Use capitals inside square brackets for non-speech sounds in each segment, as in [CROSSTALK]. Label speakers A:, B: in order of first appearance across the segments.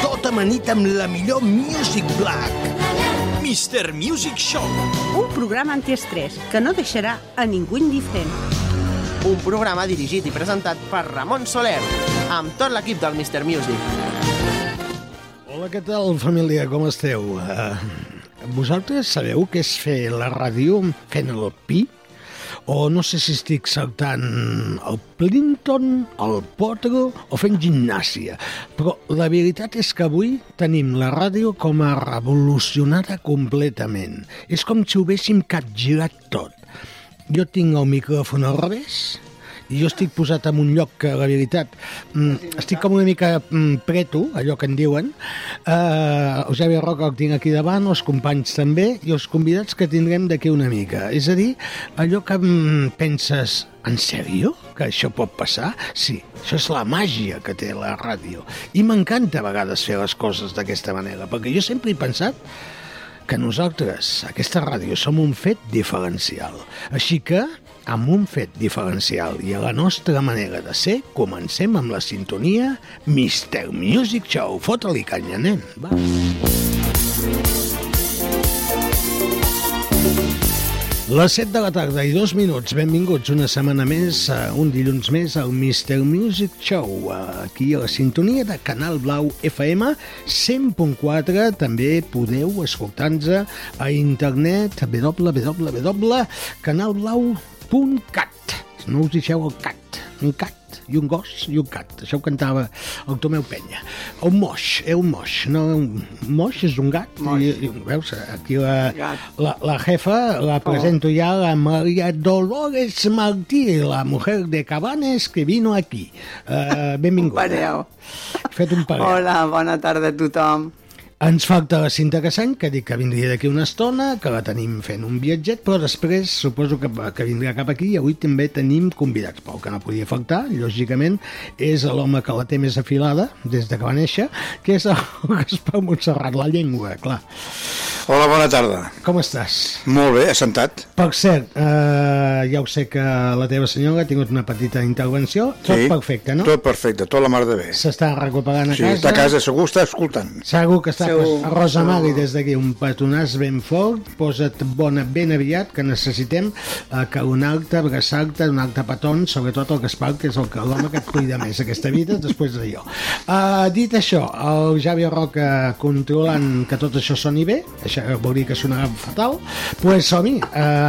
A: Tot amanit tota amb la millor Music Black.
B: Mr. Music Show.
C: un programa antiestrès que no deixarà a ningú indiferent.
D: Un programa dirigit i presentat per Ramon Soler, amb tot l'equip del Mr. Music.
E: Hola, què tal, família? Com esteu? Uh, vosaltres sabeu què és fer la ràdio fent el pi? O no sé si estic saltant el Plinton, el Potro o fent gimnàsia. Però la veritat és que avui tenim la ràdio com a revolucionada completament. És com si ho haguéssim capgirat tot. Jo tinc el micròfon al revés, i jo estic posat en un lloc que, la veritat, mm, estic com una mica mm, preto, allò que en diuen. Uh, Eusebi Roca el tinc aquí davant, els companys també, i els convidats que tindrem d'aquí una mica. És a dir, allò que mm, penses, en sèrio? Que això pot passar? Sí, això és la màgia que té la ràdio. I m'encanta a vegades fer les coses d'aquesta manera, perquè jo sempre he pensat que nosaltres, aquesta ràdio, som un fet diferencial. Així que, amb un fet diferencial i a la nostra manera de ser, comencem amb la sintonia Mister Music Show. Fota-li canya, nen. Va. Les 7 de la tarda i dos minuts, benvinguts una setmana més, eh, un dilluns més al Mr. Music Show, eh, aquí a la sintonia de Canal Blau FM 100.4, també podeu escoltar-nos a internet www.canalblau.cat no us deixeu el cat, un cat i un gos i un cat, això ho cantava el Tomeu Penya, un moix eh, un moix, no, un moix és un gat i, i, veus, aquí la, la, la jefa la presento ja la Maria Dolores Martí, la mujer de Cabanes que vino aquí uh, benvinguda,
F: Pareu.
E: He fet un parell
F: Hola, bona tarda a tothom.
E: Ens falta la Cinta Cassany, que dic que vindria d'aquí una estona, que la tenim fent un viatget, però després suposo que, que vindrà cap aquí i avui també tenim convidats. Pau, que no podia faltar, lògicament, és l'home que la té més afilada des de que va néixer, que és el [LAUGHS] Gaspar Montserrat, la llengua, clar.
G: Hola, bona tarda.
E: Com estàs?
G: Molt bé, assentat.
E: Per cert, eh, ja ho sé que la teva senyora ha tingut una petita intervenció. Tot perfecte, no?
G: Tot perfecte, tot la mar de bé.
E: S'està recuperant a
G: Sí,
E: casa.
G: està a casa, segur que està escoltant.
E: Segur que està
F: Segur,
E: pues, a Rosa Mari des d'aquí, un petonàs ben fort, posa't bona ben aviat, que necessitem eh, caronar-te, abraçar-te, donar-te petons, sobretot el Gaspar, que és el que l'home que et cuida més aquesta vida, després d'allò. Uh, dit això, el Javi Roca controlant que tot això soni bé, això vol dir que sonarà fatal, doncs pues, som-hi, uh,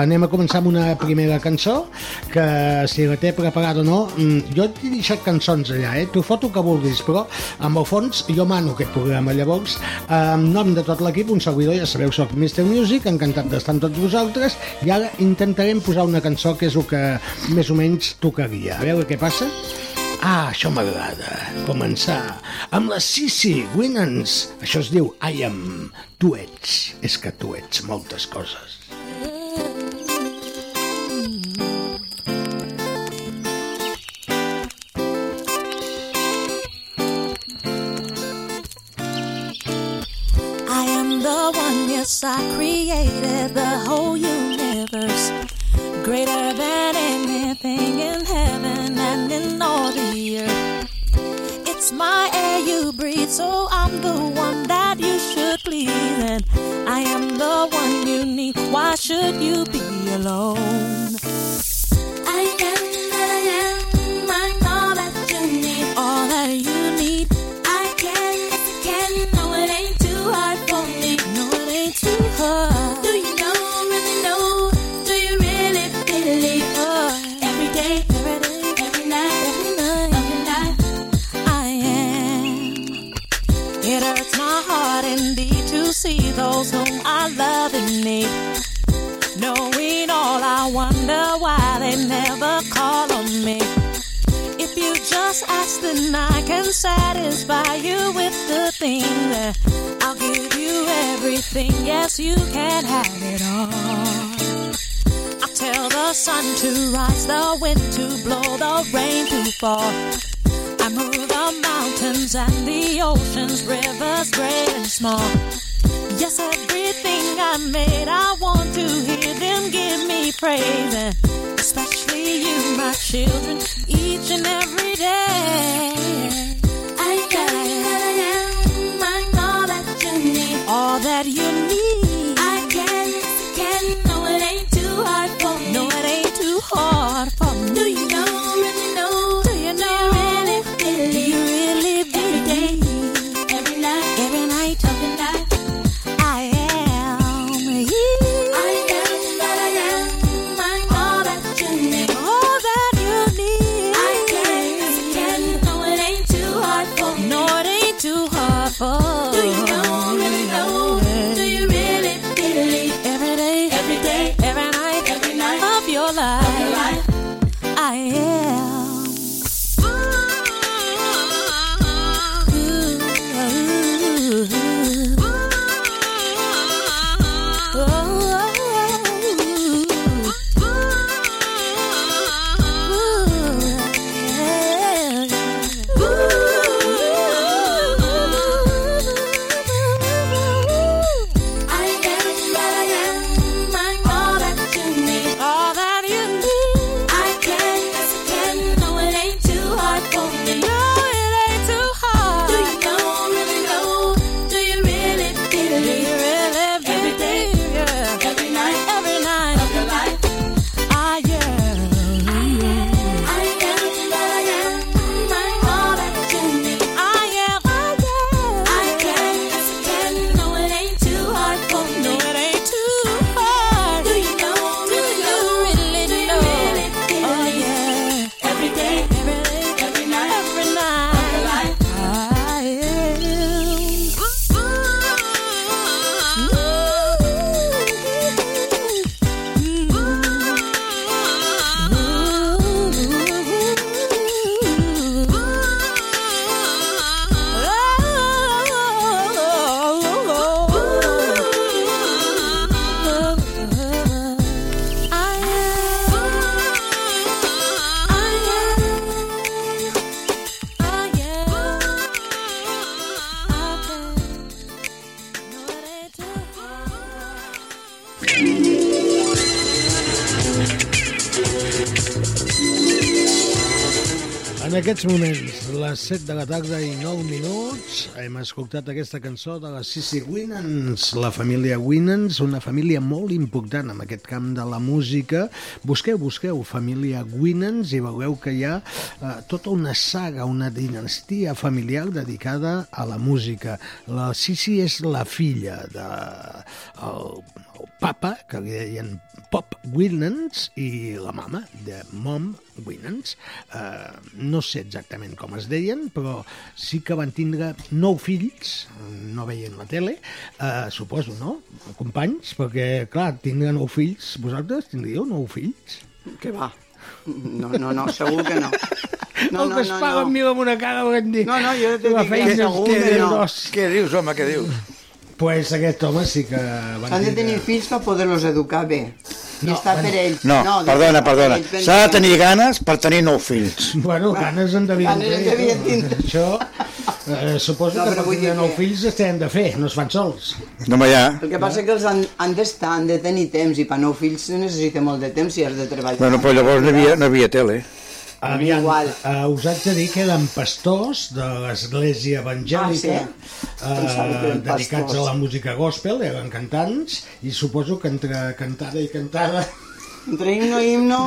E: anem a començar amb una primera cançó, que si la té preparada o no, mm, jo t'he deixat cançons allà, eh? t'ho foto que vulguis, però amb el fons jo mano aquest programa. Llavors, eh, en nom de tot l'equip, un servidor, ja sabeu, soc Mr. Music, encantat d'estar amb tots vosaltres, i ara intentarem posar una cançó que és el que més o menys tocaria. A veure què passa. Ah, això m'agrada. Començar amb la Sissi Winans. Això es diu I am. Tu ets. És que tu ets moltes coses.
H: I am the one, yes, I created the whole universe. Greater than anything in heaven and in all the earth. It's my air you breathe, so I'm the one that you should please. And I am the one you need. Why should you be alone? I am, I am, I'm all that you need. All that you need. I can, yes I can, no it ain't too hard for me. No it ain't too hard. Do you know, really know, do you really believe? every day, every day, every night, every night, every night, I am. It hurts my heart indeed to see those whom I love in need. Knowing all, I wonder why they never call on me. If you just ask, then I can satisfy you with the thing that I everything. Yes, you can have it all. I tell the sun to rise, the wind to blow, the rain to fall. I move the mountains and the oceans, rivers great and small. Yes, everything I made, I want to hear them give me praise. And especially you, my children, each and every day. I am, I'm all that you need. All that you need. I can, can, no, it ain't too hard for me. No, it ain't too hard for me. Do you know, really know? Do you know? Really, really, do you really believe? Every night, every night, every night. I am he. I am that I am. I'm all that you need. All that you need. I can, can. No, it ain't too hard for me. No, it ain't too hard for me. Do you know, really know? Do you really believe? Every day, every day, every night, every night of your life. I am. Ooh. Every day, every night, every night Ah, of your life. I am. I am. I am that I am. I'm all that you need. I am. I am. I can. Yes, I can. No, it ain't too hard for me. No, it ain't too hard. Do you know? Do you know? Really do you know? Really, really, oh yeah. Every day, every day, every night, every night. Every life. I am. Ooh.
E: En aquests moments, les 7 de la tarda i 9 minuts, hem escoltat aquesta cançó de la Sissy Winans, la família Winans, una família molt important en aquest camp de la música. Busqueu, busqueu família Winans i veureu que hi ha eh, tota una saga, una dinastia familiar dedicada a la música. La Sissy és la filla de el, el papa, que li deien Pop Winans, i la mama, de Mom Winans. Eh, no sé exactament com es deien, però sí que van tindre nou fills, no veien la tele, eh, suposo, no? Companys, perquè, clar, tindre nou fills, vosaltres tindríeu nou fills?
F: Què va? No, no, no, segur
E: [LAUGHS]
F: que no. No,
E: el
F: no,
E: que es
F: no,
E: paga
F: no.
E: amb mi amb una cara ho hem dit.
F: No, no, jo t'he
E: La
F: dit que
E: feina
F: segur
E: és
F: que
E: que
F: no.
E: dos.
G: Què dius, home, què dius?
E: Pues aquest home sí que... van
F: S'han de
E: tindre-
F: tenir fills per poder-los educar bé. I
E: No,
F: està
E: bueno.
F: per ells.
G: No,
F: de-
G: perdona, perdona.
F: ells van
G: S'ha de
F: dir-
G: tenir ganes per tenir nou fills.
E: Bueno, ganes en devien eh?
F: Ganes en devien tindre.
E: Això, eh, suposo
F: No,
E: que
F: però
E: per
F: vull
E: tindre
F: dir
E: nou
F: que-
E: fills es tenen de fer, no es fan sols.
G: No, home, ja.
F: El que passa que els han, han d'estar, han de tenir temps, i per nou fills se necessita molt de temps si has de treballar.
G: Bueno, però llavors no hi havia, no hi havia tele. [LAUGHS]
E: Aviam,
F: Igual.
E: eh, us haig de dir que eren pastors de l'església evangèlica
F: Ah, Pensava que
E: eh,
F: eren
E: dedicats a
F: pastors.
E: la música gospel, eren cantants i suposo que entre cantada i cantada
F: Entre himno i himno,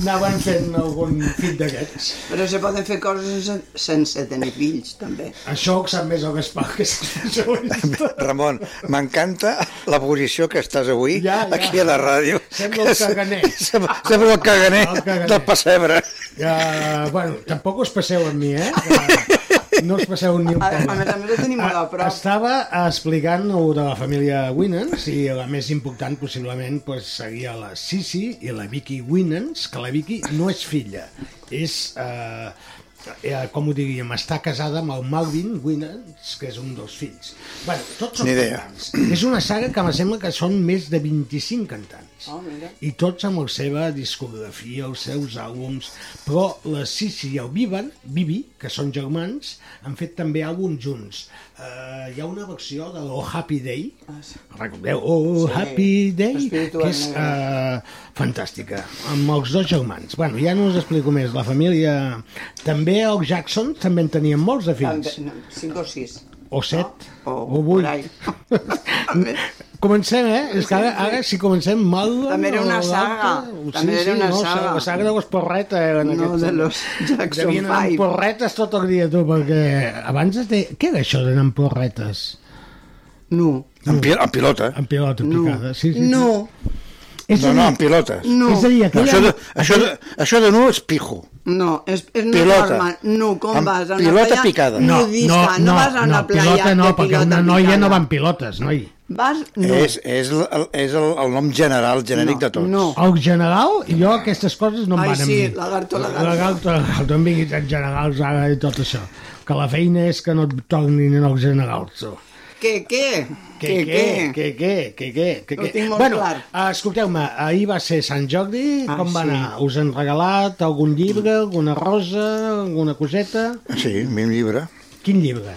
E: anaven fent algun fit d'aquests.
F: però se poden fer coses sen- sense tenir fills, també. Oh,
E: Això ho sap més el Gaspar que
F: [LAUGHS]
E: és
G: Ramon, m'encanta la posició que estàs avui
E: Ja, ja.
G: aquí a la ràdio.
E: Sembla el caganer.
G: Sembla, sembla el caganer,
E: El caganer.
G: [LAUGHS] del pessebre.
E: Ja, Eh, bueno, tampoc us passeu amb mi, eh? Que No us passeu ni un
F: A,
E: pèl. Eh,
F: a més a més, el tenim molt a prop.
E: Estava explicant el de la família Winans i la més important possiblement pues, seria la Sisi i la Vicky Winans, que la Vicky no és filla, és eh, eh, com ho diríem, està casada amb el Malvin Winans, que és un dels fills. Bueno, tots són
G: Ni idea.
E: cantants. És una saga que me sembla que són més de 25 cantants.
F: Oh, mira.
E: I tots amb la seva discografia, els seus àlbums, però la Sissi i el Vivan, Vivi, que són germans, han fet també àlbums junts. Eh, hi ha una versió de Oh Happy Day,
F: Ah, sí.
E: recordeu, Oh
F: Sí.
E: Happy Day,
F: Espiritual
E: que és
F: Negre.
E: eh, fantàstica, amb els dos germans. Bueno, ja no us explico més, la família... També els Jackson també en tenien molts de fills,
F: Amb- no, Cinc o sis.
E: o set,
F: O,
E: o vuit. [LAUGHS]
F: por ahí. També-
E: Comencem, eh? És que ara, ara si comencem mal...
F: També era una saga. També era una
E: no,
F: saga.
E: La saga de les porretes. Eh, en
F: No,
E: aquest
F: de
E: sentit.
F: los Jackson
E: Devien anar amb
F: Five.
E: porretes tot el dia, tu, perquè abans es deia... Què era això d'anar amb porretes?
F: No.
G: En, pi en pilota.
E: Amb pilota
F: No.
E: picada? Sí, sí.
F: No.
E: És
G: No,
E: a
G: no,
E: dir-
G: en pilotes.
F: No.
E: És a dir,
G: No,
E: aquella...
G: això, de, això, de, això de no és pijo.
F: No, és, és no
G: Pilota.
F: normal. No, com
G: Amb
F: vas a una
G: pilota
F: playa
G: picada.
F: No, no, no, vas a una playa
E: pilota no,
F: de
E: perquè
F: pilota
E: una noia
F: picada.
E: no va amb pilotes, noi.
F: Vas... No.
G: No. És, és, el, és el, el nom general, genèric
F: No,
G: de tots.
F: no.
E: El general, jo aquestes coses no em
F: Ai,
E: van
F: sí,
E: amb mi.
F: lagarto, lagarto.
E: Lagarto, lagarto, em vinguis en generals ara i tot això. Que la feina és que no et tornin en els generals. tu.
F: Què, què?
E: Que, que, que, que, que, que, que,
F: Ho tinc molt
E: bueno,
F: clar.
E: eh, escolteu-me, ahir va ser Sant Jordi,
F: Ah,
E: com va
F: sí.
E: anar? Us han regalat algun llibre, alguna rosa, alguna coseta?
G: Sí, mi llibre.
E: Quin llibre?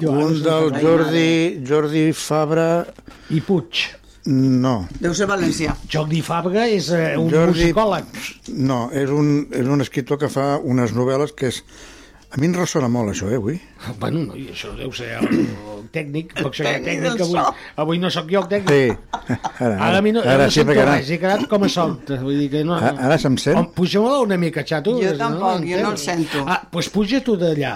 G: Un del Jordi, Jordi Fabra...
E: I Puig.
G: No.
F: Deu ser valencià.
E: Jordi Fabra és eh, un
G: Jordi-
E: musicòleg.
G: No, és un, és un escriptor que fa unes novel·les que és... A mi em ressona molt això,
E: [LAUGHS]
G: eh, avui.
E: Bueno, no, i això deu ser el, el tècnic, perquè seré
F: tècnic
E: tècnic,
F: del
E: avui,
F: so.
E: avui no sóc jo el tècnic.
G: Sí. Ara,
E: Ara, a mi no, ara,
G: ara
E: no
G: sí,
E: sento
G: perquè ara,
E: res, eh. he quedat com a solta. Vull dir que no,
G: A- ara se'm sent?
E: Em puja-me una mica, xato.
F: Jo
E: que no
F: tampoc, jo no el
E: l'entenc.
F: sento.
E: Ah, doncs puja tu d'allà.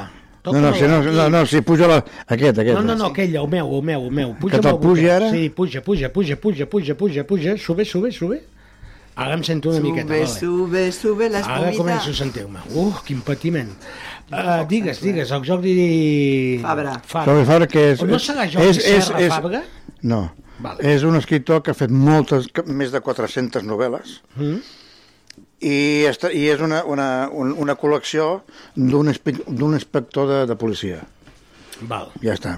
G: No, no, si no, no, no, si puja la... Aquest, aquest.
E: No, no, no, aquell, el meu, el meu, el meu. Puja
G: Que te'l pugi ara?
E: Sí, puja, puja, puja, puja, puja, puja, puja. Sube, sube, sube. Ara em sento una miqueta,
F: Sube,
E: vale.
F: sube, sube la
E: Ara
F: espumita.
E: començo a sentir-me. Uh, quin patiment. Uh, digues, digues, el Jordi...
F: Fabra.
G: Jordi Fabra, que és...
E: No serà Jordi Serra Fabra?
G: No.
E: Vale.
G: És un escriptor que ha fet moltes, que- més de 400 novel·les
E: Mm.
G: i, està, i és una, una, un- una col·lecció d'un inspe- d'un inspector de, de policia.
E: Val.
G: Ja està.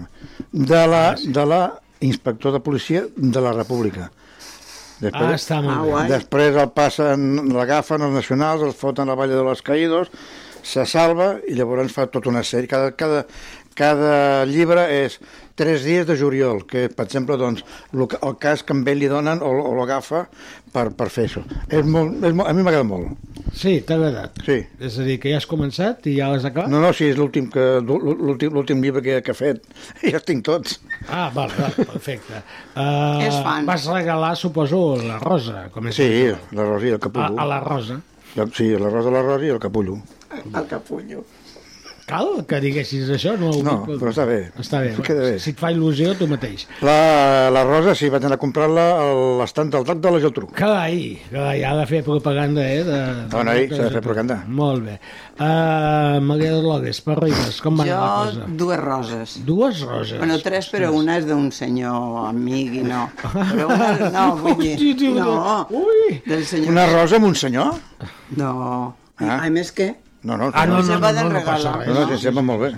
G: De la, de la inspector de policia de la República.
E: Ah, està molt
F: Ah,
E: bé.
F: guai.
G: Després el passen, l'agafen els nacionals, el foten a la Vall de los Caídos, se salva i llavors fa tota una sèrie. Cada, cada, cada llibre és tres dies de juliol, que per exemple doncs, lo que- el cas que a ell li donen o, o l'agafa per, per fer això. És molt, és molt, a mi m'agrada molt.
E: Sí, t'ha agradat.
G: Sí.
E: És a dir, que ja has començat i ja l'has acabat?
G: No, no, sí, és l'últim que l'últim l'últim llibre que, que ha fet. [LAUGHS] Ja els tinc tots.
E: Ah, val, val,
F: [LAUGHS]
E: perfecte. Uh,
F: És fan.
E: Vas regalar, suposo, la rosa, com és.
G: Sí, la Rosa i
E: A,
G: el Capullo.
E: a la rosa.
G: Sí, la Rosa, la Rosa i el Capullo.
F: El capullo.
E: Cal que diguessis això? No, ho
G: No,
E: dic,
G: però està bé.
E: Està bé.
G: Queda bé.
E: Si et fa il·lusió, tu mateix.
G: La, la Rosa sí, vaig anar a comprar-la a l'estant del drac de la Geltrú.
E: Carai, carai, ha de fer propaganda, eh? De,
G: No, noi, s'ha de fer propaganda.
E: Molt bé. Uh, Maria Dolores, Parribas, com va anar la
F: Jo,
E: cosa?
F: dues roses.
E: Dues roses.
F: Bueno, tres, però una és d'un senyor amic i no. Però una, no,
E: [LAUGHS]
F: vull
E: Hosti,
F: dir,
E: tio,
F: no,
E: ui.
F: del senyor...
G: Una rosa amb un senyor?
F: No,
G: Ah.
F: a més que
G: No, no,
E: Ah, no, no,
F: Se
E: no,
F: va
E: no, no,
F: del
E: passa
F: regal.
E: res.
G: no, no, sí, sembla molt bé.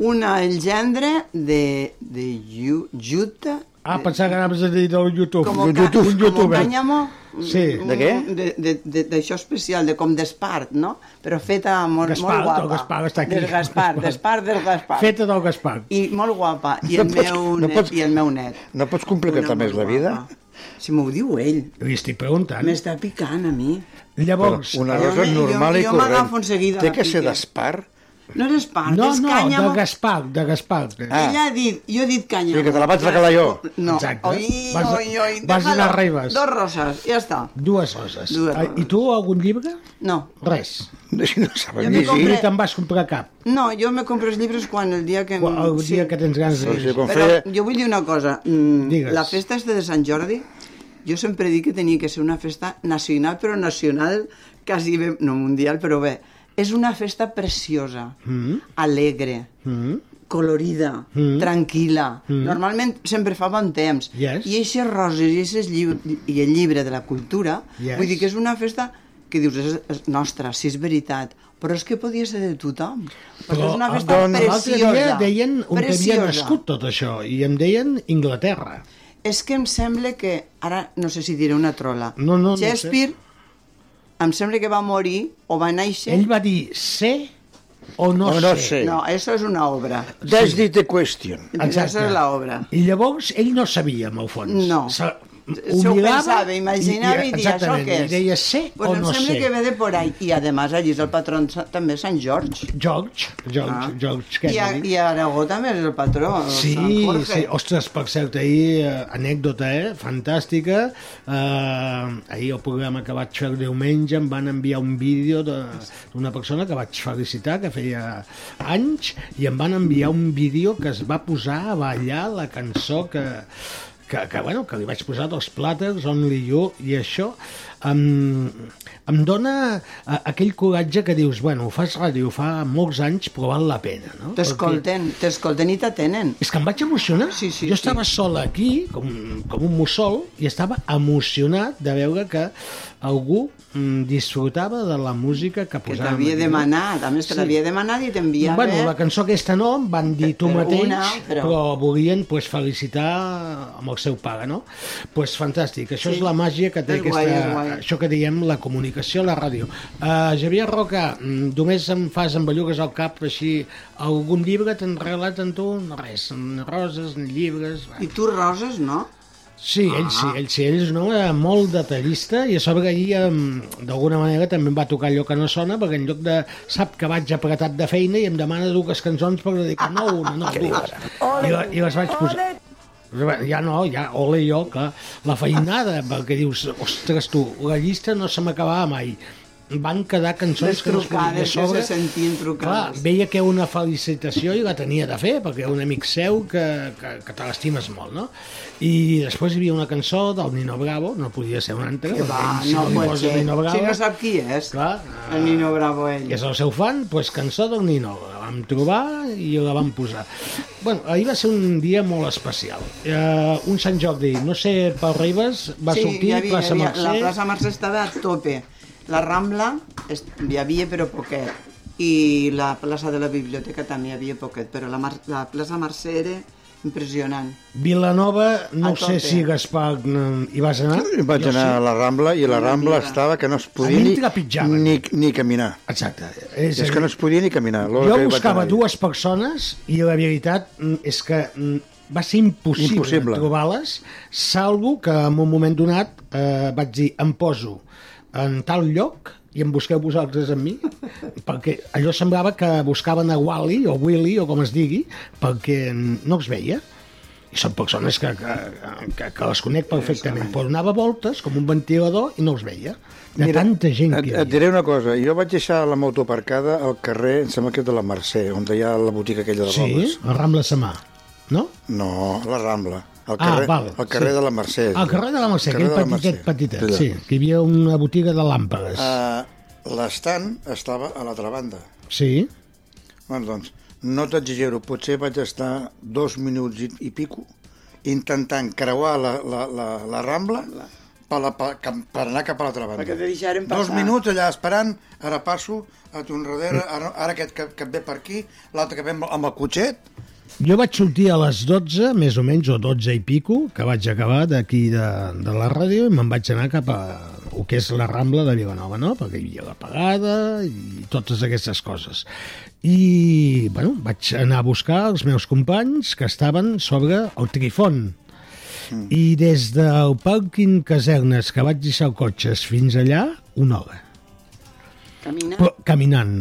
F: una el gendre de, de Ju- Juta...
E: Ah, pensava que anaves a dir del YouTube.
F: Com
E: Un
F: ca-
E: YouTube. eh? Un
F: Com
E: youtuber.
F: càñamo,
E: Sí.
F: un-
G: De què?
F: mm, de- de- de- D'això especial, de com d'espart, no? Però feta molt,
E: Gaspar,
F: molt guapa.
E: el Gaspar està aquí.
F: Del Gaspar, d'espart del Gaspar.
E: Feta del Gaspar.
F: I molt
E: [LAUGHS]
F: guapa. I el,
G: No pots-
F: meu,
G: no
F: net,
G: pots-
F: I el meu net.
G: No pots
F: Una
G: complicar-te més
F: molt
G: la vida?
F: guapa. Si m'ho diu ell.
E: Li estic preguntant.
F: M'està picant a mi.
E: Llavors,
G: Una
F: Jo
G: rosa
F: me- jo-
G: normal i
F: jo m'agafo
G: corrent.
F: enseguida
G: Té
F: la
G: que ser
F: pica.
G: d'espar?
F: No és espart,
E: No,
F: és
E: no,
F: cànyamo.
E: de Gaspar, de Gaspar.
G: Ah.
F: Ella ha dit, jo he dit cànyamo.
G: Sí, que te la vaig regalar jo.
F: No,
E: Exacte.
F: oi,
E: Vas-
F: oi, oi.
E: vas
F: déjalo.
E: anar arribes.
F: Dos roses, ja està.
E: Dues roses.
F: Dues
E: Ah, I tu, algun llibre?
F: No,
E: Res.
G: Si no saben
F: Jo m'hi
E: I
G: llegir.
E: ni
F: Hombre.
E: te'n vas comprar cap.
F: no, jo me compro els llibres quan el dia que...
E: O El dia que tens ganes de
G: Però si
E: llegir.
G: com
F: Però
G: feia...
F: jo vull dir una cosa. Mm,
E: Digues.
F: La festa esta de Sant Jordi, jo sempre dic que tenia que ser una festa nacional, però nacional quasi bé, no mundial, però bé. És una festa preciosa,
I: Hmm?
F: alegre, colorida,
E: Mm.
F: tranquil·la. Normalment sempre fa bon temps.
E: Yes.
F: I eixes roses i, eixes lliu- i el llibre de la cultura,
E: Yes.
F: vull dir que és una festa que dius, és, és nostra, si és veritat, però és que podia ser de tothom. Perquè
E: Però
F: és una
E: ah,
F: festa
E: doncs, l'altre
F: preciosa.
E: dia deien on havia
F: preciosa.
E: nascut tot això i em deien Inglaterra.
F: És que em sembla que, ara no sé si diré una trola,
E: No, no, no ho sé.
F: Shakespeare em sembla que va morir o va néixer...
E: Ell va dir sé o no,
G: O no
E: sé.
G: sé.
F: No, això és una obra.
G: That's sí. the question.
F: Això és l'obra.
E: I llavors ell no sabia, en el fons.
F: No.
E: Se,
F: Se ho
E: mirava
F: pensava, imaginava i, i dia, això
E: exactament,
F: què és?
E: I deia sé
F: pues
E: o
F: em
E: no
F: sembla
E: sé.
F: que ve de por ahí. I, a més, allí és el patró en Sa- també Sant George.
E: George, George, ah. George
F: I, a,
E: Kennedy.
F: I a Aragó també és el patró, el
E: Sí,
F: Sant doncs, Jorge.
E: sí, ostres, per cert, ahir, eh, anècdota, eh, fantàstica, eh, ahir el programa que vaig fer el diumenge em van enviar un vídeo de- d'una persona que vaig felicitar, que feia anys, i em van enviar un vídeo que es va posar a ballar la cançó que, que, que, bueno, que li vaig posar dos plàters, Only You, i això em, em dona eh, aquell coratge que dius, bueno, ho fas ràdio fa molts anys, però val la pena, no? Perquè-
F: T'escolten, t'escolten i t'atenen.
E: és que em vaig emocionar.
F: Sí, sí,
E: jo
F: sí.
E: estava sol aquí, com, com un mussol, i estava emocionat de veure que algú mm, disfrutava de la música que
F: Que
E: posàvem.
F: t'havia
E: aquí.
F: demanat, a més te
E: Sí.
F: l'havia demanat i t'enviava...
E: Bueno, la cançó aquesta no, em van dir tu
F: Però
E: mateix,
F: una,
E: però...
F: però-
E: volien pues, felicitar amb el seu pare, no? Doncs pues, fantàstic, això
F: Sí.
E: és la màgia que té
F: És
E: aquesta,
F: guai, és guai.
E: això que diem la comunicació a la ràdio. Uh, Javier Roca, mm, només em fas embellugues al cap així, algun llibre t'han regalat en tu? No, res, ni roses, ni llibres... Va.
F: I tu roses, no?
E: Sí, ell sí,
F: Ah.
E: ell sí, ell és un home molt detallista i a sobre que ahir em, d'alguna manera també em va tocar allò que no sona perquè en lloc de sap que vaig apretat de feina i em demana dues cançons per dedicar no una,
F: Ah,
E: no dues I, la- i les vaig posar ja no, ja, ole jo, clar, la feinada, perquè dius, ostres tu, la llista no se m'acabava mai. Van quedar cançons
F: Les trucades
E: no es podia
F: que se sentien trucades.
E: Clar, veia que una felicitació i la tenia de fer, perquè era un amic seu que, que, que te l'estimes molt, no? I després hi havia una cançó del Nino Bravo, no podia ser una altra,
F: Que va,
E: ell, si
F: no
E: li
F: pot
E: posa
F: ser.
E: Nino Bravo,
F: Si no sap qui és,
E: Clar.
F: el Nino Bravo ell.
E: que és el seu fan, doncs cançó del Nino. La vam trobar i la vam posar. Bueno, ahir va ser un dia molt especial. Uh, un Sant Jordi, no sé, Pau Ribas, va
F: sí,
E: sortir
F: hi havia,
E: plaça
F: hi havia,
E: Mercè.
F: La plaça Mercè estava a tope. La Rambla es, hi havia però poquet i la plaça de la biblioteca també hi havia poquet, però la, mar, la plaça Mercè era impressionant.
E: Vilanova, no
F: A
E: ho sé
F: tope.
E: si Gaspar mm, hi vas anar.
G: Vaig
E: Jo
G: anar a
E: sí.
G: la Rambla i la Rambla
F: mira.
G: estava que no es podia
E: mi em
G: ni,
E: trepitjaven.
G: ni, ni caminar.
E: Exacte. És,
G: És
E: a
G: que
E: dir,
G: no es podia ni caminar. l'hora
E: Jo
G: que Oh, vaig
E: buscava
G: anar-hi.
E: dues persones i la veritat mm, és que mm, va ser impossible,
G: Impossible.
E: trobar-les, salvo que en un moment donat eh, vaig dir em poso en tal lloc i em busqueu vosaltres amb mi, [LAUGHS] perquè allò semblava que buscaven a Wally o Willy o com es digui, perquè no els veia. I són persones que, que, que, que les conec perfectament, però anava voltes com un ventilador i no els veia. De
G: Mira,
E: tanta gent
G: et,
E: que hi
G: et
E: havia.
G: diré una cosa, jo vaig deixar la moto aparcada al carrer, em sembla que és de la Mercè, on hi ha la botiga aquella de
E: Sí,
G: rodes.
E: a Rambla Samà, no?
G: No, la Rambla. Al
E: Ah,
G: carrer,
E: val,
G: al carrer
E: sí.
G: de la Mercè.
E: Al Ah, carrer de la Mercè,
G: Carrer
E: aquell
G: de la
E: petitet,
G: Mercè.
E: petitet,
G: Allà.
E: sí, que hi havia una botiga de làmpades.
G: Eh, L'estant estava a l'altra banda.
E: Sí,
G: Bueno, doncs, no t'exagero, potser vaig estar dos minuts i, i pico intentant creuar la, la, la, la Rambla per, la, per, cap- per anar cap a l'altra banda.
F: Perquè te deixaren
G: Dos
F: passar.
G: minuts allà esperant, ara passo, a tu enrere, ara, ara aquest que, que et ve per aquí, l'altre que ve amb, amb el cotxet,
E: jo vaig sortir a les 12, més o menys, o 12 i pico, que vaig acabar d'aquí de, de la ràdio i me'n vaig anar cap a el que és la Rambla de Vilanova, no? Perquè hi havia la pagada i totes aquestes coses. I, bueno, vaig anar a buscar els meus companys que estaven sobre el Trifon, I des del pàrquing casernes que vaig deixar el cotxe fins allà, una hora.
F: Camina.
E: Però, caminant.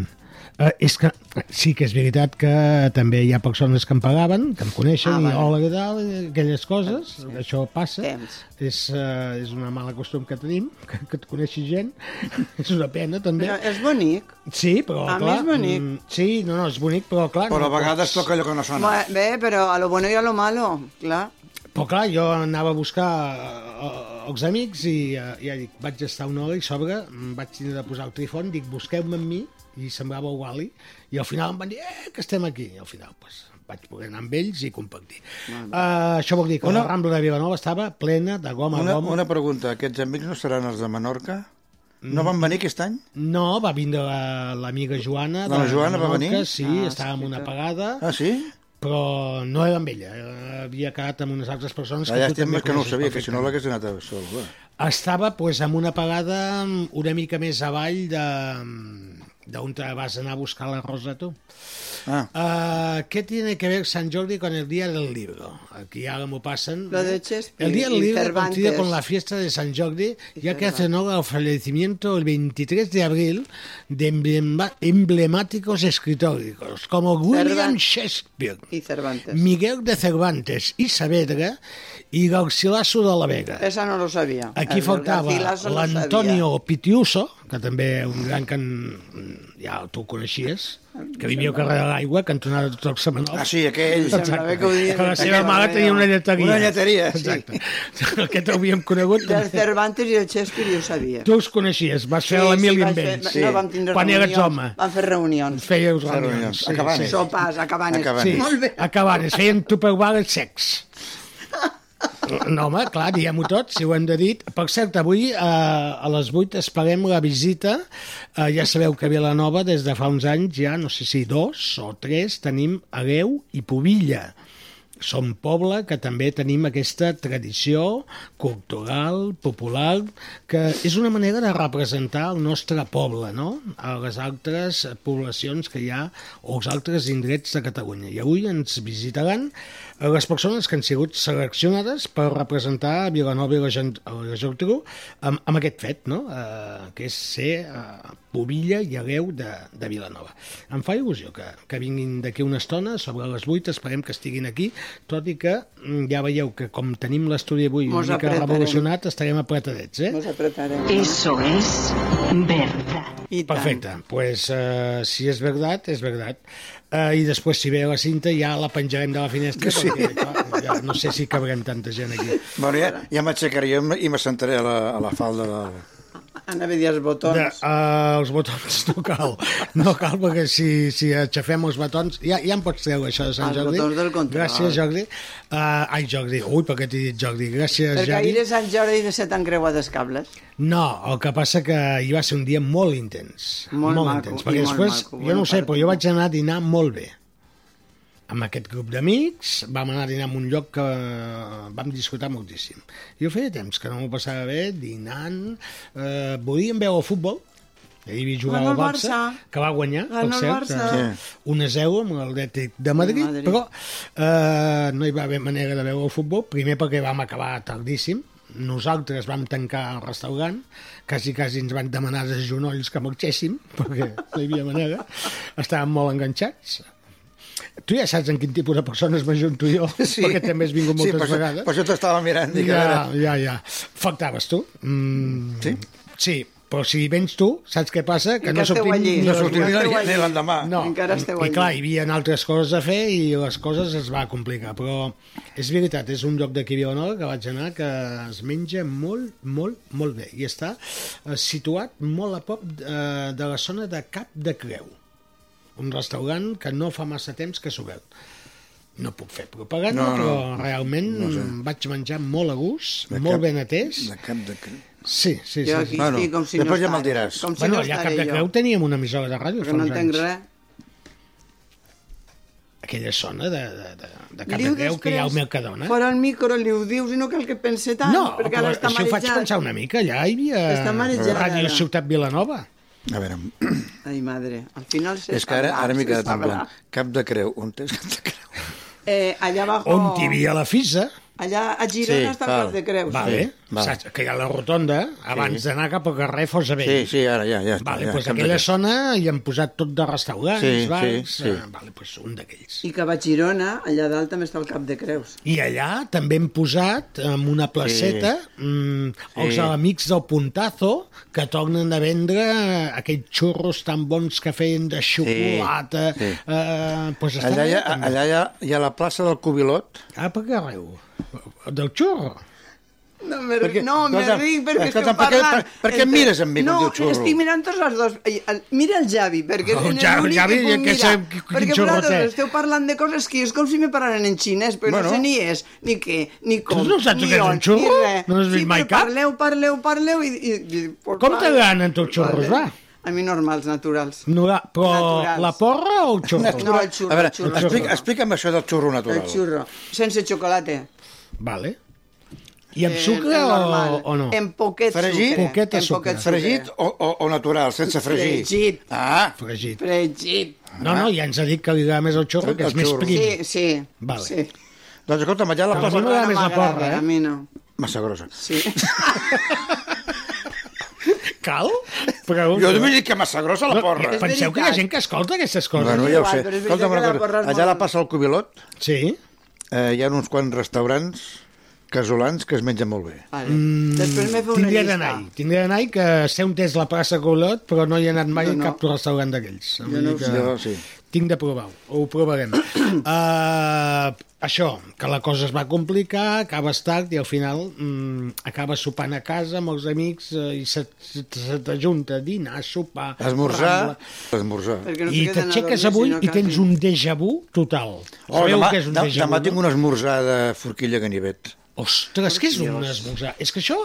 E: Eh, és que eh, sí que és veritat que també hi ha persones que em pagaven, que em coneixen,
F: Ah,
E: ah, i
F: vale.
E: hola, què tal, i aquelles coses, això passa.
F: Temps.
E: És, eh, és una mala costum que tenim, que, que et coneixi gent. [LAUGHS] és una pena, també.
F: Però és bonic.
E: sí, però,
F: a mi
E: clar...
F: és bonic.
E: mm, Sí, no, no, és bonic, però, clar...
G: però
E: no
G: a vegades
E: pots-
G: toca allò que no sona.
F: Ma- Bé, però a lo bueno i a lo malo, clar.
E: Però clar, jo anava a buscar eh, eh, els amics i eh, ja dic, vaig estar una hora i sobre, em vaig tindre de posar el trifon, dic, busqueu-me amb mi, i semblava el Wally, i al final em van dir, eh, que estem aquí, i al final, pues, vaig poder anar amb ells i compartir. Uh, això vol dir que una... la Rambla de Vilanova estava plena de goma a
G: Una,
E: goma.
G: una pregunta, aquests amics no seran els de Menorca?
E: Mm.
G: No van venir aquest any?
E: No, va vindre la- l'amiga Joana. de
G: La Joana va
E: Menorca,
G: venir?
E: Sí,
F: Ah,
E: estava amb una
F: sí,
E: pagada,
G: Ah, sí?
E: però no era amb ella. eh, Havia quedat amb unes altres persones
G: Allà
E: que tu
G: Ah, estem
E: també
G: que no ho
E: coneixes
G: sabia, que si no
E: perfectament.
G: l'hagués anat a sol. Va.
E: Estava pues, amb una pagada una mica més avall de d'on te vas anar a buscar la rosa tu.
G: Ah,
E: Uh, ¿Qué tiene que ver San Jordi con el Día del Libro? Aquí ahora me pasan.
F: Lo de
E: ¿eh?
F: Shakespeare
E: El Día del
F: y
E: Libro
F: Cervantes.
E: coincide con la fiesta de San Jordi, ya que
F: Cervantes.
E: hace honor al fallecimiento el 23 de abril de emblema- emblemáticos escritóricos como William
F: Cervantes.
E: Shakespeare,
F: Y Cervantes.
E: Miguel de Cervantes y Saavedra y Garcilaso de la Vega.
F: Esa no lo sabía.
E: Aquí
F: El
E: faltava
F: Garcilaso no
E: l'Antonio Pitiuso, que també un gran que en... ja tu ho coneixies, que vivia al carrer de l'Aigua, cantonada de Torc Semenov.
G: ah sí, aquell...
F: Em semblava que ho dies.
E: Que la seva mare tenia una lleteria.
G: Una lleteria, sí.
E: Exacte. [LAUGHS] Que t'hauríem conegut.
F: sabía. Del
E: també.
F: Cervantes y del Shakespeare yo sabía.
E: Tu els coneixies, vas fer
F: Sí,
E: l'Emili
F: sí,
E: amb
F: vaig fer-
E: ells.
G: Sí.
F: No, vam tindre
E: Quan eres
F: reunions.
E: home.
F: Vam fer reunions.
E: Fèieu
G: reunions,
E: reunions.
G: acabanes.
E: Sí,
F: Sopars, a cabanes.
G: Acabanes.
E: sí.
F: Molt bé.
E: Acabaven, es feien tupperwares
F: [LAUGHS]
E: secs. No, home, clar, diguem-ho tot, si ho hem de dir. Per cert, avui eh, a les 8 esperem la visita. Eh, ja sabeu que Vilanova, des de fa uns anys, ja no sé si dos o tres, tenim Areu i Pobilla. Som poble que també tenim aquesta tradició cultural, popular, que és una manera de representar el nostre poble, no?, a les altres poblacions que hi ha o els altres indrets de Catalunya. I avui ens visitaran les persones que han sigut seleccionades per representar Vilanova i la Gent- la Geltrú amb, amb aquest fet, no?, eh, que és ser eh, pobilla i hereu de, de Vilanova. Em fa il·lusió que, que vinguin d'aquí una estona, sobre les 8, esperem que estiguin aquí, tot i que mm, ja veieu que com tenim l'estudi avui
F: Mos
E: una mica
F: apretarem.
E: revolucionat, estarem apretadets, eh?
F: Nos apretarem.
J: Eso es verdad.
F: I tant.
E: Perfecte, doncs pues, eh, si és verdad, és verdad. Eh, I després, si ve la cinta, ja la penjarem de la finestra, sí. perquè clar, ja, no sé si cabrem tanta gent aquí.
G: Bueno, ja, ja m'aixecaré i m'assentaré a, la, a la falda del...
F: Anava a dir els
E: De,
F: botons.
E: uh, els botons no cal, no cal perquè si, si aixafem els botons ja, ja em pots treure això de Sant
F: Els
E: Jordi
F: botons del control.
E: gràcies Jordi uh, ai Jordi, ui perquè t'he dit Jordi gràcies
F: Perquè
E: Jordi
F: ahir és Sant Jordi de set encreuades cables.
E: no, el que passa que hi va ser un dia molt intens
F: Molt maco,
E: intens
F: i
E: perquè
F: molt
E: després,
F: maco,
E: jo
F: bona
E: no ho sé,
F: part.
E: però jo vaig anar a dinar molt bé amb aquest grup d'amics, vam anar a dinar en un lloc que eh, vam disfrutar moltíssim. Jo feia temps que no m'ho passava bé, dinant, eh, volíem veure el futbol, ahir vi jugar
F: Gana
E: al
F: el
E: Barça,
F: Barça.
E: que va guanyar,
F: Gana
E: per
F: el
E: cert, eh,
F: Barça.
E: un a 0 amb l'Atlètic de Madrid,
F: Madrid.
E: però eh, no hi va haver manera de veure el futbol, primer perquè vam acabar tardíssim, nosaltres vam tancar el restaurant, quasi, quasi ens van demanar de genolls que marxéssim, [LAUGHS] perquè no hi havia manera, estàvem molt enganxats. Tu ja saps en quin tipus de persones m'ajunto jo, sí. perquè també has vingut moltes
G: per això-
E: vegades.
G: Per això t'estava mirant. Dic, a
E: Ja,
G: veure,
E: ja, ja. Faltaves tu. Mm,
G: Sí?
E: Sí, però si vens tu, saps què passa? Que,
F: I
E: no
F: que esteu
E: sortim
F: allí.
E: ni
G: no
E: les
G: sortiré
E: dues.
F: esteu
G: ni
F: allí.
G: l'endemà.
E: No,
F: Encara esteu
E: i
F: allí.
E: clar, hi havia altres coses a fer i les coses es va complicar, però és veritat, és un lloc d'aquí a Vilanova que vaig anar que es menja molt, molt, molt bé i està eh, situat molt a prop eh, de la zona de Cap de Creu, un restaurant que no fa massa temps que s'ha obert. No puc fer propaganda,
G: No, no.
E: però realment no sé. vaig menjar molt a gust, de molt
G: cap-
E: ben atès.
G: De cap de... cre-
E: Sí, sí,
F: Jo
E: sí. sí.
F: aquí
G: Bueno,
F: estic com si
G: després
F: no
G: ja me'l
F: estara.
G: diràs.
F: Com si
E: bueno,
F: no
E: allà a Cap
F: estaré
E: de
F: jo.
E: Creu teníem una emissora de ràdio
F: Perquè no
E: uns
F: entenc
E: anys.
F: res.
E: aquella zona Ah, de, de, de, de Cap
F: Diu
E: de Creu que hi ha
F: després,
E: el Mercadona.
F: Fora el micro, li ho dius i no cal que pense tant,
E: No,
F: perquè
E: però
F: ara està
E: si ho faig
F: marejat.
E: pensar una mica, allà hi
F: Està
E: havia
F: marejat,
E: Ràdio
F: ara.
E: Ciutat Vilanova.
G: A veure,
F: Ai, madre, al final se
G: és que ara,
F: sabrà,
G: ara m'he
F: se
G: quedat en
F: sabrà.
G: blanc. Cap de creu. On és cap de creu?
F: Eh, allà abajo...
E: On hi havia la FISA,
F: Allà a Girona
G: Sí,
F: està
G: val.
F: Cap de Creus.
E: vale,
G: val.
E: Saps, que hi ha la rotonda, abans d'anar cap al carrer Fosabell.
G: Sí, sí, ara ja, ja. està,
E: Vale,
G: ja,
E: doncs
G: Cap de
E: aquella
G: Creu.
E: zona hi han posat tot de restaurants,
G: Sí, sí,
E: bars...
G: sí.
E: eh, vale, doncs un d'aquells.
F: I que va a Girona, allà dalt també està el Cap de Creus.
E: I allà també hem posat en una placeta mm, els
G: Sí.
E: amics del Puntazo que tornen a vendre aquells xurros tan bons que feien de xocolata.
G: Sí.
E: Eh, doncs estan
G: Allà, hi ha,
E: també.
G: allà hi ha, hi ha la plaça del Cubilot.
E: Ah, per què arreu? Del xurro?
F: No, me,
G: Per
F: perquè,
G: què?
F: no, me
G: Escolta,
F: ric perquè
G: escolta,
F: estem
G: per què-
F: parlant.
G: per- per què
F: Entre-
G: mires amb mi, com
F: no,
G: diu xurro?
F: estic mirant tots els dos. Ai, el- Mira el Javi, perquè
E: El
F: és
E: Ja-
F: l'únic
E: Oh, Javi,
F: que puc
E: que
F: mirar.
E: sé qui- quin
F: perquè
E: xurrotet.
F: vosaltres esteu parlant de coses que és com si me pararen en xinès, però
G: Bueno.
F: no sé ni és, ni què, ni com,
E: Tu no saps
F: ni
E: que és un
F: on,
E: xurro?
F: ni res.
E: No has vist
F: sí,
E: mai
F: però
E: cap?
F: Parleu, parleu, parleu i... i, i pues,
E: Com
F: vale.
E: t'agraden tots els xurros, va?
F: A mi normals, naturals.
E: No, la- però
F: Naturals.
E: la porra o
F: [LAUGHS]
E: el xorro?
F: No, el xurro,
G: a veure,
F: el xurro.
G: explica, explica'm això del xurro natural.
F: El xurro, sense xocolata.
E: Vale. I amb
F: Eh,
E: sucre
F: el normal.
E: o, o no?
F: En poquet
G: Fregit?
F: sucre.
E: Poquet de
F: en
E: sucre.
F: poquet
G: Fregit o, o, o natural, sense fregir?
F: Fregit.
G: Ah,
E: Fregit.
F: Fregit.
E: No, no, ja ens ha dit que li agrada més el xorro, que és
G: El
E: més
G: xurro.
E: prim.
F: Sí, sí.
E: Vale.
F: Sí.
G: doncs escolta'm, allà la
E: Tampoc
G: cosa...
E: no m'agrada més la
F: m'agrada,
E: porra,
F: A
E: eh?
F: mi no.
G: Massa grossa.
F: Sí.
E: [LAUGHS] Cal? Però,
G: Jo t'he dit que massa grossa la
E: No, eh,
G: porra.
F: és
E: Penseu que hi ha
F: veritat.
E: gent que escolta aquestes coses.
G: Bueno,
F: és
G: ja ho
F: igual,
G: sé.
F: però és veritat
G: Escolta'm
F: que
G: una
F: la
G: cosa,
F: porra és
G: allà la
F: molt-
G: passa el cubilot,
E: Sí.
G: eh, hi ha uns quants restaurants casolans que es mengen molt bé.
F: Vale. Mm, Després m'he fet una
E: Tindria
F: llista.
E: d'anar-hi. Tindria d'anar-hi que sé un test la plaça Colot, però no hi he anat mai
F: Jo
E: no, no.
F: no.
E: a cap restaurant d'aquells. Vull
F: no
E: dir
F: ho
E: que
G: Jo, sí.
E: Tinc de provar-ho. Ho
F: [COUGHS]
E: provarem. uh, això, que la cosa es va complicar, acabes tard i al final mm, acabes sopant a casa amb els amics eh, i se, se, se t'ajunta dinar, sopar...
G: Esmorzar, esmorzar.
F: Perquè no
E: I
F: queden a
E: t'aixeques
F: dormir,
E: avui
F: sinó
E: i
F: que
E: tens
F: sí.
E: un déjà vu total.
G: Oh,
E: Sabeu
G: demà,
E: què és un
G: de-
E: déjà vu?
G: demà
E: no?
G: tinc un esmorzar de forquilla ganivet.
E: Ostres, què és un esmorzar? És que això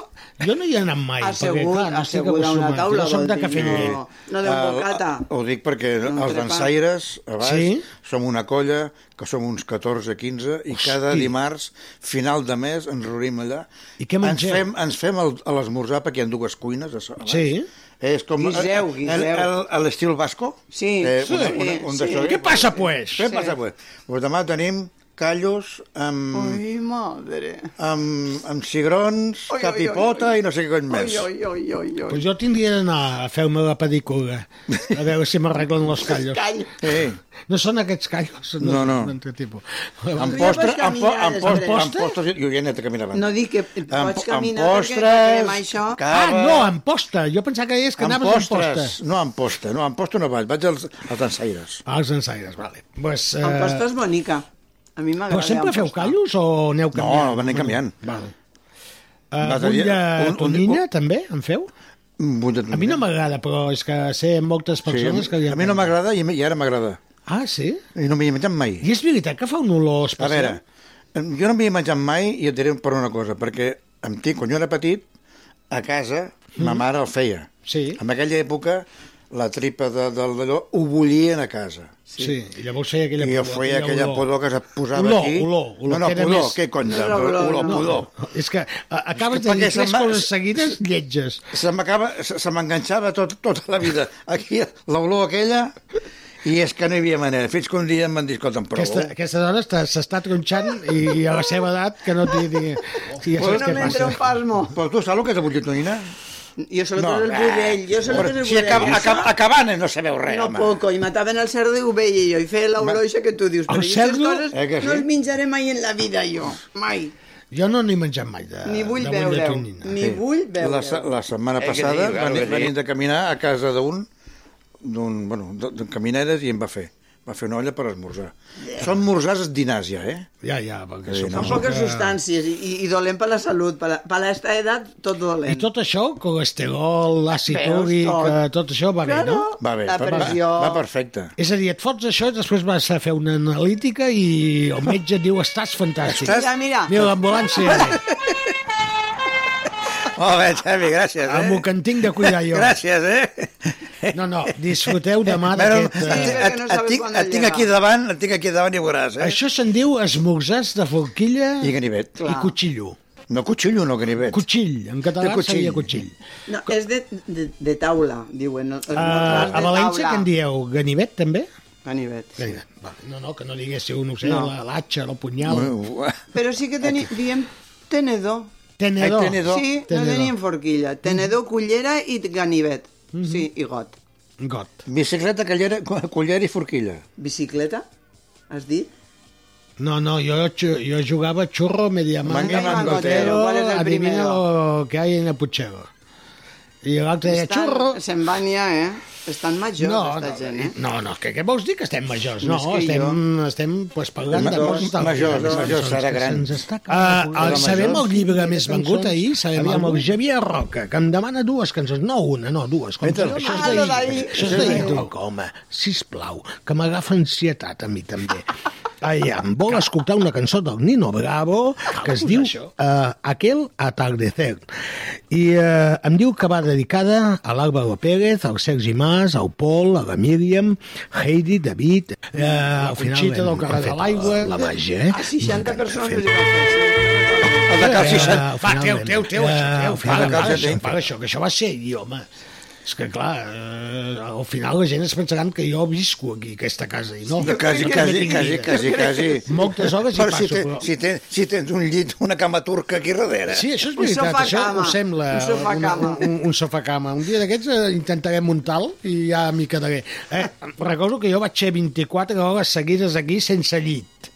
E: jo no hi he anat mai.
F: Assegut,
E: perquè, clar, no estic
F: assegut a una
E: acostumat.
F: taula,
E: Jo soc
F: vol
E: de
F: dir,
E: cafè
F: no.
E: no.
F: No, de
G: El-
F: bocata.
G: Ah, Ho dic perquè
F: Un
G: els
F: entrepà.
G: dansaires, a baix,
E: Sí.
G: som una colla, que som uns 14-15, i cada dimarts, final de mes, ens reunim allà.
E: I què mengeu?
G: Ens fem, ens fem el- a l'esmorzar, perquè hi ha dues cuines a so- a baix.
E: Sí.
G: És com...
F: Guiseu,
G: el-
F: guiseu.
G: el- el- L'estil basco.
F: Sí,
G: Eh,
F: sí,
G: una- una- un
F: sí.
G: d'això. eh?
E: Què passa, pues?
G: Què passa, pues? Pues demà tenim callos
E: Mm.
G: amb...
F: Ui, madre.
G: amb, amb cigrons,
F: Oi, oi,
G: cap i
F: oi,
G: pota
F: oi.
G: i no sé què cony
F: Oi,
G: més.
F: oi, oi, oi, oi.
E: Pues jo tindria d'anar a fer-me la pedicura, a veure si
F: [LAUGHS]
E: m'arreglen los callos.
F: Calla.
G: Eh,
E: No són aquests callos,
G: No, no.
E: d'un altre tipus.
G: amb
F: Tu ja
G: postre,
F: pots
G: amb, po
F: caminar
G: amb, postre,
E: després.
G: amb postres, jo ja he anat a caminar abans.
F: No dic que
G: Amb-
F: pots
G: amb
F: caminar perquè
G: postres,
F: farem això.
G: ca-
E: Ah,
G: cava.
E: no, amb posta. Jo pensava que deies que
G: amb
E: anaves amb posta.
G: postres, no amb posta, no, amb posta no vaig, vaig als, als dansaires.
E: Ah, els ensaires, vale. Pues, eh,
F: Amb pasta és bonica. A mi m'agrada.
E: Però sempre
F: amb
E: feu
F: pasta.
E: callos o aneu
G: No,
E: canviant?
G: van anar canviant.
E: Vale.
G: L'altre
E: Uh, bull
G: dia,
E: de
G: un- un-
E: tonyina,
G: un-
E: també, en feu? A mi no m'agrada, però és que sé moltes persones que...
G: sí,
E: li
G: a mi no
E: agraden.
G: m'agrada i, i ara m'agrada.
E: Ah, sí?
G: I no m'hi he menjat mai.
E: I és veritat que fa un olor
G: A
E: especial?
G: veure, jo no m'hi he menjat mai i et diré per una cosa, perquè amb ti, quan jo era petit, a casa, ma mare el feia.
E: Mm-hmm. Sí.
G: En aquella època, la tripa de, del d'allò ho bullien a casa.
E: Sí. sí. I llavors feia aquella
G: I jo feia aquella pudor que es posava
E: Olor,
G: aquí.
E: olor, olor,
G: No, no,
E: que era
G: pudor,
E: més-
G: què cony,
F: Era olor,
G: olor,
F: no.
G: pudor.
E: És que a, acabes
G: És
E: de
G: que
E: dir
G: perquè
E: tres
G: se'm va-
E: coses seguides lletges.
G: Se m'acaba, se, se m'enganxava tot, tota la vida. Aquí, l'olor aquella, i és que no hi havia manera. Fins que un dia em van dir, escolta'm, prou.
E: Aquesta, aquesta dona està- s'està tronxant i, a la seva edat que no t'hi digui... Sí, ja
F: Jo
E: saps
F: no
E: què passa.
F: m'entra un palmo.
G: Però tu saps el que és la bulletonina?
F: Jo solo
G: No,
F: no, el
G: eh,
F: budell, jo solo
G: Però
F: el budell.
G: si acaba, acaba, acabant eh, no sabeu res,
F: No
G: home.
F: poco, i mataven el cerdo i ho veia jo, i feia l'olor això que tu dius,
E: El
F: però aquestes
E: cerdo?
F: coses
G: Eh que sí?
F: no les menjaré mai en la vida jo, mai.
E: Jo no n'he menjat mai de,
F: Ni vull
E: de bull de
F: veure-ho,
E: tonyina.
F: ni vull
G: La,
F: veure-ho.
G: se- la setmana
B: Eh, que
G: passada
B: sí, claro
G: veni-
B: que sí.
G: venim de caminar a casa d'un d'un, bueno, d'un camineres i em va fer va fer una olla per esmorzar. Són morzars dinars ja, eh?
E: Ja, ja, perquè sí,
G: Sí,
F: Són
G: no.
E: suposo
F: poques substàncies i, i, i dolent per la salut, per la- per aquesta edat tot dolent.
E: I tot això, colesterol, l'àcid
F: Veus,
E: úric,
F: tot.
E: eh, tot això va bé,
F: Claro.
E: no?
G: Va bé,
F: La
G: va- va,
F: pressió.
G: va perfecte.
E: És a dir, et fots això i després vas a fer una analítica i el metge et diu estàs fantàstic.
G: Estàs-
F: Mira, mira,
E: Mira l'ambulància, [LAUGHS]
G: [LAUGHS] Molt bé, Xavi, gràcies, eh?
E: amb el que en tinc de cuidar jo.
G: Gràcies, eh?
E: No, no, disfruteu demà
G: Bueno,
E: d'aquest...
G: et,
E: Eh...
F: Sí.
G: et,
F: no
G: et,
F: sabes
G: tinc,
F: quan
G: et tinc
F: llega.
G: aquí davant, et tinc aquí davant i ho veuràs, eh?
E: Això se'n diu esmorzars de forquilla
G: I
E: i,
G: ganivet.
E: i cotxillo.
G: No cotxillo, no ganivet.
E: Cotxill, en
G: De
E: català
G: cotxill.
E: seria cotxill.
F: No, és de, de, de taula, diuen. els
E: Uh,
F: motrals de
E: a València
F: taula.
E: què en dieu? Ganivet, també?
F: Ganivet. sí.
E: Ganivet. Vale. No, no, que no diguéssiu, no ho sé,
F: No.
E: la- l'atxa, el punyal.
G: Bueno, ua.
F: Però sí que teni, diem tenedor.
E: Tenedor.
G: Ai, tenedor.
F: Sí,
E: Tenedor.
F: no teníem forquilla. Tenedor, cullera i ganivet. Sí, i got.
E: Mhm. Got.
G: Bicicleta, callera, cullera i forquilla.
F: Bicicleta, has dit?
E: No, no, yo, ju- yo jugaba churro, media manga,
G: Manga,
E: mangotero,
F: mangotero, ¿cuál es el
E: adivina
F: primero?
E: lo que hay en el puchero. I l'altre deia,
F: Estan-
E: xurro.
F: Se'n van ja, eh? Estan majors, no,
E: No,
F: esta
E: no,
F: no, gent, eh?
E: no, no, que què vols dir que estem majors? No,
F: Més que
E: estem, estem pues, parlant de
G: Majors,
E: coses... tan-
G: majors,
E: que
G: majors,
E: ens-
G: serà
E: que
G: gran.
E: se'ns està acabant
G: Ah,
E: la-
G: ah,
E: sabem
G: majors.
E: el llibre més vengut ahir? Sabem
G: Aviam,
E: el
G: algú?
E: Xavier Roca, que em demana dues cançons. No una, no, dues. Com
G: Entra.
E: que això
F: Ah,
E: és
F: lo d'ahir.
E: d'ahir. Això és d'ahir. Dic, home, sisplau, que m'agafa ansietat a mi [LAUGHS] també. Aviam, vol escoltar una cançó del Nino Bravo que es diu uh, Aquel atardecer. I uh, em diu que va dedicada a l'Àlvaro Pérez, al Sergi Mas, al Pol, a la Míriam, Heidi, David... Uh, la Conxita del Carrer de l'Aigua. La, la màgia, eh?
F: A 60 persones
E: Fem-
F: que li van fer.
G: El de Cal Sisset.
E: Eh, Va, teu, teu, teu, això, teu,
G: al
E: para,
G: final de
E: para,
G: casa
E: això,
G: teu.
E: para, això, que això va ser ahir, home. És que, clar, eh, al final la gent es pensaran que jo visco aquí, aquesta casa, i no.
G: De quasi,
E: No
G: quasi,
E: tinc
G: quasi,
E: vida.
G: quasi, quasi.
E: Moltes hores hi
G: Però
E: passo,
G: si, ten,
E: però-
G: si, ten, si tens un llit, una cama turca aquí darrere.
E: Sí, això és
F: Un
E: veritat,
F: sofà
E: això
F: cama,
E: ho sembla
F: un sofà
E: una-
F: cama.
E: un, un, un sofà cama. Un dia d'aquests eh, intentarem muntar-lo i ja m'hi quedaré. Eh, recordo que jo vaig ser 24 hores seguides aquí sense llit.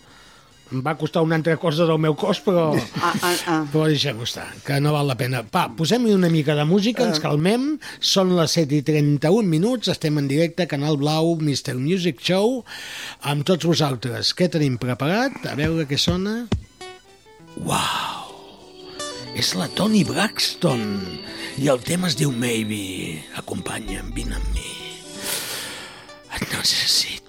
E: Em va costar una altra cosa del meu cos, però...
F: Ah, ah, ah.
E: Però deixem-ho estar, que no val la pena. Pa, posem-hi una mica de música,
F: Eh.
E: ens calmem. Són les 7 i 31 minuts, estem en directe, Canal Blau, Mr. Music Show, amb tots vosaltres. Què tenim preparat? A veure què sona. Wow! És la Toni Braxton. I el tema es diu Maybe. Acompanya'm, vine amb mi. Et necessito.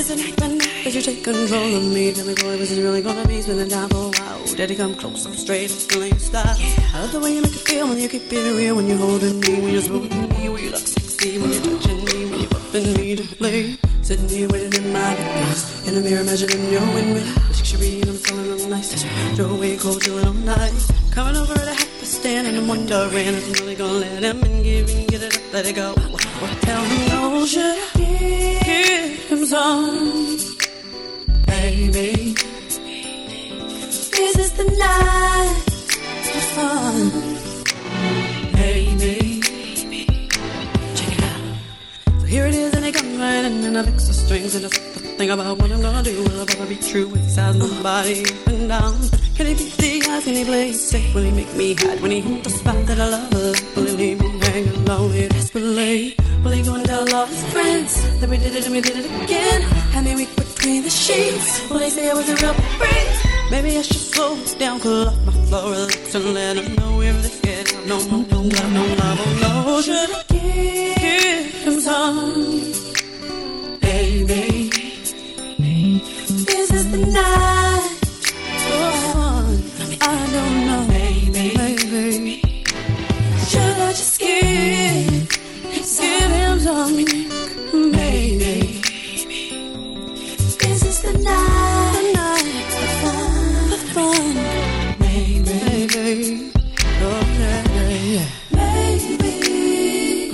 I: Isn't it the night that you take control of me? Tell me, boy, was it really gonna be spending time for a while? Daddy, come close, I'm straight, it's feeling your style. I love the way you make it feel when you keep it real, when you're holding me, when you're smoothing me, when you look sexy, when you're touching me, when you're bumping me to play. Sitting here waiting in my place, in the mirror measuring your win win. Luxury, and I'm feeling real nice. Your way cold, chilling all night. Coming over at a half past ten, and I'm wondering if I'm really gonna let him in, give in, get it up, let it go. Well, tell me, oh, should I give him some? baby.
H: This is the night.
I: for fun. Baby, check it out. So here it is, and it comes right in, and I fix the strings, and I start to think about what I'm gonna do. Will I ever be true with his eyes, my body up and down? Can he beat the eyes? Can he play it safe? Will he make me hide when he hit the spot that I love? Will he leave me hanging lonely desperately? Will he go and tell all his friends that we did it and we did it again? Had me weak between the sheets. Will he say I was a real freak? Maybe I should slow it down, cool off my flow, relax and let them know if they get out. No, no, no, no, no, no, no, no. Should I give him some, baby?
H: This is the night.
I: Oh, I don't know, baby. baby. Should I just give, give him some, baby?
H: This is the night.
I: The night, the fun, the fun, baby, baby. Oh, yeah, yeah, yeah.
H: Baby,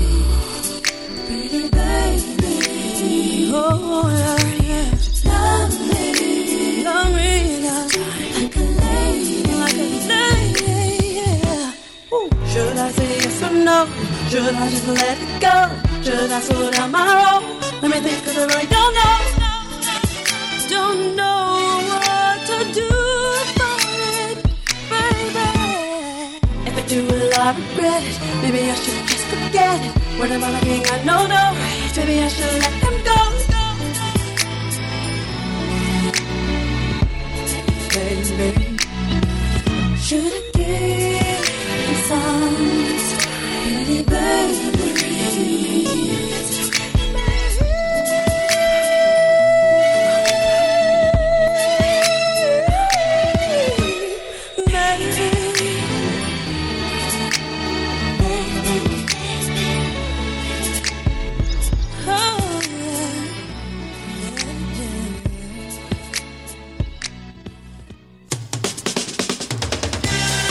H: pretty baby,
I: Oh, yeah, yeah.
H: love me
I: Love me now.
H: like a lady.
I: Like a lady, yeah. Ooh. Should I say yes or no? Should I just let it go? Should I slow down my roll? Let me think, cause I really don't know. Don't know what to do about it, baby. If I do, will I regret it? Maybe I should just forget it. What am I looking at? No, no. Maybe I should let them go. Baby.
H: Should I give you some, pretty baby?
I: Baby,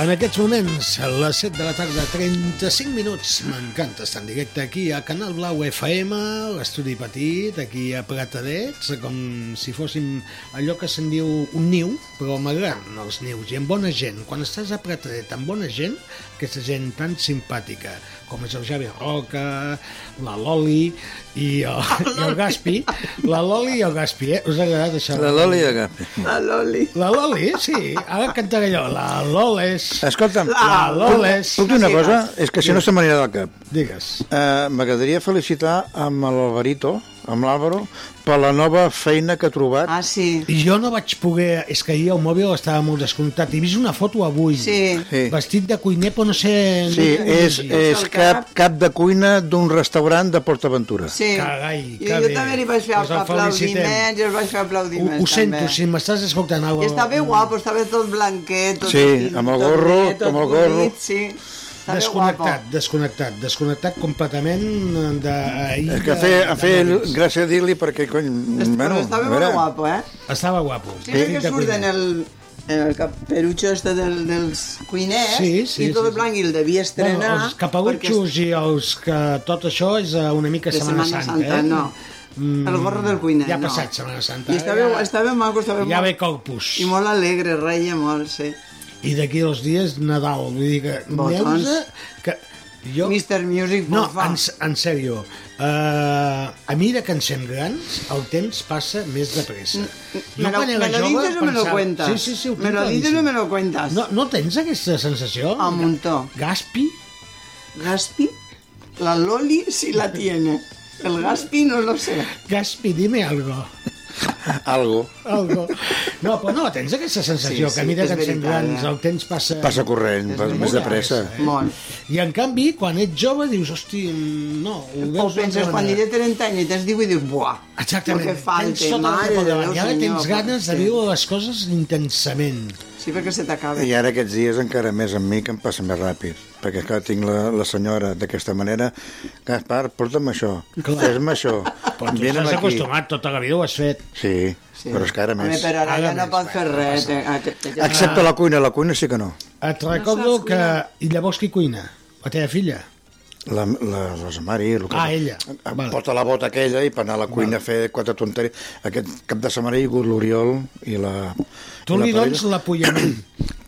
E: En aquests moments, a les 7 de la tarda, 35 minuts. M'encanta estar en directe aquí a Canal Blau FM, a l'estudi petit, aquí a Pratadets, com si fóssim allò que se'n diu un niu, però m'agraden els nius i amb bona gent. Quan estàs a Pratadet amb bona gent, aquesta gent tan simpàtica, com és el Javi Roca, la Loli i el, i el Gaspi. La Loli i el Gaspi, eh? Us ha agradat això?
G: La Loli i el Gaspi.
F: A l'oli.
E: La Loli, sí. Ara cantaré allò. La Loles.
G: Escolta'm,
E: La Loles.
G: puc dir una cosa? És que si no se m'anirà del cap.
E: Digues.
G: Eh, M'agradaria felicitar amb l'Alvarito, amb l'Àlvaro, per la nova feina que ha trobat.
F: Ah, sí.
E: Jo no vaig poder... És que ahir el mòbil estava molt descomptat. He vist una foto avui.
F: Sí.
G: Sí.
E: Vestit de cuiner, però no sé...
G: Sí, és, és cap, cap de cuina d'un restaurant de PortAventura.
F: Sí.
E: Carai,
F: jo,
E: que
F: jo
E: bé.
F: també li vaig fer
E: Doncs el felicitem.
F: aplaudiments, jo li vaig fer
E: Ho,
F: aplaudiments.
E: ho sento,
F: també.
E: si m'estàs escoltant...
F: I estava guapo, estava tot blanquet. Tot
G: Sí, amb el
F: tot
G: gorro,
F: net, tot
G: amb el gorro.
F: bonit, Sí, estava
E: Desconnectat,
F: guapo.
E: desconnectat, desconnectat completament de... ahir
G: És que
E: de-
G: fer,
E: de
G: a fer
E: mòbils.
G: gràcia dir-li perquè, cony,
F: Est-
G: bueno,
F: però estava
G: a
F: molt
G: veure,
F: guapo, eh?
E: Estava guapo.
F: Sí, perquè
E: vestit de
F: surt en
E: cuiner.
F: el, en el caperutxo este del, dels cuiners
E: Sí, sí,
F: i tot
E: sí,
F: el blanc i el devia estrenar.
E: Bueno, els capagutxos i els que tot això és eh, una mica
F: de
E: Setmana,
F: Setmana Santa,
E: eh?
F: no. El gorro del cuiner,
E: Ja ha
F: no.
E: passat Setmana Santa.
F: I estava,
E: ja,
F: estava maco, estava
E: ja ve
F: molt...
E: Corpus.
F: I molt alegre, reia molt, sí.
E: I d'aquí dos dies Nadal. Vull dir que
F: Botons.
E: Neus, que jo...
F: Mr. Music,
E: No,
F: por fa.
E: en, en sèrio, eh, a mesura que ens fem grans, el temps passa més de pressa.
F: Mm, me lo- me lo dices o me lo cuentas?
E: Sí, sí, sí, ho tinc
F: Me lo dices
E: claríssim.
F: o me lo cuentas?
E: No, no tens aquesta sensació?
F: A muntó.
E: Gaspi?
F: Gaspi, la Loli sí la tiene. El Gaspi no lo sé.
E: Gaspi, dime algo.
G: algo.
E: Algo. No, però no, tens aquesta sensació
F: Sí,
E: que a
F: sí,
E: mesura
F: és
E: que ens fem
F: veritat,
E: grans
F: eh?
E: el temps passa...
G: Passa corrent, pas, més de pressa.
E: Eh?
F: Molt.
E: I en canvi, quan ets jove, dius, hosti, no, ho veus...
F: O
E: d'una
F: penses,
E: altra
F: quan
E: manera.
F: diré 30 anys i tens 18 i dius, buah,
E: Exactament.
F: el que falta,
E: Tens tot el que
F: mare de
E: pot
F: Déu,
E: davant. I ara
F: senyor.
E: tens ganes de
F: Sí.
E: viure les coses intensament.
F: Sí, perquè se t'acaba.
G: I ara aquests dies encara més amb mi que em passa més ràpid, perquè clar, tinc la, la senyora d'aquesta manera, Gaspar, porta'm això,
E: Clar.
G: fes-me això,
E: Però tu
G: vine'm
E: estàs
G: aquí.
E: acostumat, tota la vida ho has fet.
G: Sí, sí, però és que ara
F: Home,
G: més.
F: però ara,
E: Ara
F: ja no
E: més,
F: pots fer res. Eh, eh, eh, ja-
G: Excepte la cuina, la cuina sí que no.
E: Et recordo
F: saps
E: que...
F: cuinar.
E: I llavors qui cuina? La teva filla?
G: La, la Rosa Mari, el que...
E: Ah, ella.
G: Em
E: Val.
G: Porta la bota aquella i per anar a la cuina a fer quatre tonteries. Aquest cap de setmana hi ha hagut l'Oriol i la...
E: Tu
G: i la
E: li
G: parella.
E: dones l'apoyament.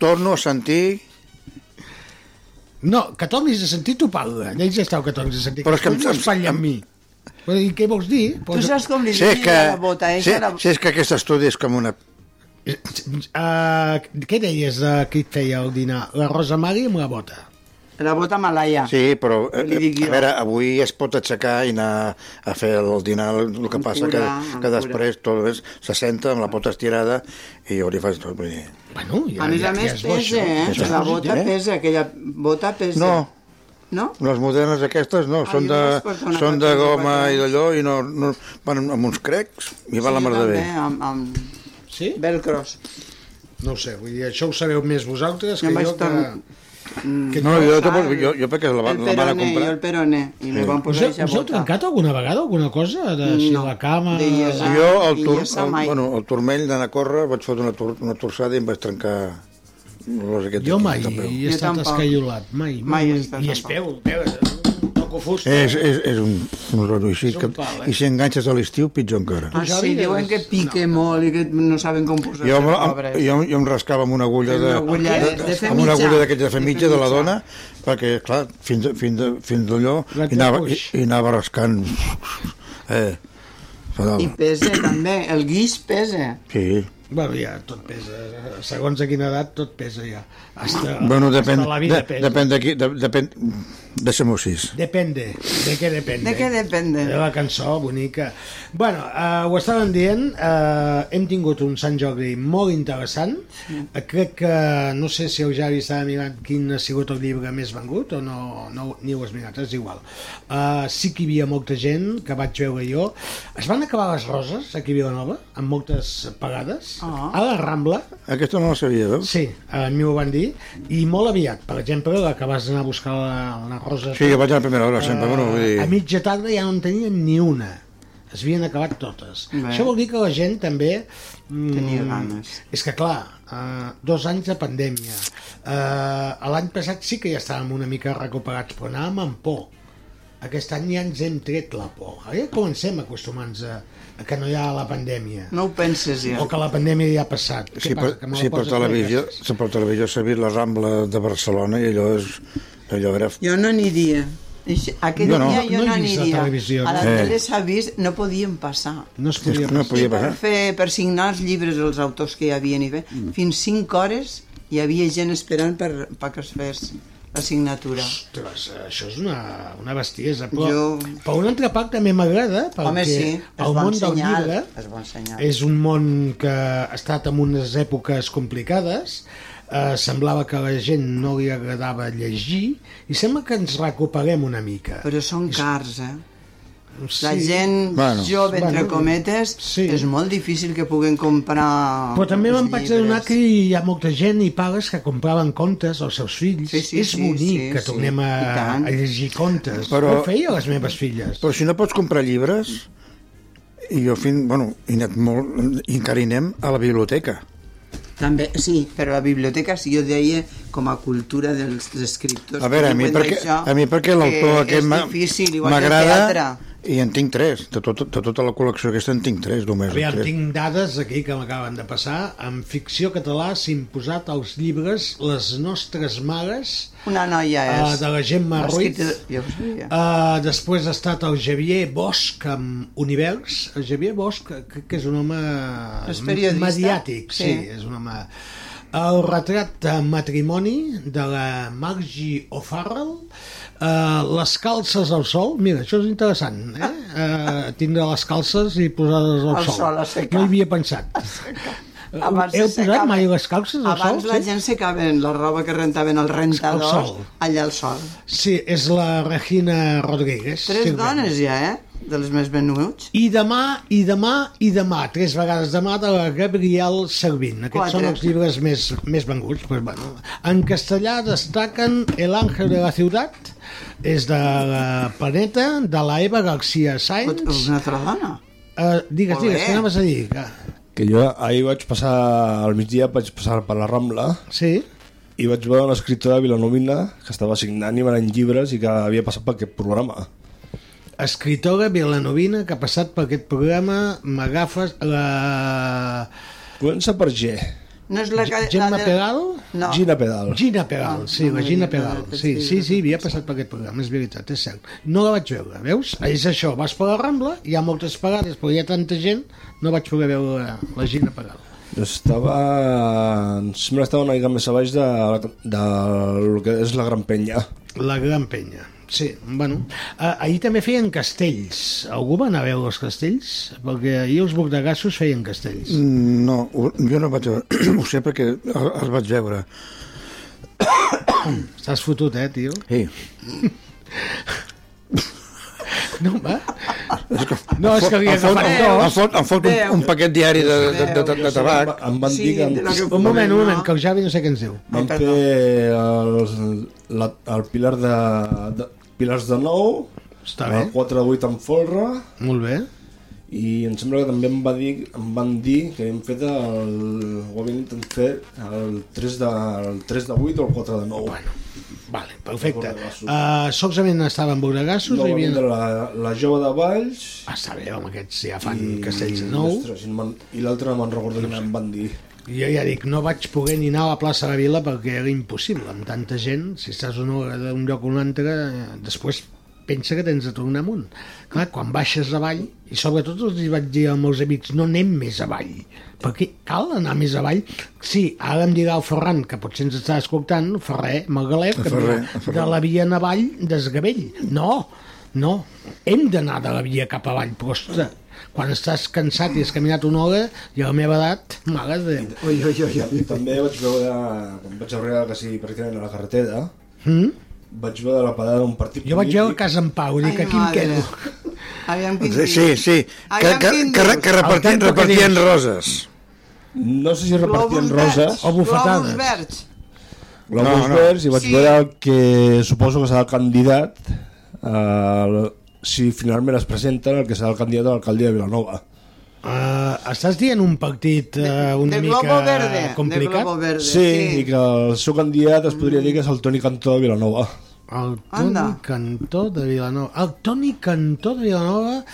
G: Torno a sentir...
E: No, que tornis a sentir, tu parla. Ells ja esteu que tornis a sentir.
G: Però és que em-
E: no es falli amb mi. Però, I què vols dir?
F: Tu saps com li
G: Si és
F: diria
G: que,
F: la bota, eh?
G: si,
F: que la-
G: si és que aquest estudi és com una...
E: Uh, què deies de qui et feia el dinar? La Rosa Mari amb la bota.
F: La bota malaia.
G: Sí, però eh,
F: Li dic
G: eh,
F: jo.
G: a veure, avui es pot aixecar i anar a fer el dinar, el que
F: Amb
G: passa
F: cura,
G: que,
F: amb
G: que
F: cura.
G: després tot és, se senta amb la pota estirada i jo li faig tot. Vull dir,
E: Bueno, ja,
F: A més
E: ja,
F: a
E: ja
F: més
E: és bo,
F: pesa,
E: això.
F: eh?
G: Això és
F: La
G: positiu,
F: bota
G: eh?
F: pesa, aquella bota pesa.
G: No.
F: No?
G: Les modernes aquestes no,
F: Ah,
G: són
F: jo
G: de,
F: només porto una
G: són de
F: cosa,
G: goma
F: quatre.
G: i d'allò i no, no, van amb uns crecs i va la
F: Sí,
G: mar de bé.
F: també, Amb, amb
E: Sí?
F: velcros.
E: No ho sé, vull dir, això ho sabeu més vosaltres
F: Jo
E: que
F: em vaig
E: jo que...
F: torn-
E: que
G: No, jo,
F: Ah,
G: tampoc- jo, jo perquè la, va-
F: el
G: la van a
F: peroné,
G: comprar.
F: Jo el peroné, i me van
E: Us,
F: posar
E: he-
F: aquesta
E: us heu
F: bota.
E: trencat alguna vegada alguna cosa? De, si
F: No.
E: la cama...
F: De llesar.
G: Jo el,
F: I
G: tur,
F: ja s'ha
G: el,
F: mai.
G: bueno, el turmell d'anar a córrer vaig fotre una, tor una torçada i em vaig trencar los aquests.
E: Jo
G: aquí
E: mai
G: de peu.
E: he
F: Jo
E: estat
F: tampoc.
E: escaiolat, mai.
F: Mai he estat
E: Mm, I es peu,
F: tampoc.
E: peu, toco fusta.
G: És, és, és un, un rotllo així,
E: És un
G: que,
E: pal, eh?
G: i si enganxes a l'estiu, pitjor encara.
F: Ah,
E: Ja
F: sí,
E: digues.
F: diuen que pique molt i que no saben com posar-se,
G: Jo, em-
F: pobres.
G: jo, jo em rascava amb una agulla de,
F: Amb una agulla de- de fer
G: amb una
F: mitjà.
G: agulla d'aquella
F: De
G: de fer
F: fer
G: mitja de la
F: mitjà.
G: dona perquè, clar, fins, fins, fins d'allò
E: La
G: i, anava, i,
E: puix.
G: i anava rascant eh,
F: I
G: fatal.
F: pesa també, el guix pesa.
G: sí.
E: Bueno, ja, tot pesa. Segons a quina edat, tot pesa ja. Hasta,
G: bueno, depèn,
E: hasta la
G: de,
E: vida pesa.
G: depèn de qui de, depèn, deixem-ho així
E: Depende. De què depende?
F: De què depende?
E: De la cançó, bonica. Bueno, eh, ho estàvem dient, eh, hem tingut un Sant Jordi molt interessant. Eh, crec que, no sé si el Javi estava mirant quin ha sigut el llibre més vengut o no, no ni ho has mirat, és igual. Eh, sí que hi havia molta gent que vaig veure jo. Es van acabar les roses aquí a Vilanova, amb moltes pagades,
F: Ah.
E: a la Rambla,
G: aquesta no la sabia, veus?
E: Sí, a mi ho van dir, i molt aviat. Per exemple, la que vas anar a buscar la, la rosa...
G: Sí, jo vaig a la primera hora sempre, bueno, vull
E: Eh,
G: dir...
E: A mitja tarda ja no en tenien ni una. es havien acabat totes.
F: Bé.
E: Això vol dir que la gent també... mm,
F: Tenia ganes.
E: És que, clar, eh, dos anys de pandèmia. Eh, L'any passat sí que ja estàvem una mica recuperats, però anàvem amb por. Aquest any ja ens hem tret la por. Ara ja comencem acostumant-nos a, a que no hi ha la pandèmia.
F: No ho penses ja.
E: O que la pandèmia ja ha passat.
G: Si, per,
E: Que me la
G: si per
E: poses
G: televisió,
E: com
G: si per televisió s'ha vist la Rambla de Barcelona i allò és... Allò era...
F: Jo no aniria. Ix- Aquell
G: Jo no.
F: dia jo
E: No he
F: no,
E: vist la
F: aniria.
E: televisió,
F: a la
G: no. Eh.
F: tele s'ha vist, no podíem passar.
E: aquestes? No es podia
G: No
E: passar.
F: per,
G: podia passar. Mm.
F: fer, per signar els llibres els autors que hi havia i bé. Fins 5 hores hi havia gent esperant per, per que es fes la signatura.
E: Ostres, això és una, una bestiesa. Però,
F: Jo-
E: però una altra part també m'agrada, perquè
F: Home, sí, és
E: el
F: bon
E: món del
F: senyal,
E: llibre
F: és bon senyal.
E: és un món que ha estat en unes èpoques complicades, eh, semblava que a la gent no li agradava llegir, i sembla que ens recuperem una mica.
F: Però són cars, eh?
E: Sí.
F: La gent
G: Bueno.
F: jove, entre
E: Bueno,
F: cometes,
E: sí.
F: és molt difícil que puguen comprar
E: Però també
F: els
E: me'n vaig
F: llibres.
E: adonar que hi ha molta gent i pares que compraven contes als seus fills.
F: Sí, sí,
E: és
F: sí,
E: bonic
F: sí,
E: que
F: sí.
E: tornem a,
F: I tant.
E: a llegir contes.
G: Però-
E: Però... Ho feia les meves filles.
G: Però si no pots comprar llibres, i jo fin, bueno, he anat molt, i encara hi anem a la biblioteca.
F: També, sí, però la biblioteca, si jo deia, com a cultura dels escriptors...
G: A veure, a mi
F: Comprenc
G: perquè,
F: això,
G: a mi perquè l'autor
F: que
G: aquest m'a-
F: És difícil, igual que el teatre.
G: m'agrada i en tinc tres, de, tot, de tota la col·lecció aquesta en tinc tres només.
E: Aviam,
G: tres.
E: tinc dades aquí que m'acaben de passar. En ficció català s'ha imposat als llibres Les nostres mares
F: Una noia
E: uh,
F: és...
E: de la Gemma
F: Va
E: Ruiz.
F: escriure- Ja ho sabia.
E: Uh, després ha estat el Javier Bosch amb Univers. El Javier Bosch, crec que és un home
F: És periodista.
E: mediàtic. Sí.
F: Sí.
E: sí, és un home... El retrat de matrimoni de la Margie O'Farrell, Uh, les calces al sol, mira, això és interessant, eh? Uh, tindre les calces i posades al
F: Al
E: sol.
F: sol, a secar.
E: No hi havia pensat.
F: [LAUGHS] Abans
E: Heu
F: se
E: posat
F: secava-
E: mai les calces al
F: Abans
E: sol?
F: la
E: sí?
F: gent secaven la roba que rentaven al rentador
E: sol.
F: allà al sol.
E: Sí, és la Regina Rodríguez.
F: Tres
E: sirvent.
F: dones ja, eh? De les més venuts.
E: I demà, i demà, i demà, tres vegades demà, de la Gabriel Servín. Aquests
F: Quatre.
E: són els llibres més, més venguts. Però, bueno. En castellà destaquen El ángel de la ciutat, és de la Planeta, de la Eva García Sainz.
F: Pot- Una altra dona.
E: Eh, digues,
F: Molt bé.
E: digues, què anaves a dir? Que...
K: Que jo ahir vaig passar, al migdia vaig passar per la Rambla
E: Sí?
K: i vaig veure una escriptora vilanovina que estava signant i venent llibres i que havia passat per aquest programa.
E: Escritora vilanovina que ha passat per aquest programa, m'agafes la...
K: Comença per G,
F: No és la que...
E: Gemma
F: la de-
E: Peral?
F: No.
K: Gina Pedal.
E: Gina Peral,
F: Ah,
E: sí,
F: no
E: la
F: m'havia
E: Gina
F: agradat
E: Peral.
F: aquest
E: Sí,
F: llibre.
E: sí, sí, havia passat per aquest programa, és veritat, és cert. No la vaig veure, veus? És això, vas per la Rambla, hi ha moltes parades, però hi ha tanta gent, no vaig poder veure la, la Gina Peral.
K: Estava... em Sembla que estava una mica més a baix de, de, lo que és la Gran Penya.
E: La Gran Penya. Sí, bueno. Ah, ahir també feien castells. Algú va anar a veure els castells? Perquè ahir els bordegassos feien castells.
G: No, ho- jo no vaig veure, [CLEARS THROAT] ho sé perquè el- els vaig veure.
E: Estàs fotut, eh, tio?
G: Sí.
E: No, va? No, és que havia
G: em fot,
E: agafat
G: em, em fot, em fot un,
F: Déu.
G: un paquet diari de, de, de, de, de
K: Em,
G: tabac.
K: em van
F: Sí,
K: dir que...
F: de la que-
E: Un moment, un moment, que el Javi no sé què ens diu.
K: Vam
F: Ai,
K: fer
F: perdó.
K: el, la, el pilar de, de, pilars de 9,
E: Està bé,
K: el 4 de 8 amb folre,
E: molt bé.
K: i em sembla que també em, va dir, em van dir que havíem fet el, ho havíem intentat fer el 3, de, el 3 de 8 o el 4 de 9. Bueno,
E: Vale, perfecte.
K: Bordegassos.
E: Uh, solament estaven bordegassos,
K: no,
E: no, hi
K: va
E: havia...
K: vindre la, la jove de Valls
E: Ah, està bé, home, aquests ja fan I...
K: i,
E: castells de nou.
K: ostres, i no me'n- i l'altre no me'n recordo quina em van dir.
E: Jo ja dic, no vaig poder ni anar a la plaça de la Vila perquè era impossible, amb tanta gent, si estàs una hora d'un lloc a un altre, eh, després pensa que tens de tornar amunt. Clar, quan baixes avall, i sobretot els hi vaig dir als meus amics, no anem més avall, perquè cal anar més avall. Sí, ara em dirà el Ferran, que potser ens està escoltant, Ferrer, Magalet, que em dirà,
G: Ferrer, Ferrer.
E: de la via en avall d'Esgavell. No, no, hem d'anar de la via cap avall, però ostres, quan estàs cansat i has caminat una hora, i a la meva edat, mare de Déu.
F: Ui, ui, ui, ui.
K: I també vaig veure, quan vaig arribar quasi pràcticament a la carretera, vaig veure la parada d'un partit
E: Jo vaig veure Casa en Pau, dic,
F: Ai,
E: aquí Hm? em
F: madre.
E: quedo.
F: Aviam quin
G: Sí,
F: dia.
G: sí, sí. Que,
F: Aviam
G: que,
F: quin
G: que, re-
F: dius.
G: que repartien,
E: tanto que
G: repartien
E: dius.
G: roses.
K: No sé si repartien
F: Globus
K: roses
F: verds.
E: o bufetades.
F: Globus verds.
K: globus
G: No, no.
K: verds i vaig
F: Sí.
K: veure eh, el que suposo que serà el candidat al, si finalment es presenten el que serà el candidat a l'alcaldia de Vilanova.
E: Uh, estàs dient un partit uh, una
K: de
E: mica
K: globo verde, de
E: complicat?
K: globo verde, Sí, sí. i que el seu candidat es podria dir que és el Toni Cantó de Vilanova.
E: El Toni Cantó de Vilanova. El Toni Cantó de Vilanova,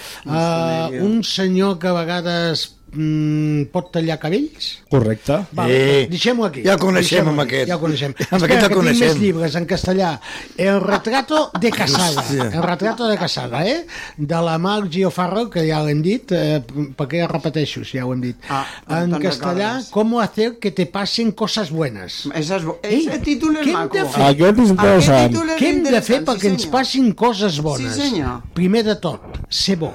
E: eh, un senyor que a vegades mm, pot tallar cabells?
K: Correcte.
E: Vale, sí. Deixem-ho aquí.
G: Eh, Ja el coneixem,
E: Deixem-ho
G: amb
E: aquí,
G: aquest.
E: Ja el coneixem.
G: Amb aquest el
E: que tinc
G: coneixem.
E: més llibres en castellà. El retrato de Casada.
G: Hòstia.
E: El retrato de Casada, eh? De la Marc Giofarro, que ja l'hem dit, eh, perquè ja repeteixo, si ja ho hem dit. Ah, en
F: te'n
E: castellà,
F: recordes.
E: ¿Cómo hacer que te passen coses buenas?
F: Esas, ese títol
E: Què
F: és
E: hem
F: maco.
E: de fer?
K: Aquest és interessant. Aquest
F: títol és
E: Què hem de fer
F: interessant, sí,
E: perquè ens
F: senyor.
E: passin coses bones?
F: Sí, senyor.
E: Primer de tot, ser bo.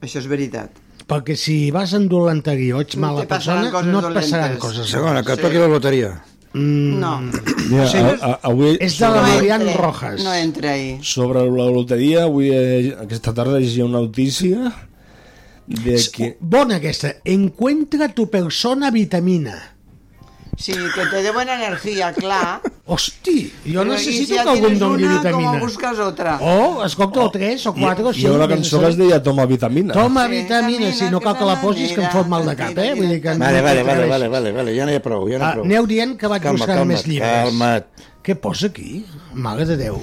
F: Això és veritat.
E: Perquè si vas endolenterí o ets mala
F: te passaran
E: persona,
F: coses
E: no et passaran
F: dolentes.
E: coses.
G: Segona, que toqui la loteria.
E: Mm,
F: No.
K: Ja,
E: Sí,
K: a, a, avui,
E: És de la
F: No
E: Marian
F: entra-
E: Rojas.
F: No entra ahí.
K: Sobre la loteria, avui, eh, aquesta tarda, hi ha una notícia de que...
E: Bona aquesta. Encuentra tu persona vitamina.
F: Sí, que te dé buena energía, clar.
E: Hosti, jo
F: Però
E: necessito
F: i si ja
E: que algú em
F: tienes
E: doni
F: una,
E: vitamina.
F: Com Oh, busques otra?
E: O, escolta, o tres, o quatre, o
K: Hi
E: cinc.
K: ha una cançó que es deia Toma Vitamina.
E: Toma
F: Sí,
E: vitamina,
F: vitamina,
E: si no cal que la posis, que em fot mal de cap, eh? Vull dir que... no
G: Vale, vale, vale,
E: t'atreveixis.
G: vale, vale, vale. ja n'hi ha prou, ja n'hi
E: Ah,
G: ha prou.
E: aneu dient que vaig
G: Calma,
E: buscant
G: calma't,
E: més llibres.
G: calma't.
E: Què posa aquí? Mare de Déu.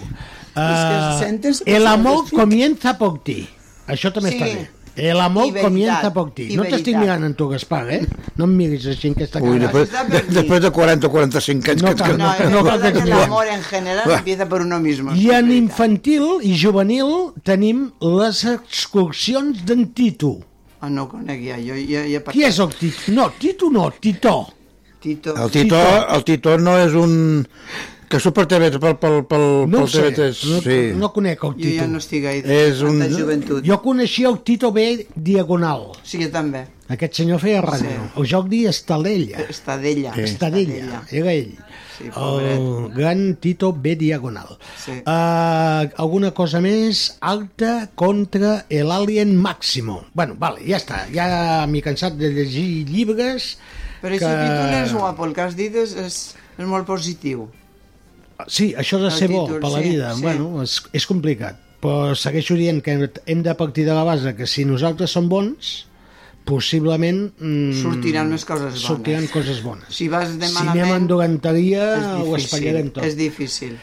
F: que
E: Ah,
F: sentes que
E: el
F: se
E: amor
F: m'estic-
E: comienza por ti. Això també
F: Sí.
E: està bé. El amor
F: I veritat,
E: comienza por ti.
F: i
E: No t'estic
F: veritat.
E: mirant en tu, Gaspar, eh? No em miris així en aquesta cara.
G: Ui, després,
F: Està
G: de,
F: perdit.
G: després de 40 o 45 anys
E: No
G: que,
E: cal,
G: que,
F: No,
E: no
F: es
E: cal que
F: verdad que el
E: canviem.
F: amor en general
G: Va.
F: empieza por uno mismo.
E: I en
F: Veritat.
E: infantil i juvenil tenim les excursions d'en Tito.
F: Ah, no ho conec ja, jo ja, ja he
E: Qui
F: passat.
E: és el Tito? No, Tito no, Titó.
F: Tito.
G: El Titó, el Titó no és un... Que surt per TV, pel, pel, pel,
E: No ho
G: pel
E: sé,
G: TV3.
E: no,
G: sí.
E: no conec el
F: Jo ja
E: Tito.
F: no estic gaire
G: És
F: en
G: un-
F: la joventut.
E: Jo coneixia el Tito B diagonal.
F: Sí, jo també.
E: Aquest senyor feia ràdio. Sí. El joc dia Estalella.
F: Estadella.
E: Sí. Estadella, era ell.
F: Sí, pobret.
E: el gran Tito B. Diagonal.
F: Sí.
E: Uh, alguna cosa més? Alta contra el Alien Máximo. Bueno, vale, ja està. Ja m'he cansat de llegir llibres
F: Però aquest títol és guapo, el que has dit és, és, és molt positiu.
E: Sí, això de
F: El
E: ser bo
F: títol,
E: per la
F: sí,
E: vida,
F: sí.
E: bueno, és, és complicat. Però segueixo dient que hem de partir de la base que si nosaltres som bons, possiblement... Mm,
F: Sortiran més coses bones.
E: Sortiran coses bones.
F: Si vas de
E: Si anem
F: malament,
E: en doganteria,
F: és
E: ho espatllarem
F: difícil.
E: tot.
F: És difícil.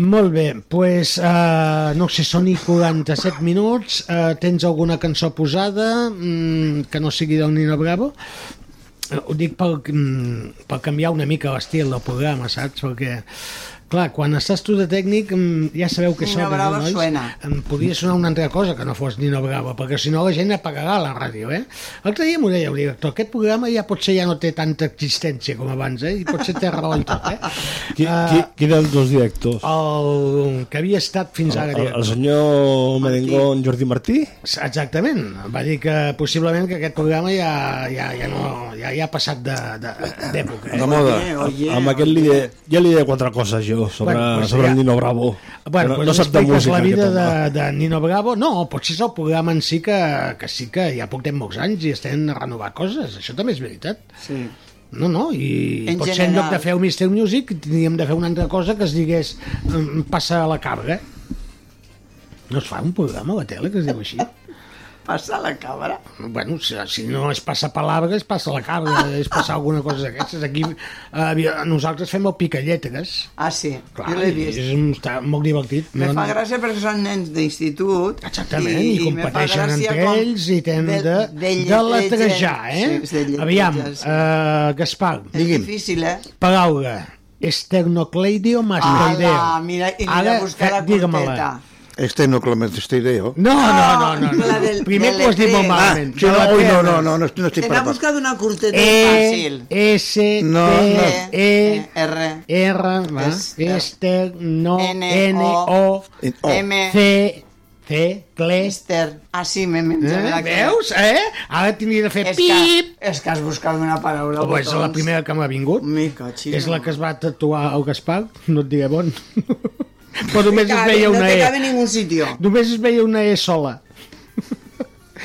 E: Molt bé, doncs, pues, uh, no sé, són i 47 minuts, uh, tens alguna cançó posada mm, que no sigui del Nino Bravo? Eh, Ho dic per, mm, per canviar una mica l'estil del programa, saps? Perquè, clar, quan estàs tu de tècnic, mm, ja sabeu que
F: Nino
E: sona,
F: Bravo
E: no, nois?
F: suena.
E: Em podia sonar una altra cosa que no fos Nino Bravo, perquè si no la gent apagarà la ràdio, eh? L'altre dia m'ho deia el director, aquest programa ja potser ja no té tanta existència com abans, eh? I potser té raó en tot, eh?
K: Qui, qui, qui dels dos directors?
E: el que havia estat fins ara
K: El, el
E: director.
K: senyor Merengón Jordi Martí?
E: Exactament, va dir que possiblement que aquest programa ja, ja, ja, no, ja, ja ha passat de- de- d'època.
G: De
E: Eh?
G: moda.
F: Oye,
K: amb aquest li de, ja li deia quatre coses jo sobre,
E: Bueno, pues
K: sobre
E: ja.
K: el Nino Bravo
E: Bueno,
K: no,
E: pues
K: no sap de música
E: la vida
K: aquest home.
E: de, de Nino Bravo, no, potser és el programa en si que, que sí que ja portem molts anys i estem a renovar coses, això també és veritat.
F: Sí.
E: No, no, i
F: En
E: potser en
F: general.
E: lloc de fer un Mister Music teníem de fer una altra cosa que es digués mm, passa a la càrrega. No es fa un programa a la tele que es diu així?
F: [LAUGHS] Passa la cabra.
E: Bueno, si, si no es passa palabra, es passa la cabra, és passar alguna cosa d'aquestes. Aquí eh, nosaltres fem el picalletres.
F: Ah, sí,
E: Clar,
F: jo l'he vist.
E: és, un- està molt divertit.
F: Me
E: No-
F: fa gràcia perquè són nens d'institut.
E: Exactament, i,
F: me fa
E: competeixen
F: gràcia
E: entre
F: com
E: ells i tenen de, de, de,
F: lletrejar,
E: lletrejar, eh?
F: Sí, de lletrejar,
E: Aviam,
F: sí.
E: eh, Gaspar,
F: És difícil, eh?
E: paraula, esternocleidio mastoideo.
F: Ala, Ah, mira, i mira
E: Ara,
F: a buscar la
E: fe- digue-me-la.
F: corteta.
G: Este no clement, este idea. oh.
E: No, no, no, no.
F: Ah, la
E: no.
F: del-
E: Primer
F: de
E: t'ho has dit molt
F: l'Etre.
G: Ah,
E: malament.
G: sí,
E: De la
G: no, ui, no,
E: terra.
G: no, no, no, no estic
F: Te n'ha
G: per...
F: buscat una corteta fàcil.
E: E, S, T,
G: No, no.
E: E,
F: R,
E: R, va,
F: Ester.
E: Ester, no,
F: N,
E: N, O,
G: Oh.
F: M,
E: C, C, Cles,
F: Mister. Ah, sí, m'he menjat
E: eh?
F: la
E: Veus, eh? Ara t'hauria de fer
F: És que,
E: pip!
F: és que has buscat una paraula.
E: Oh, és la
F: botons.
E: primera que m'ha vingut.
F: Me cachis.
E: És la que es va tatuar al Gaspar, no et diré bon. [LAUGHS] Però només es veia
F: No
E: una
F: te cabe
E: E.
F: en ningún sitio.
E: Només es veia una E sola.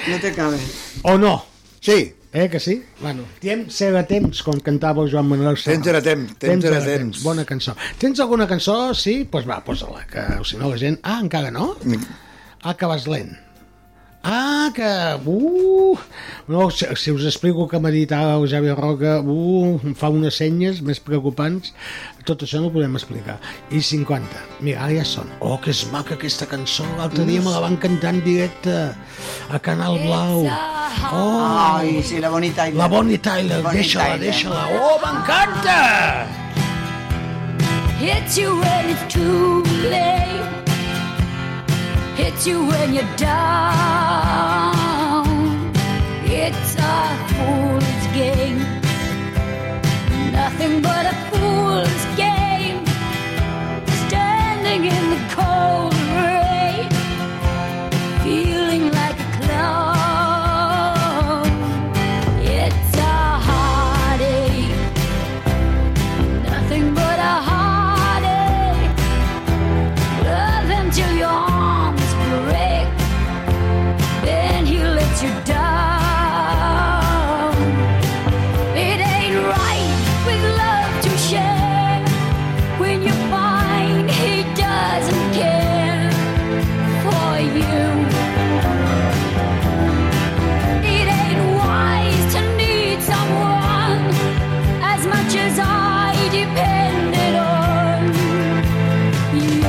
F: No te cabe.
E: O no,
G: Sí,
E: eh, que sí? Bueno, temps era temps, com cantava el Joan Manuel Serrat.
G: temps era temps, temps era temps.
E: Bona cançó. Tens alguna cançó? Sí? Doncs pues va, posa-la, que o si no la gent... Ah, encara no? Ah, que vas lent. Ah, que... Uh, no, si, si us explico que meditava el Javi Roca, uh, em fa unes senyes més preocupants. Tot això no ho podem explicar. I 50. Mira, ara ja són. Oh, que és maca aquesta cançó. L'altre dia me la van cantar en directe a Canal Blau. Oh,
F: Ai, sí, la Bonnie Tyler.
E: La Bonnie Tyler,
F: Bonnie
E: deixa-la,
F: Tyler.
E: deixa-la. Oh, m'encanta!
L: Hits you when it's too late. Hits you when you're down. It's a fool's game. Nothing but a fool's game. Standing in the cold rain. Feeling like a clown. It's a heartache. Nothing but a heartache. Love him till your arms break. Then he lets you down. It ain't right with love to share. When you find he doesn't care for you. It ain't wise to need someone as much as I depended on you.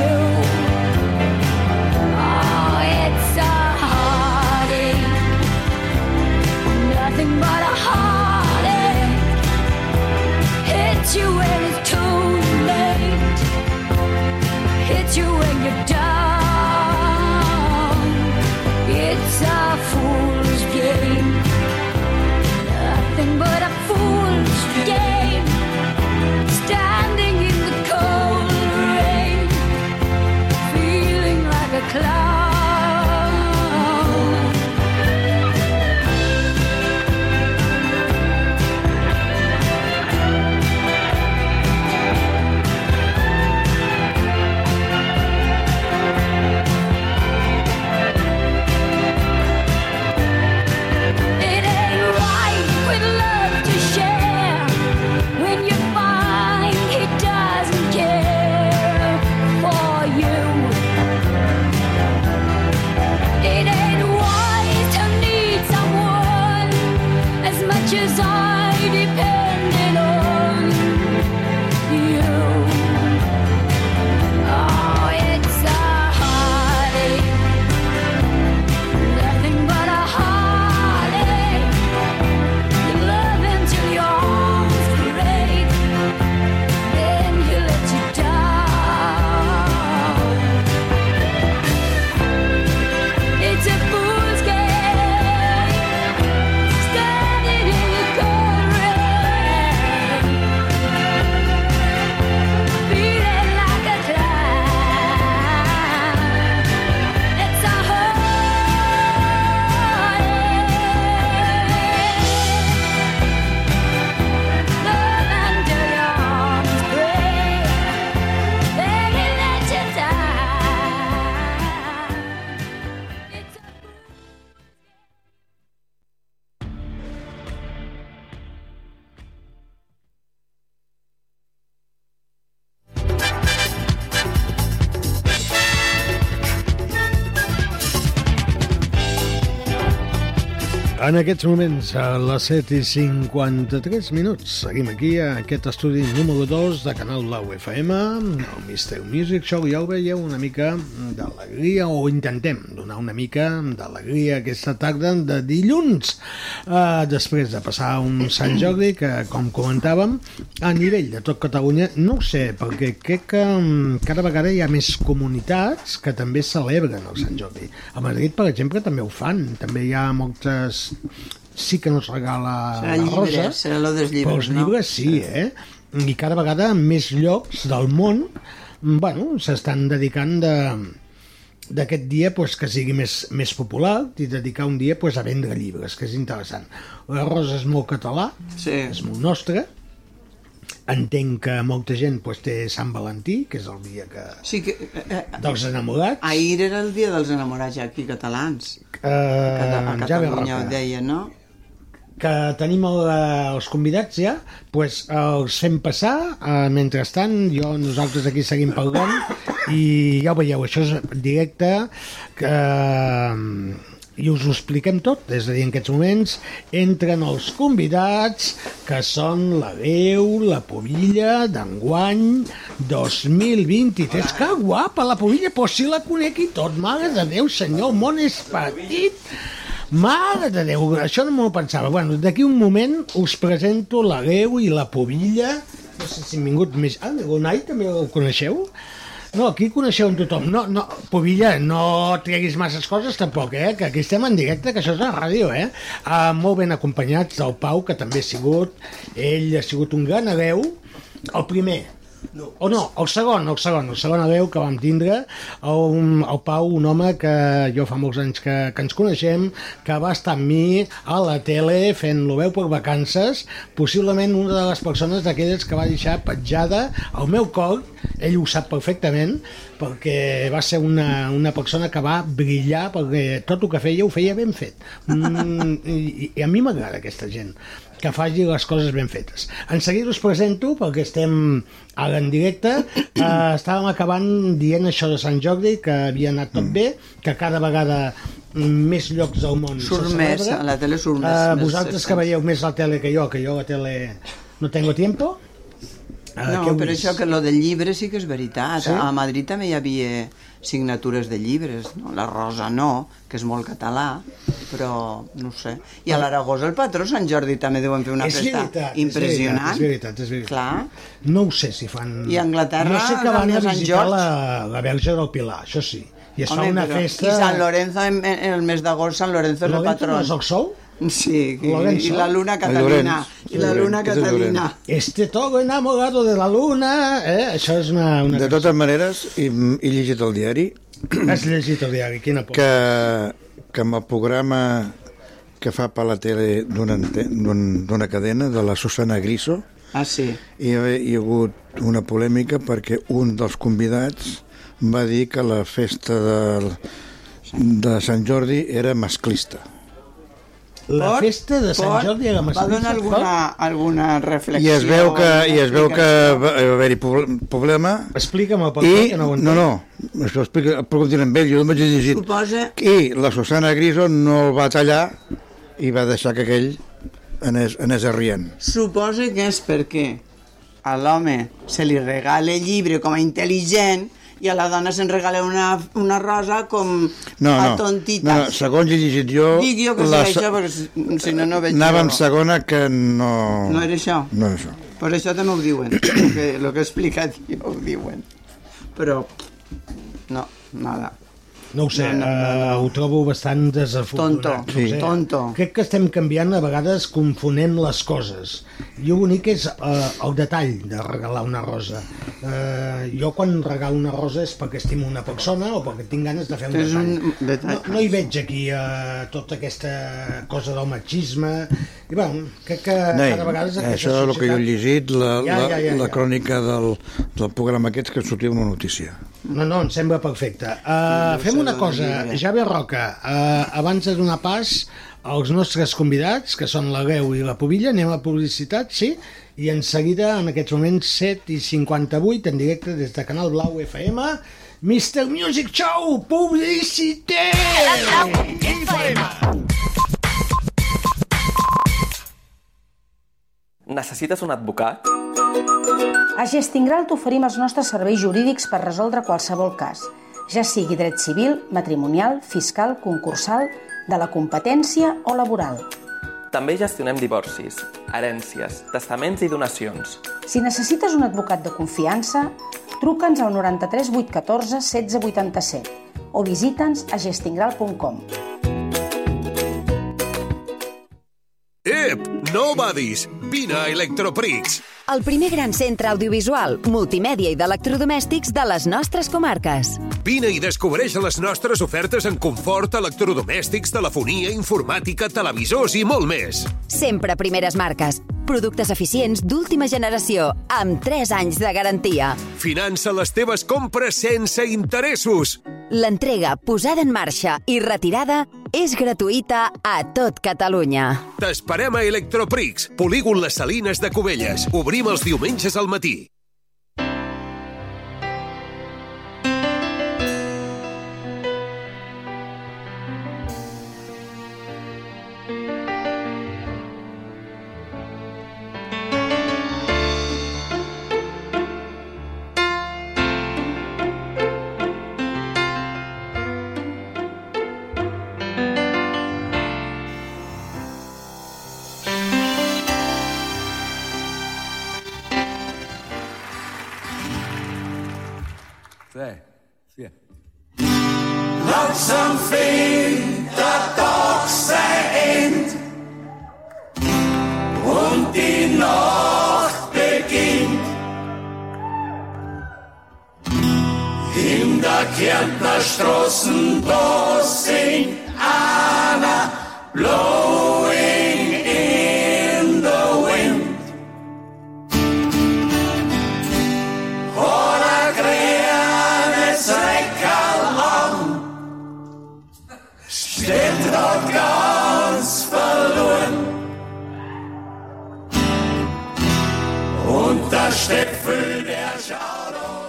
L: Oh, it's a heartache, nothing but a heartache. Hits you when it's too late, hits you when you're down. It's a fool's game, nothing but a fool's game. Standing in the cold rain, feeling like a clown. It ain't right with love to share when you find he doesn't care for you. It ain't wise to need someone as much as I depended on you. Oh, it's a heartache. Nothing but a heartache. You love until your arms break, then he lets you down. It's a fool's game, standing in the cold rain, feeling like a clown. It's a
E: En aquests moments, a les 7 i 53 minuts, seguim aquí a aquest estudi número 2 de Canal Blau FM, el Mister Music Show, ja ho veieu, una mica d'alegria, o intentem donar una mica d'alegria aquesta tarda de dilluns, eh, després de passar un Sant Jordi que, com comentàvem, a nivell de tot Catalunya, no ho sé, perquè crec que mm, cada vegada hi ha més comunitats que també celebren el Sant Jordi. A Madrid, per exemple, també ho fan, també hi ha moltes... Sí que ens regala
F: Serà
E: la
F: llibre,
E: Rosa,
F: serà lo dels
E: però
F: llibres,
E: els
F: no?
E: llibres sí, eh? I cada vegada en més llocs del món mm, bueno, s'estan dedicant de d'aquest dia pues, que sigui més, més popular i dedicar un dia pues, a vendre llibres, que és interessant. La Rosa és molt català,
F: Sí.
E: és molt nostre, entenc que molta gent pues, té Sant Valentí, que és el dia que...
F: Sí que... Eh, eh,
E: dels enamorats.
F: Ahir era el dia dels enamorats ja aquí catalans.
E: Eh,
F: a
E: a
F: Catalunya ho deia, no?
E: que tenim el, eh, els convidats ja, pues els fem passar, eh, mentrestant jo, nosaltres aquí seguim parlant i ja ho veieu, això és en directe que eh, i us ho expliquem tot, és a dir, en aquests moments entren els convidats que són la veu, la Pobilla d'enguany 2023. Que guapa la Pobilla, però si la conec i tot, mare de Déu, senyor, el món és petit. Mare de Déu, això no m'ho pensava. Bueno, d'aquí un moment us presento la veu i la Pobilla. No sé si hem vingut més... Ah, Gonai també el coneixeu? No, aquí coneixeu amb tothom. No, no, Pobilla, no treguis masses coses tampoc, eh? Que aquí estem en directe, que això és la ràdio, eh? Uh, molt ben acompanyats del Pau, que també ha sigut... Ell ha sigut un gran hereu. El primer, no. O no, el segon, el segon, el segon adeu que vam tindre, el, el Pau, un home que jo fa molts anys que, que ens coneixem, que va estar amb mi a la tele fent lo veu per vacances, possiblement una de les persones d'aquelles que va deixar petjada el meu cor, ell ho sap perfectament, perquè va ser una, una persona que va brillar perquè tot el que feia ho feia ben fet. Mm, i, I a mi m'agrada aquesta gent que faci les coses ben fetes. En seguit us presento, perquè estem ara en directe, eh, estàvem acabant dient això de Sant Jordi, que havia anat
F: Mm.
E: tot bé, que cada vegada més llocs del món
F: Surt més, a la tele surt més.
E: Eh,
F: més
E: vosaltres
F: surt
E: que
F: més.
E: veieu més la tele que jo, que jo la tele no tengo tiempo, eh, què
F: No,
E: heu
F: però
E: vist?
F: això que lo del llibre sí que és veritat.
E: Sí?
F: A Madrid també hi havia signatures de llibres, no? La Rosa no, que és molt català, però no ho sé. I a l'Aragós el patró Sant Jordi també deuen fer una
E: Ah. És
F: festa
E: veritat, és veritat,
F: impressionant.
E: és veritat, és veritat.
F: Clar.
E: no ho sé si fan...
F: Ah. I a Anglaterra,
E: no sé que van
F: també
E: a
F: a Sant
E: visitar
F: George.
E: la, la Verge del Pilar, això sí. I es
F: Home,
E: fa una
F: però-
E: festa...
F: I Sant Lorenzo, en, en el mes d'agost, Sant Lorenzo és el
E: Lorenzo
F: patró.
E: no és el sol?
F: Sí, i,
E: Lorenzo.
F: i la luna catalina. I la luna catalina.
E: Este todo enamorado de la luna, eh? Això és una... una...
G: De totes maneres, he, Mm, he llegit el diari
E: Has llegit el diari, quina por.
G: que, que amb el programa que fa per la tele d'una ante- d'un- d'una cadena, de la Susana Griso,
F: ah, sí.
G: hi, ha, hi ha hagut una polèmica perquè un dels convidats va dir que la festa de, de Sant Jordi era masclista.
E: La festa de Sant
F: Pot-
E: Jordi a la
F: Va donar alguna, alguna reflexió.
G: I es veu que, i es veu que va va haver-hi proble- problema.
E: Explica'm el
F: Pau, que no ho
G: no, no, això explica, preguntin amb ell, jo només he llegit.
F: Suposa-
G: I la Susana Griso no el va tallar i va deixar que aquell anés, anés arrient.
F: Suposa que és perquè a l'home se li regala el llibre com a intel·ligent i a la dona se'n regala una, una rosa com
G: No,
F: a
G: no,
F: tontita.
G: no, no, segons he llegit jo...
F: Dic jo que
G: la
F: serà
G: se-
F: això, perquè si- si no, no veig
G: Anava en
F: jo.
G: segona que no...
F: No era això?
G: No era això.
F: Per això també ho diuen. [COUGHS] el, que, el que he explicat jo ho diuen. Però no, nada.
E: No ho sé,
F: No,
E: no,
F: no, no,
E: ho trobo bastant desafortunat.
F: Tonto,
E: no ho
F: sí.
E: sé.
F: tonto.
E: Crec que estem canviant, a vegades confonem les coses. I el bonic és eh, el detall de regalar una rosa. Eh, jo quan regalo una rosa és perquè estimo una persona o perquè tinc ganes de fer un
F: És
E: detall.
F: un detall.
E: No, no hi veig aquí eh, tota aquesta cosa del machisme. I, bueno, crec que
G: Nei,
E: cada vegada... aquesta
G: això és el que jo he
E: societat-
G: llegit, la,
E: Ja, ja, ja,
G: la, la
E: ja.
G: crònica del, del programa aquest que sortia una notícia.
E: No, no, em sembla perfecte. Uh, fem una cosa, Javier Roca, uh, abans de donar pas als nostres convidats, que són la Greu i la Pobilla, anem a publicitat, sí? I en seguida, en aquests moments, 7 i 58, en directe des de Canal Blau FM, Mr. Music Show, publicitat!
M: Necessites un advocat?
N: A Gestingral t'oferim els nostres serveis jurídics per resoldre qualsevol cas, ja sigui dret civil, matrimonial, fiscal, concursal, de la competència o laboral.
M: També gestionem divorcis, herències, testaments i donacions.
N: Si necessites un advocat de confiança, truca'ns al 93 814 1687 o visita'ns a gestingral.com.
O: Ep, nobodies! Vine a Electroprix.
P: El primer gran centre audiovisual, multimèdia i d'electrodomèstics de les nostres comarques.
O: Vine i descobreix les nostres ofertes en confort, electrodomèstics, telefonia, informàtica, televisors i molt més.
P: Sempre primeres marques, productes eficients d'última generació, amb 3 anys de garantia.
O: Finança les teves compres sense interessos.
P: L'entrega, posada en marxa i retirada és gratuïta a tot Catalunya.
O: T'esperem a Electroprix, polígon Les Salines de Cubelles. Obrim els diumenges al matí.
L: had some vriend dat toch zijn. Und die Nacht beginnt. In der Kärntner Straßen, da singt Anna Blowing in the Wind. Oder grünes Reckerl an, steht dort ganz verloren. Und der Stepfel, der schaut auf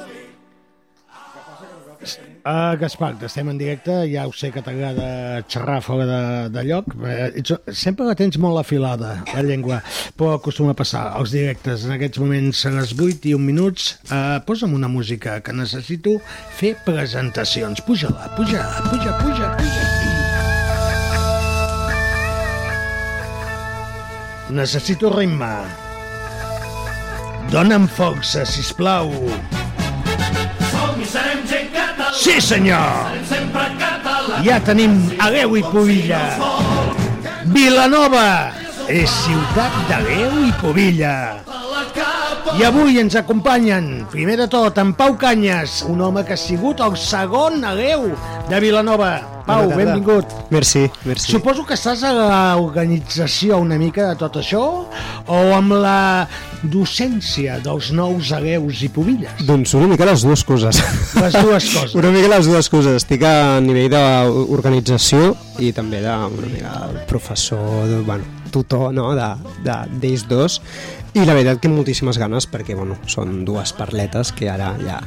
E: Uh, Gaspar, estem en directe, ja ho sé que t'agrada xerrar fora de, de lloc, eh, ets- sempre la tens molt afilada, la llengua, però acostuma a passar als directes. En aquests moments a les 8 i 1 minuts, uh, posa'm una música que necessito fer presentacions. Puja-la, puja-la, puja, puja, puja. Necessito ritme. Dóna'm força, sisplau.
L: Som i serem gent catalana.
E: Sí, senyor.
L: Serem sempre catalans.
E: Ja tenim Areu i Pobilla. Vilanova és ciutat d'Areu i Pobilla. I avui ens acompanyen, primer de tot, en Pau Canyes, un home que ha sigut el segon hereu de Vilanova. Pau,
A: Bona tarda.
E: benvingut.
A: Merci, merci.
E: Suposo que estàs a l'organització una mica de tot això o amb la docència dels nous hereus i pobilles.
A: Doncs una mica les dues coses.
E: Les dues coses.
A: [LAUGHS] Una mica les dues coses. Estic a nivell d'organització i també de, una mica de professor, de, bueno, tutor no? de- de- d'ells de, dos. I la veritat que moltíssimes ganes perquè bueno, són dues parletes que ara ja...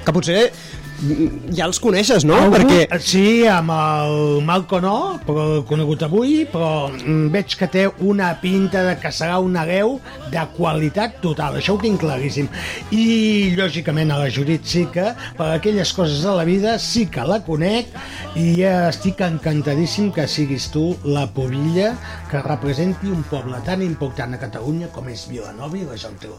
A: Que potser mm, ja els coneixes, no?
E: Algú- Eh,
A: Perquè
E: Sí, amb el Malco no, però el conegut avui, però mm, veig que té una pinta de que serà una veu de qualitat total, això ho tinc claríssim. I, lògicament, a la Judit sí que, per aquelles coses de la vida, sí que la conec i eh, estic encantadíssim que siguis tu la pobilla que representi un poble tan important a Catalunya com és Vilanova i la Geltrú.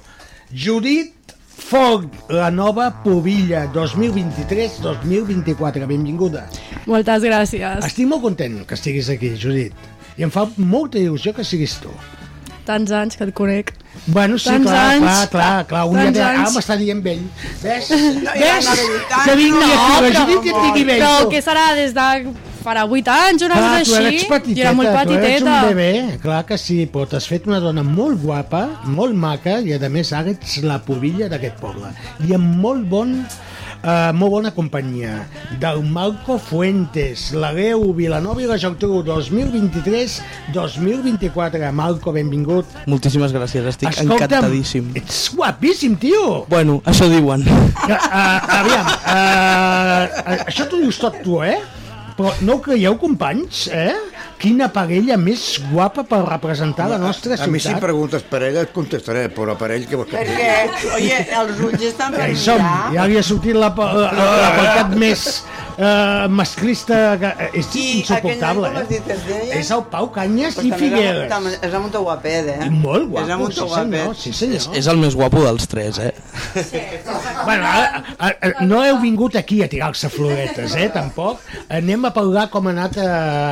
E: Judit Foc, la nova Pobilla 2023-2024. Benvinguda.
Q: Moltes gràcies.
E: Estic molt content que estiguis aquí, Judit. I em fa molta il·lusió que siguis tu.
Q: Tants anys que et conec.
E: Bueno, sí,
Q: Tants
E: clar,
Q: anys.
E: clar, clar, clar, un dia
Q: Tants
E: de...
Q: anys.
E: Ah, m'està dient vell.
Q: [LAUGHS]
E: Ves?
Q: No,
E: Ves?
Q: no, no,
E: que vingui
Q: no,
E: aquí, la
Q: però-
E: Judit i et digui vell.
Q: Però
E: tu.
Q: què serà des de farà 8 anys, una
E: Clar, Ah, tu
Q: cosa així?
E: eres
Q: jo era molt
E: tu eres
Q: petiteta.
E: un bebè, clar que sí, però t'has fet una dona molt guapa, molt maca, i a més ara ets la pobilla d'aquest poble. I amb molt bon Uh, molt bona companyia del Marco Fuentes la Greu Vilanova i la Geltrú 2023-2024 Marco, benvingut
R: Moltíssimes gràcies, estic
E: Escolta'm,
R: encantadíssim.
E: ets guapíssim, tio!
R: Bueno, això diuen.
E: que, uh, aviam uh, això t'ho dius tot tu, eh? però no ho creieu, companys, eh? Quina parella més guapa per representar la nostra
G: A mi si em
E: ciutat.
G: preguntes per ella et contestaré, però per ell què vols que et digui?
F: Perquè, oye, els ulls estan per
E: Ja hi som,
F: mirar.
E: ja li ha sortit la, pa- la, la, la apartat més eh, masclista que eh, és insuportable,
F: Aquell nen que m'has
E: eh?
F: dit que es deia...
E: És el Pau Canyes
F: Però
E: i
F: també
E: Figueres.
F: Era, tam- era molt guapet, eh?
E: Molt guapo,
F: era molt
E: sí senyor, sí senyor.
R: És, és el més guapo dels tres, eh?
E: Bueno, ara, ara, ara, Ah, eh, no heu vingut aquí a tirar-se floretes, eh, tampoc. Anem a parlar com ha anat eh,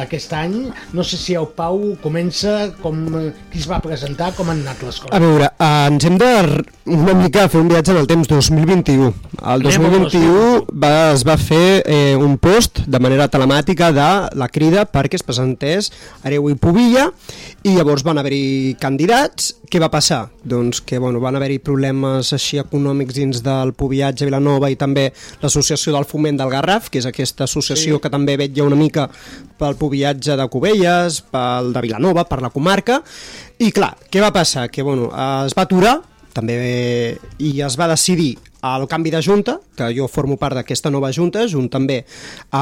E: aquest any. No sé si el Pau comença, com, eh, qui es va presentar, com han anat les coses.
A: A veure, eh, ens hem de r- una mica fer un viatge en el temps 2021. El
E: Anem al
A: 2021 va, es va fer eh, un post de manera telemàtica de la crida perquè es presentés Areu i Pobilla i llavors van haver-hi candidats. Què va passar? Doncs que bueno, van haver-hi problemes així econòmics dins del Pobillatge a Vilanova i també l'associació del foment del Garraf, que és aquesta associació
S: Sí.
A: que també vetlla una mica pel Pobillatge de Cubelles, pel de Vilanova, per la comarca, i clar, què va passar? Que bueno, eh, es va aturar també eh, i es va decidir el canvi de junta, que jo formo part d'aquesta nova junta, junt també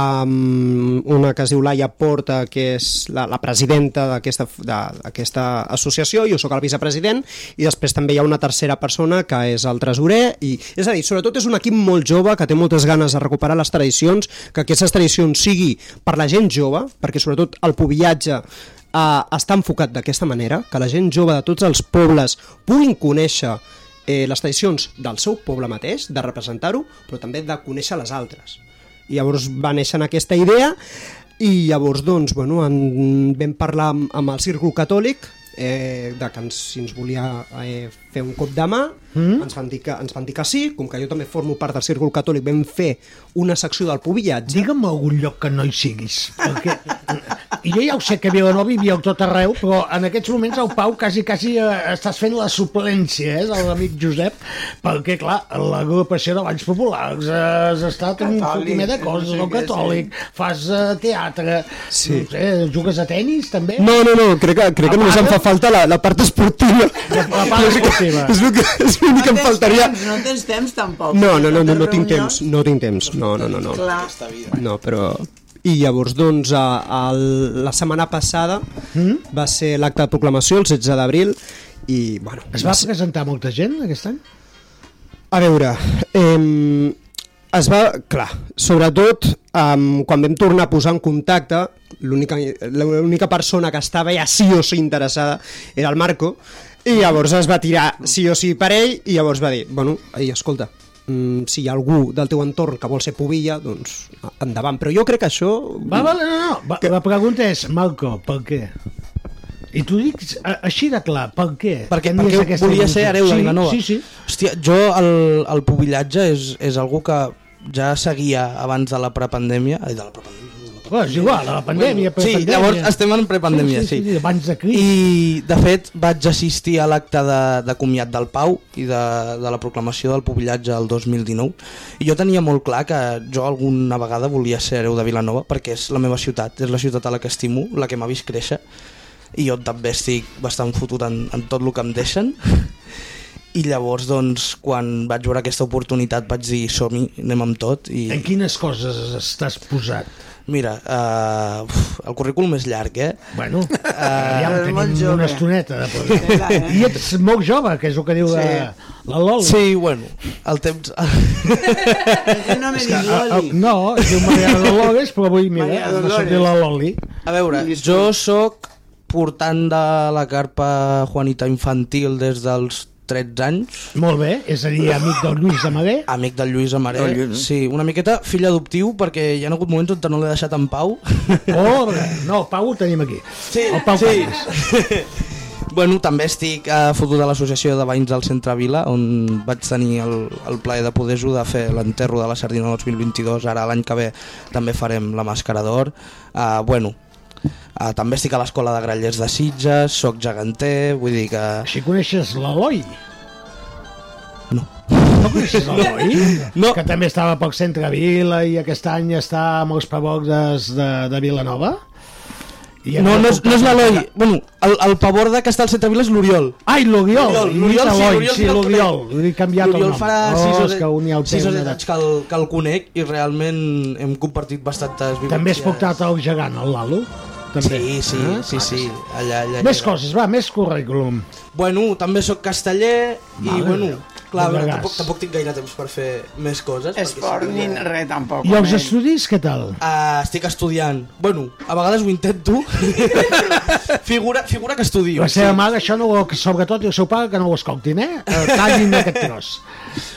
A: amb una que es diu Laia Porta, que és la, la presidenta d'aquesta de- d'aquesta associació, jo sóc el vicepresident, i després també hi ha una tercera persona que és el tresorer, i és a dir, sobretot és un equip molt jove que té moltes ganes de recuperar les tradicions, que aquestes tradicions sigui per la gent jove, perquè sobretot el pobillatge eh, està enfocat d'aquesta manera, que la gent jove de tots els pobles puguin conèixer eh, les tradicions del seu poble mateix, de representar-ho, però també de conèixer les altres. I llavors va néixer en aquesta idea i llavors doncs, bueno, en, vam parlar amb, amb el Círcul Catòlic eh, de que ens, si ens volia eh, fer un cop de mà
E: Mm-hmm.
A: mm? ens, van dir que, ens van dir que sí, com que jo també formo part del Círcul Catòlic vam fer una secció del Pubillatge
E: Digue'm algun lloc que no hi siguis perquè jo ja ho sé que Vilanova hi viu tot arreu però en aquests moments el Pau quasi, quasi eh, estàs fent la suplència eh, de l'amic Josep perquè clar, l'agrupació de Valls Populars eh, has estat un
G: Catòlic,
E: fotimer de coses
G: sí,
E: no catòlic, fas eh, teatre sí. no sé, jugues a tennis també
A: No, no, no, crec que, crec que només em fa falta la, la part esportiva.
E: La, la
A: [LAUGHS]
E: part esportiva.
A: És el que, és l'únic que em
F: tens
A: faltaria.
F: Temps, no tens temps tampoc.
A: No, no, no, no, no
F: Tantes
A: tinc
F: reunions.
A: temps, no tinc temps. No, no, no, no.
F: Clar.
A: No, però... I llavors, doncs, a, el, la setmana passada
E: Mm-hmm.
A: mm? va ser l'acte de proclamació, el 16 d'abril, i, bueno...
E: es va
A: ser-
E: presentar molta gent aquest any?
A: a veure, eh, es va... Clar, sobretot eh, quan vam tornar a posar en contacte, l'única l'única persona que estava ja sí o sí interessada era el Marco, i llavors es va tirar sí o sí per ell, i llavors va dir, bueno, ei, escolta, mm, si hi ha algú del teu entorn que vol ser pubilla, doncs endavant. Però jo crec que això...
E: Va, va, no, no, va, la pregunta és,
A: [LAUGHS]
E: Malco, per què? I t'ho dic a- així de clar, per què?
R: Perquè,
E: tenies
R: perquè
E: aquesta
R: volia ser
E: il·lusió?
R: hereu de
E: sí,
R: Vilanova.
E: Sí, sí.
R: Hòstia, jo el, el pubillatge és, és algú que ja seguia abans de la prepandèmia. Ai, de la prepandèmia.
E: Però és igual, a la pandèmia,
R: Sí,
E: prepandèmia.
R: llavors estem en prepandèmia, sí.
E: sí, sí abans de crisi.
R: I, de fet, vaig assistir a l'acte de, de comiat del Pau i de, de la proclamació del pubillatge el 2019. I jo tenia molt clar que jo alguna vegada volia ser hereu de Vilanova perquè és la meva ciutat, és la ciutat a la que estimo, la que m'ha vist créixer. I jo també estic bastant fotut en, en tot el que em deixen. I llavors, doncs, quan vaig veure aquesta oportunitat vaig dir som-hi, anem amb tot. I...
E: En quines coses estàs posat?
R: Mira, uh, uf, el currículum és llarg, eh?
E: Bueno, uh,
F: Eh,
R: ja
E: Aviam, tenim una estoneta. De poder. I ets molt jove, que és el que diu sí. la, la Loli.
R: eh? Sí, bueno, el temps...
F: no me
E: diu Loli. ah, No, es diu Maria
R: [LAUGHS]
E: Dolores, però avui, mira,
R: Maria
E: m'ha
R: Dolores.
E: sortit la Loli.
R: A veure, jo sóc portant de la carpa Juanita Infantil des dels 13 anys.
E: Molt bé, és a dir, amic del Lluís Amadé.
R: Amic del Lluís Amadé,
E: Del Lluís, eh?
R: sí. Una miqueta fill adoptiu, perquè hi ha hagut moments on no l'he deixat en pau.
E: Oh, no, el Pau ho tenim aquí.
R: Sí,
E: el Pau
R: sí.
E: Cañas.
R: [LAUGHS] Bueno, també estic eh, fotut a l'associació de veïns del Centre Vila, on vaig tenir el, el plaer de poder ajudar a fer l'enterro de la sardina 2022. Ara l'any que ve també farem la màscara d'or. Uh, bueno, uh, també estic a l'escola de grallers de Sitges, sóc geganter, vull dir que...
E: Així coneixes l'Eloi? No coneixes l'Eloi?
R: No.
E: Que també estava pel centre de Vila i aquest any està amb els pavocs de, de Vilanova? I
R: No,
E: hem
R: no
E: de
R: és, no és l'Eloi. Bueno, el, el pavor de que està al Centre Vila és l'Oriol.
E: Ai, l'Oriol!
R: L'Oriol, sí, l'Oriol
E: sí,
R: sí, el
E: l'Oriol.
R: conec.
E: L'he canviat el
R: L'Oriol
E: nom.
R: farà
E: Oh,
R: 6 o
E: és
R: 7
E: que un hi ha el temps de-
R: anys que el, que el conec i realment hem compartit bastantes vivències.
E: També es portat el gegant, el Lalo? També.
R: Sí, sí,
E: Ah,
R: sí, sí, allà, allà.
E: Més
R: allà.
E: coses, va, més currículum.
R: Bueno, també sóc casteller
E: Mare
R: i, bueno,
E: meva,
R: clar, a
E: no
R: veure,
E: gas.
R: tampoc, tampoc tinc gaire temps per fer més coses. perquè
F: Esport
R: sí
F: ni
R: que-
F: res tampoc.
E: I els estudis, què tal?
R: Uh, estic estudiant. Bueno, [LAUGHS] a vegades ho intento. figura, figura que estudio.
E: La seva mare, això no ho, sobretot, i el seu pare, que no ho escoltin, eh?
R: [LAUGHS]
E: Eh, Tallin aquest tros.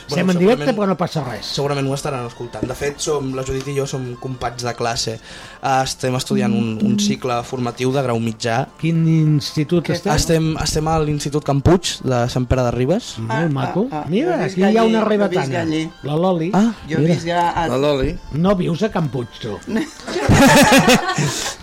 E: Estem en directe,
R: segurament-
E: però no passa res.
R: Segurament ho estaran escoltant. De fet, som, la Judit i jo som companys de classe. Uh, estem estudiant un, un cicle formatiu de grau mitjà.
E: Quin institut esteu?
R: Estem, estem a l'Institut Campuig de Sant Pere de Ribes.
E: Mm, Molt maco.
F: ah,
E: Mira,
F: jo visc
E: aquí hi ha
F: allí,
E: una
F: jo visc
E: rebatana.
F: allí.
E: La Loli. Ah,
F: Jo visc a...
E: La Loli. No vius a Can Puig,
F: [LAUGHS]
E: tu.
R: [LAUGHS]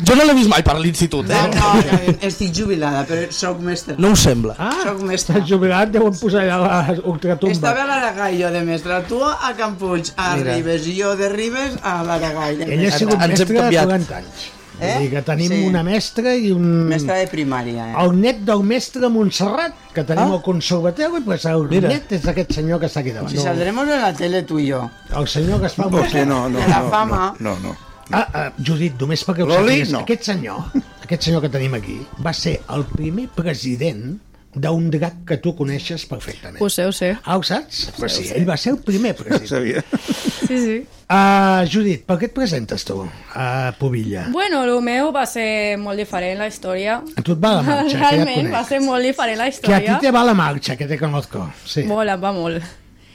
R: Jo no l'he vist mai per l'institut,
F: No, no, estic jubilada, però sóc mestre.
R: No ho sembla.
E: Ah,
F: sóc mestre.
E: Estàs jubilat, deuen posar allà la ultratumba.
F: Estava a l'Aragall, jo, de mestre. Tu a Campuig, a
E: Mira.
F: Ribes, i jo de Ribes a l'Aragall. de
E: Ella ha
F: mestre.
E: sigut mestra de 40 anys. Eh?
F: Eh?
E: Vull dir que tenim
F: Sí.
E: una mestra i un...
F: Mestra de primària, eh?
E: El net del mestre Montserrat, que tenim
F: Ah.
E: al conservatori, pues el
F: Mira.
E: net és aquest senyor que està aquí davant.
F: Si saldremos en la tele tu i jo.
E: El senyor que es fa...
F: Hòstia, no, no, De la no, fama.
E: No, no, no. Ah, ah, Judit, només perquè ho
G: Loli,
E: sàpigues,
G: no.
E: aquest senyor, aquest senyor que tenim aquí, va ser el primer president d'un drac que tu coneixes perfectament.
Q: Ho sé, ho sé.
E: Ah, ho saps? Pues sí,
Q: ho sé.
E: ell va ser el primer president. Sabia.
Q: Sí, sí.
E: Uh, Judit, per què et presentes tu a Pobilla?
Q: Bueno, el meu va ser molt diferent, la història.
E: A tu et va la marxa, que ja et
Q: Realment, va
E: conec.
Q: ser molt diferent la
E: Que a ti
Q: història.
E: te va la marxa, que te conozco. Sí.
Q: Molt, em va molt.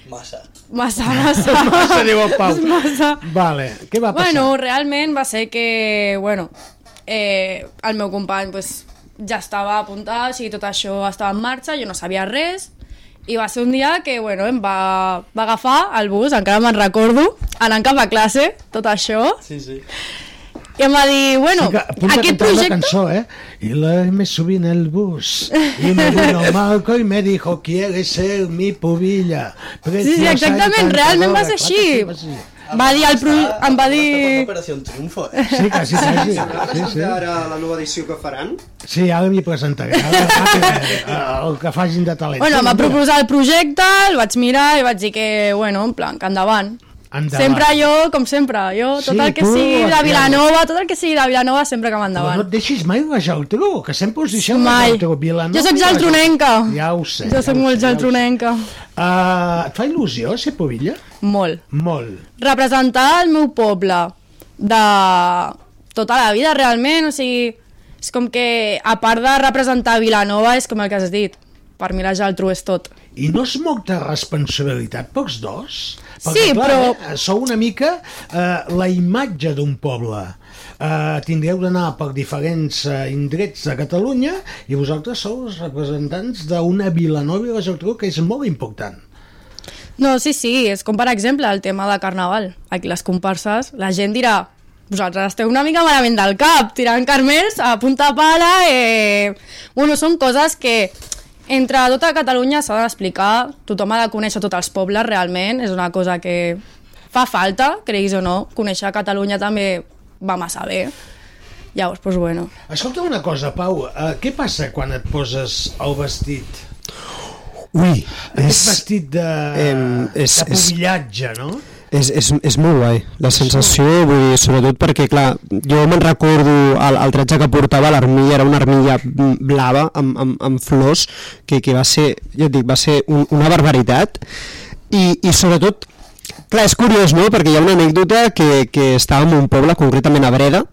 R: Massa.
Q: Massa, massa.
E: massa, diu el Pau.
Q: És massa.
E: Vale, què va passar?
Q: Bueno, realment va ser que, bueno, eh, el meu company pues, ja estava apuntat, o sigui, tot això estava en marxa, jo no sabia res, i va ser un dia que, bueno, em va, va agafar el bus, encara me'n recordo, anant cap a classe, tot això,
R: Sí, sí.
Q: i em va dir, bueno,
E: que apunta
Q: aquest
E: cantar
Q: projecte...
E: la cançó, eh? Y la me subí en el bus y me vino Marco y me dijo, ¿quieres ser mi pubilla?
Q: Sí, sí, exactament, realment va ser així. Va dir el pro... em va dir...
R: Operació Triunfo,
E: eh? Sí, quasi, quasi.
A: Sí, sí,
E: Sí, sí.
A: Ara la nova edició que faran.
E: Sí, ara m'hi presentaré. Ara, ràpidament, eh, el que facin de talent.
Q: Bueno, em va
E: Mira,
Q: proposar el projecte, el vaig mirar i vaig dir que, bueno, en plan, que endavant.
E: Endavant.
Q: Sempre jo, com sempre, jo, tot
E: Sí,
Q: el que
E: tu,
Q: sigui de
E: hòstia.
Q: Vilanova, tot el que sigui de Vilanova, sempre que
E: Però no
Q: m'endavant.
E: et deixis mai la Geltrú, que sempre us deixeu la
Q: Mai.
E: Geltrú. Vilanova,
Q: Jo sóc
E: i la Geltrú.
Q: geltrunenca.
E: Ja ho sé.
Q: Jo
E: ja
Q: sóc
E: ho
Q: molt
E: sé, ja ho sé.
Q: geltronenca.
E: Ah, et fa il·lusió ser pubilla?
Q: Molt.
E: Molt.
Q: Representar el meu poble de tota la vida, realment, o sigui, és com que, a part de representar Vilanova, és com el que has dit, per mi la Geltrú és tot.
E: I no és molta responsabilitat pels dos?
Q: Sí, però-
E: Eh, sou una mica eh, la imatge d'un poble. Eh, tindreu d'anar per diferents eh, indrets de Catalunya i vosaltres sou els representants d'una Vilanova i la Geltrú que és molt important.
Q: No, sí, sí, és com per exemple el tema de carnaval. Aquí les comparses, la gent dirà vosaltres esteu una mica malament del cap, tirant carmels a punta pala... Eh... Bueno, són coses que entre tota Catalunya s'ha d'explicar, tothom ha de conèixer tots els pobles realment, és una cosa que fa falta, creguis o no, conèixer Catalunya també va massa bé. Llavors, doncs bueno.
E: Escolta una cosa, Pau, eh, què passa quan et poses el vestit?
A: Ui,
E: Aquest vestit de,
A: em, és-
E: de
A: és-
E: pubillatge, no?
A: És, és, és molt guai, la sensació, vull dir, sobretot perquè, clar, jo me'n recordo el, el tretge que portava l'armilla, era una armilla blava amb, amb, amb flors, que, que va ser, ja et dic, va ser un, una barbaritat, i, i sobretot, clar, és curiós, no?, perquè hi ha una anècdota que, que estava en un poble, concretament a Breda,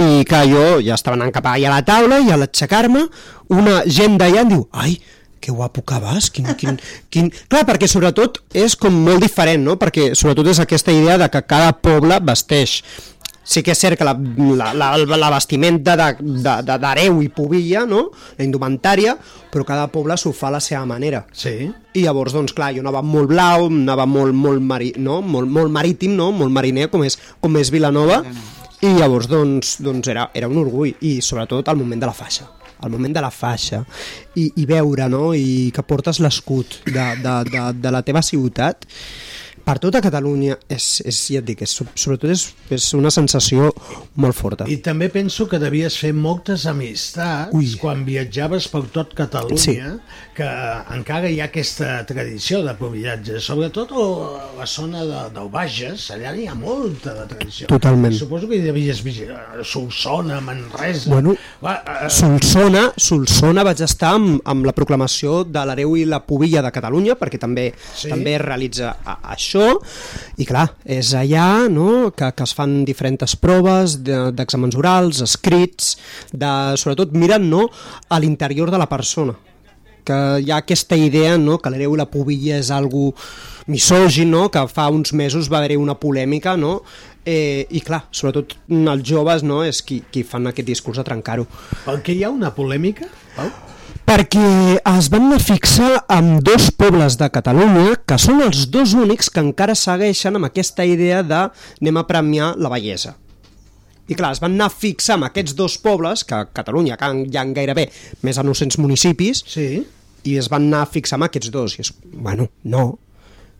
A: i clar, jo ja estava anant cap allà a la taula, i a l'aixecar-me, una gent d'allà em diu, ai, que guapo que vas, quin, quin, quin... Clar, perquè sobretot és com molt diferent, no? Perquè sobretot és aquesta idea de que cada poble vesteix. Sí que és cert que la, la, la, la vestimenta de- de- de- d'hereu i pubilla, no? La indumentària, però cada poble s'ho fa a la seva manera.
E: Sí.
A: I llavors, doncs, clar, jo anava molt blau, anava molt, molt, mari, no? molt, molt marítim, no? Molt mariner, com és, com és Vilanova. I llavors, doncs, doncs era, era un orgull. I sobretot el moment de la faixa el moment de la faixa i, i veure no? i que portes l'escut de, de, de, de la teva ciutat per tota Catalunya és, és ja et dic, és, sobretot és, és una sensació molt forta
E: I també penso que devies fer moltes amistats Ui. quan viatjaves per tot Catalunya,
A: Sí.
E: que eh, encara hi ha aquesta tradició de pobillatge, sobretot a la zona de, del Bages, allà hi ha molta de tradició.
A: Totalment.
E: Suposo que hi devies visitar Solsona, Manresa...
A: Bueno,
E: Va, eh,
A: Solsona, Solsona vaig estar amb, amb la proclamació de l'hereu i la pubilla de Catalunya, perquè també
E: Sí.
A: sí. també es realitza a, això, i clar, és allà no, que, que es fan diferents proves de- d'exàmens orals, escrits, de, sobretot miren no, a l'interior de la persona que hi ha aquesta idea no? que l'hereu i la pubilla és algo misògin, no? que fa uns mesos va haver-hi una polèmica no? eh, i clar, sobretot els joves no? és qui, qui fan aquest discurs de trencar-ho
E: per què hi ha una polèmica, Pau?
A: perquè es van anar a fixar amb dos pobles de Catalunya que són els dos únics que encara segueixen amb aquesta idea de anem a premiar la bellesa i clar, es van anar a fixar amb aquests dos pobles, que a Catalunya que hi ha gairebé més de 900 municipis,
E: sí.
A: i es van anar a fixar amb aquests dos. I és, bueno, no.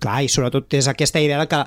A: Clar, i sobretot és aquesta idea de que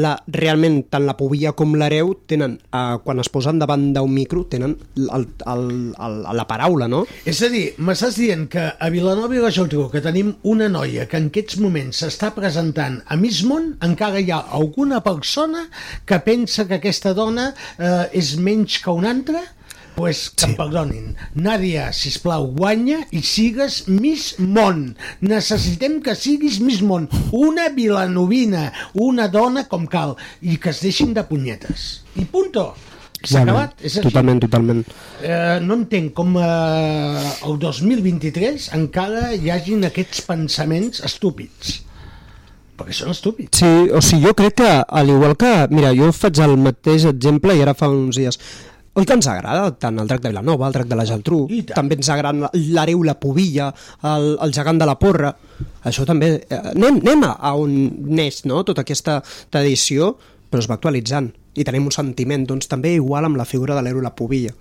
A: la, realment tant la pobilla com l'hereu tenen, eh, quan es posen davant d'un micro, tenen el, el, el, la paraula, no?
E: És a dir, m'estàs dient que a Vilanova i la Geltrú, que tenim una noia que en aquests moments s'està presentant a Miss Món, encara hi ha alguna persona que pensa que aquesta dona eh, és menys que una altra? pues que sí. em perdonin. Nàdia, sisplau, guanya i sigues Miss Món. Necessitem que siguis Miss Món. Una vilanovina, una dona com cal. I que es deixin de punyetes. I punto. S'ha acabat. És així.
A: Totalment, totalment.
E: Eh, no entenc com eh, el 2023 encara hi hagin aquests pensaments estúpids. perquè són estúpids.
A: Sí, o sigui, jo crec que, al igual que... Mira, jo faig el mateix exemple i ara fa uns dies... Oi que ens agrada tant el drac de Vilanova, el drac de la Geltrú, també ens agrada l'Areu, la Pobilla, el, el gegant de la Porra. Això també... Eh, anem, anem a- a on neix no? tota aquesta tradició, però es va actualitzant i tenim un sentiment, doncs també igual amb la figura de l'Areu, la Pobilla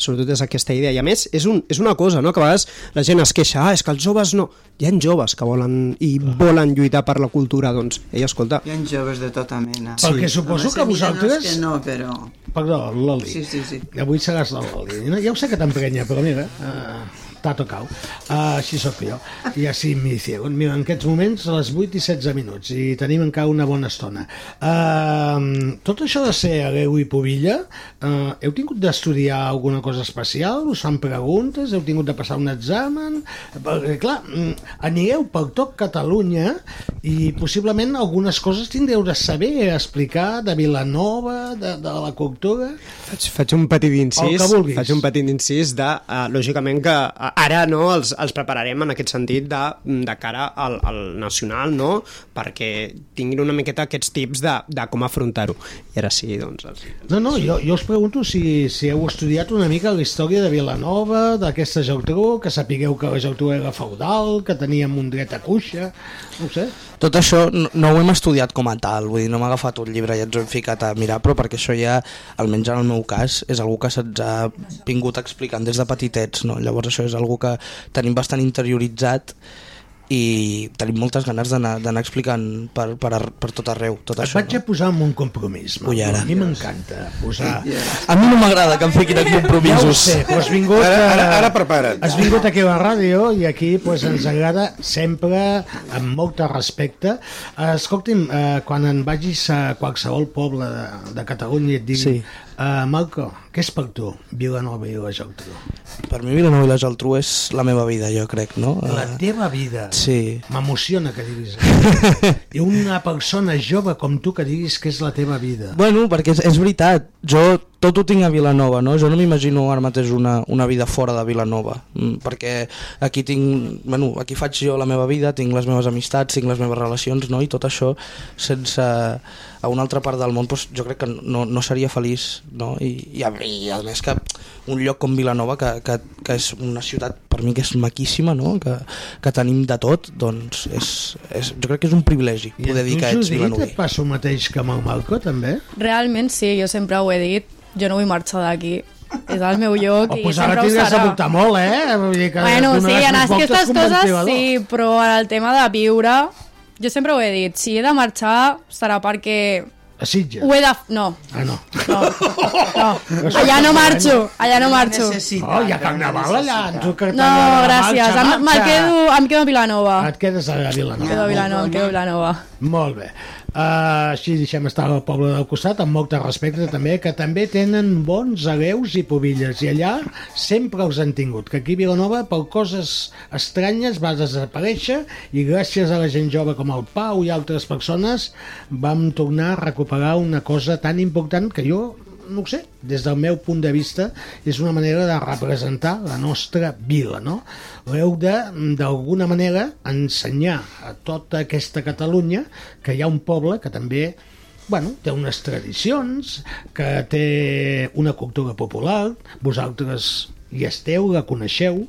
A: sobretot és aquesta idea. I a més, és, un, és una cosa, no?, que a vegades la gent es queixa, ah, és que els joves no. Hi ha joves que volen i volen lluitar per la cultura, doncs, ei, escolta...
F: Hi ha joves de tota mena.
A: Sí. Perquè
E: suposo que
F: Home, se miren els
E: vosaltres-
F: Que no, però...
E: Perdó, l'Oli.
F: Sí, sí, sí.
E: I avui seràs la Loli. No, Ja ho sé que t'emprenya, però mira, uh, t'ha tocau. Uh, així sóc jo. I així m'hi ciego. Mira, en aquests moments a les 8 i 16 minuts i tenim encara una bona estona. Uh, tot això de ser hereu i pobilla, uh, heu tingut d'estudiar alguna cosa especial? Us fan preguntes? Heu tingut de passar un examen? Perquè, clar, mm, anireu per tot Catalunya i possiblement algunes coses tindreu de saber explicar de Vilanova, de, de la cultura...
A: Faig, faig un petit
E: El
A: incís,
E: que vulguis.
A: faig un petit incís de, uh, lògicament que uh, ara no els, els prepararem en aquest sentit de, mm, de cara al, al nacional, no? Perquè tinguin una miqueta aquests tips de, de com afrontar-ho. I ara sí, doncs... Els...
E: No, no, jo, jo us pregunto si, si heu estudiat una mica la història de Vilanova, d'aquesta Geltrú, que sapigueu que la Geltrú era feudal, que teníem un dret a cuixa, no ho sé.
R: Tot això no, no ho hem estudiat com a tal, vull dir, no m'ha agafat un llibre i ens ho hem ficat a mirar, però perquè això ja, almenys en el meu cas, és algú que se'ns ha vingut explicant des de petitets, no? Llavors això és algú que tenim bastant interioritzat i tenim moltes ganes d'anar d'anar explicant per, per, ar- per tot arreu, tot
E: Et
R: això.
E: vaig a posar en un compromís. Manolo.
R: Ui, ara.
E: A mi m'encanta posar...
R: A mi no m'agrada que em fiquin en
E: Ja ho
R: compromisos.
E: sé, però has vingut...
R: Ara- ara- ara
E: prepara't. Has vingut aquí a la ràdio i aquí pues, ens agrada sempre, amb molt de respecte. Eh, Escolti'm, eh, quan en vagis a qualsevol poble de, de Catalunya i et diguin...
R: Sí.
E: Sí. Uh, Malco, què és per tu Vilanova i la Geltrú?
R: Per mi Vilanova i la Geltrú és la meva vida, jo crec, no? Ah,
E: La teva vida.
R: Sí.
E: M'emociona que diguis
R: [LAUGHS]
E: això. I una persona jove com tu que diguis que és la teva vida.
R: Bueno, perquè és, és veritat, jo tot ho tinc a Vilanova, no? Jo no m'imagino ara mateix una, una vida fora de Vilanova, mm, perquè aquí tinc, bueno, aquí faig jo la meva vida, tinc les meves amistats, tinc les meves relacions, no? I tot això sense a una altra part del món, doncs, jo crec que no, no seria feliç, no? I, i, a, i a més que un lloc com Vilanova, que, que, que és una ciutat per mi que és maquíssima, no? Que, que tenim de tot, doncs és, és, jo crec que és un privilegi poder dir que
E: tu,
R: ets
E: Judit,
R: vilanoví.
E: et passa el mateix que amb el Malco, també?
Q: Realment sí, jo sempre ho he dit, jo no vull marxar d'aquí. És el meu lloc i
E: Oh, Pues Doncs ara
Q: sempre ho
E: t'has de
Q: serà.
E: portar molt, eh? Vull dir que
Q: Bueno, sí,
E: donaràs
Q: en
E: més voltes
Q: aquestes
E: que un
Q: coses
E: ventilador.
Q: sí, però en el tema de viure, jo sempre ho he dit, si he de marxar serà perquè
E: A Sitges.
Q: ho he de... No,
E: Ah, no.
Q: no. Oh, allà no marxo, allà no marxo.
E: Oh, hi ha carnaval allà. ens ho que
Q: No,
E: t'agrada,
Q: gràcies,
E: marxa,
Q: em, me'l
E: marxa. Ah,
Q: quedo, em quedo a Vilanova.
E: Et quedes a Vilanova.
Q: Em quedo a Vilanova, em quedo a Vilanova.
E: Molt bé. Uh, així deixem estar el poble del costat, amb molt de respecte també, que també tenen bons hereus i pobilles, i allà sempre els han tingut, que aquí a Vilanova per coses estranyes va desaparèixer i gràcies a la gent jove com el Pau i altres persones vam tornar a recuperar una cosa tan important que jo no ho sé, des del meu punt de vista és una manera de representar la nostra vila, no? Heu de, mm, d'alguna manera, ensenyar a tota aquesta Catalunya que hi ha un poble que també bueno, té unes tradicions, que té una cultura popular, vosaltres hi esteu, la coneixeu,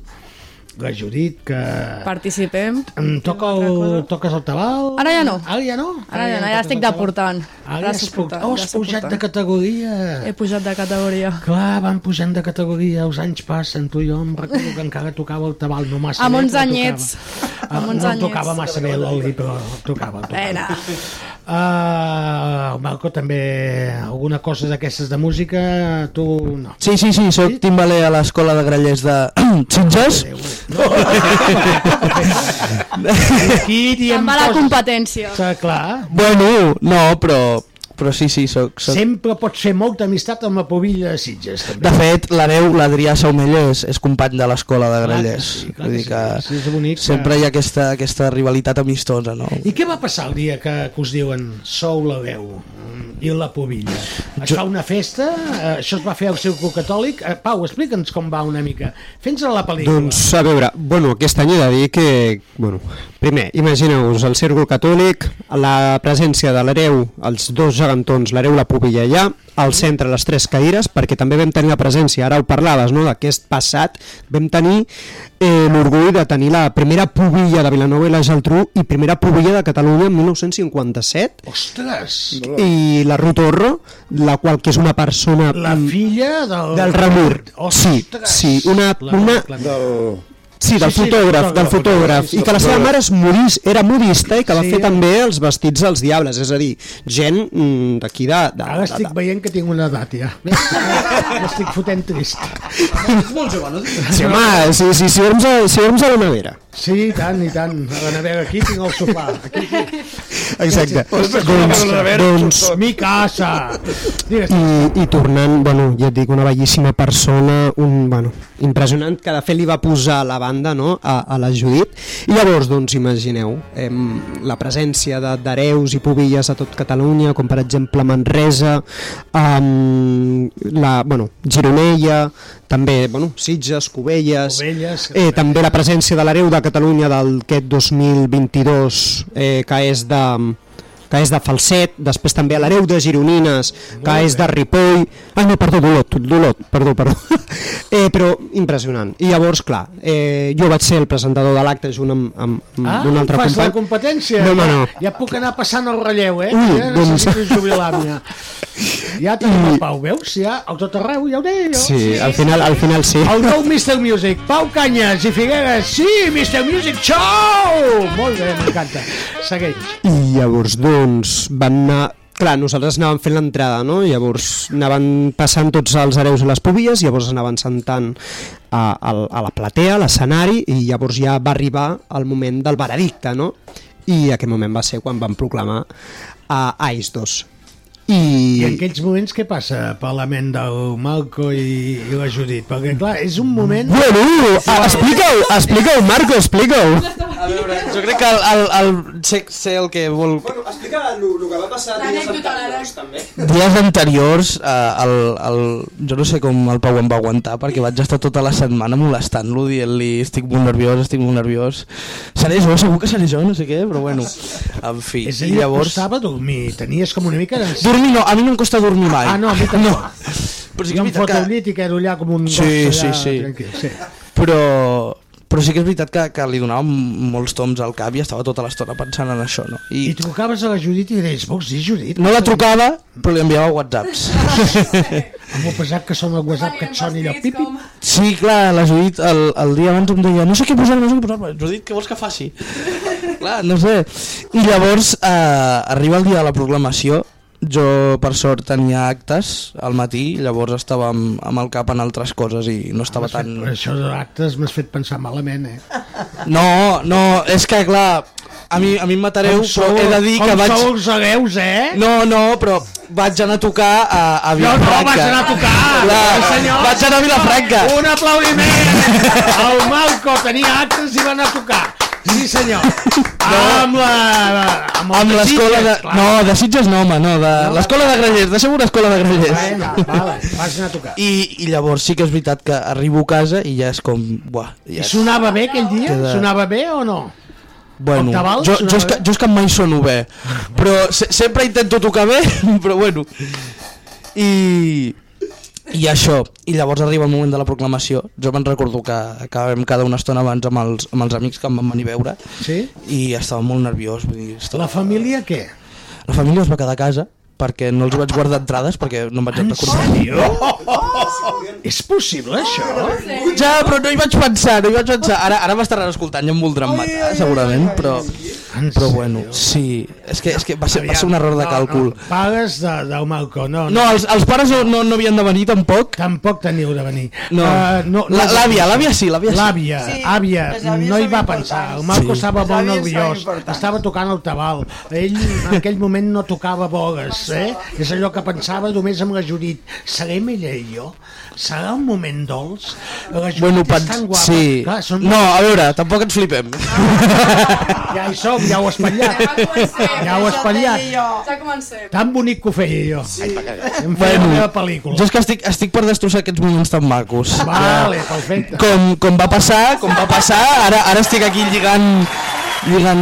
E: la Judit, que...
Q: Participem.
E: Em toca el, toques el tabal?
Q: Ara ja no.
E: Ara ja no?
Q: Ara ja no, ja estic deportant.
E: Ara has, pujat, oh, has pujat de
Q: categoria.
E: categoria.
Q: He pujat de categoria.
E: Clar, van pujant de categoria, els anys passen, tu i jo em recordo que encara tocava el tabal, no massa
Q: Amb
E: bé,
Q: 11
E: però
Q: anyets.
E: Tocava.
Q: Amb
E: Ah,
Q: 11
E: no em tocava
Q: anyets. Eh.
E: massa bé l'oli, però tocava. tocava.
Q: Pena.
E: Uh, Marco, també alguna cosa d'aquestes de música, tu
R: [LAUGHS]
E: no.
R: Sí, sí, sí, sóc timbaler a l'escola de grallers de [CLEARS THROAT] Sitges.
E: Aquí
Q: Em
E: diem
Q: va la
E: coses.
Q: competència.
E: Està clar.
R: Bueno, no, però, però sí, sí, soc... soc...
E: Sempre pots fer molta amistat amb la pobilla de Sitges, també.
R: De fet, la neu, l'Adrià Saumeller és, és company de l'escola de Grallers.
E: sí, clar
R: Vull
E: que
R: dir
E: sí,
R: que
E: sí, és bonic,
R: sempre
E: eh?
R: hi ha aquesta, aquesta rivalitat amistosa, no?
E: I què va passar el dia que, que us diuen sou la veu mm, i la pobilla? Es fa una festa, eh, això es va fer al Circo Catòlic. Eh, Pau, explica'ns com va una mica. Fins a la pel·lícula.
A: Doncs, a veure, bueno, aquest any he de dir que... Bueno, primer, imagineu-vos el cèrcol catòlic, la presència de l'hereu, els dos gegantons, l'hereu la pubilla allà, al centre les tres caires, perquè també vam tenir la presència, ara ho parlaves, no?, d'aquest passat, vam tenir eh, l'orgull de tenir la primera pubilla de Vilanova i la Geltrú i primera pubilla de Catalunya en 1957,
E: Ostres!
A: i la Ruth Orro, la qual que és una persona...
E: La filla del...
A: del Ramur. Sí, sí, una, una,
G: Del...
A: Sí, del fotògraf, del fotògraf. I que la seva mare és modis, era modista i que va
E: Sí.
A: fer també els vestits dels diables, és a dir, gent mm, d'aquí de, de,
E: Ara
A: de,
E: estic veient que tinc una edat,
A: [LAUGHS]
E: ja. M'estic fotent trist.
T: Molt jove, no?
A: de... Sí, home, sí, sí, sí, érem, a, sí, érem a la nevera.
E: Sí, i tant, i tant. A la nevera, aquí tinc el sopar. Aquí, aquí.
A: Exacte.
E: Ostres,
A: doncs,
E: a la nevera,
A: doncs,
E: Mi casa! Digues,
A: i, i tornant, bueno, ja et dic, una bellíssima persona, un, bueno, impressionant, que de fet li va posar la banda no? a, a la Judit. I llavors, doncs, imagineu, em, la presència de- d'hereus i pobilles a tot Catalunya, com per exemple Manresa, em, la, bueno, Gironella, també, bueno, Sitges, Cubelles,
E: Cubelles,
A: eh, també la presència de l'hereu de Catalunya del d'aquest 2022, eh, que és de que és de Falset, després també a l'hereu de Gironines, que és de Ripoll... Ah, no, perdó, d'Olot, d'Olot, perdó, perdó. [LAUGHS] eh, però impressionant. I llavors, clar, eh, jo vaig ser el presentador de l'acte junt amb, amb, amb
E: Ah,
A: un Mm. altre
E: fas la
A: company.
E: competència?
A: No, home, no.
E: Ja, ja puc anar passant el relleu, eh?
A: Ui,
E: ja
A: doncs-
E: necessito jubilar-me.
A: [LAUGHS]
E: ja. Ja tenim el Pau, veus? Ja, a tot arreu, ja ho deia jo.
A: Sí, al final, al final sí.
E: El nou Mr. Music, Pau Canyes i Figueres, sí, Mr. Music Show! Molt bé, m'encanta. Segueix.
A: I llavors, doncs, van anar... Clar, nosaltres anàvem fent l'entrada, no? Llavors anaven passant tots els hereus i les povies, llavors anaven sentant a, a, a la platea, a l'escenari, i llavors ja va arribar el moment del veredicte, no? I aquest moment va ser quan van proclamar a Ais 2. I...
E: I en aquells moments què passa per la ment del Malco i, i la Judit? Perquè, clar, és un moment...
A: Bueno, a- explica-ho, explica-ho, Marco, explica-ho.
R: A veure, jo crec que el, el, el sé, sé el que vol...
U: Bueno, explica el, el que va passar dies anteriors, també.
R: Dies anteriors, eh, el, el, jo no sé com el Pau em va aguantar, perquè vaig estar tota la setmana molestant-lo, dient-li estic molt nerviós, estic molt nerviós. Seré jo, segur que seré jo, no sé què, però bueno, en fi.
E: És a dir,
R: I
E: llavors...
R: llavors...
E: costava dormir, tenies com una mica... De...
R: Dormir no, a mi no em costa dormir mai.
E: Ah, no, a mi també. No.
R: Però sí
E: jo em foto al llit i quedo allà com un
R: Sí,
E: gos
R: sí,
E: allà,
R: sí.
E: tranquil. sí.
R: però però sí que és veritat que, que li donava m- molts toms al cap i estava tota l'estona pensant en això, no? I,
E: I trucaves a la Judit i deies, vols dir Judit?
R: no la trucava, però li enviava whatsapps.
E: M'ho pesat que són el WhatsApp que et soni allò, pipi.
R: [LAUGHS] Sí, clar, la Judit el, el dia abans em deia no sé què posar, no sé què posar, Judit, què vols que faci? clar, no sé. I llavors eh, arriba el dia de la proclamació, jo per sort tenia actes al matí, llavors estava amb, amb el cap en altres coses i no estava
E: M'has fet-
R: tan...
E: Això d'actes m'has fet pensar malament, eh?
R: Ah, No, no, és que clar, a mi, a mi em matareu,
E: Com sou-
R: però he de dir
E: com
R: que vaig...
E: sou els hereus, eh?
R: No, no, però vaig anar a tocar a, a
E: No,
R: Vilafranca.
E: no, vas anar a tocar!
R: Clar,
E: Sí, senyor.
R: vaig anar a Vilafranca.
E: Un aplaudiment! El Malco tenia actes i va anar a tocar. Sí, senyor. Amb la... Amb,
R: Amb
E: el
R: l'escola de...
E: Sitges, clar.
R: No, de Sitges no, home, no, de l'escola de Grallers, deixa'm una escola de Grallers.
E: Vinga, vale, vas anar a tocar.
R: I, I llavors sí que és veritat que arribo a casa i ja és com... Buah, ja
E: I
R: és...
E: sonava bé aquell dia?
R: Queda-
E: Sonava bé o no?
R: Bueno,
E: Octavals,
R: jo, jo, és
E: sonava
R: que, jo és que mai sono bé, però se, sempre intento tocar bé, [LAUGHS] però bueno. I, I això, i llavors arriba el moment de la proclamació. Jo me'n recordo que acabem cada una estona abans amb els, amb els amics que em van venir a veure
E: Sí?
R: i estava molt nerviós. Vull dir, estava...
E: La família què?
R: La família es va quedar a casa perquè no els vaig guardar entrades perquè no em vaig recordar.
E: És possible, això?
R: Ja, però no hi vaig pensar, no hi vaig pensar. Ara, ara m'estaran escoltant i em voldran matar, segurament, però... Però bueno, sí, és que, és que va, ser, va ser un error de càlcul.
E: No, pagues de, del Malco, no.
R: No, els, els pares no, no, no havien de venir tampoc.
E: Tampoc teniu de venir.
R: No.
E: Eh,
R: La- l'àvia, l'àvia sí, l'àvia sí.
E: L'àvia,
R: Sí,
E: àvia, no hi va pensar. El Marco
R: Sí.
E: estava
R: Les
E: molt
R: àvies són
E: nerviós, estava tocant el tabal. Ell en aquell moment no tocava bogues. eh? És allò que pensava només amb la Judit. Serem ella i jo? Serà un moment dolç? La Judit
R: Bueno,
E: és
R: pens...
E: tan guapa.
R: sí.
E: Clar, són...
R: No, a veure, tampoc ens flipem.
E: Ja hi som, ja ho has espatllat. ja ho has espatllat.
Q: Ja comencem.
E: Tan bonic que ho feia jo. Sí. Em feia
R: Bueno,
E: la meva pel·lícula.
R: Jo és que estic, estic per destrossar aquests moments tan macos.
E: Vale, perfecte.
R: Com, com va passar, com va passar, ara, ara estic aquí lligant... lligant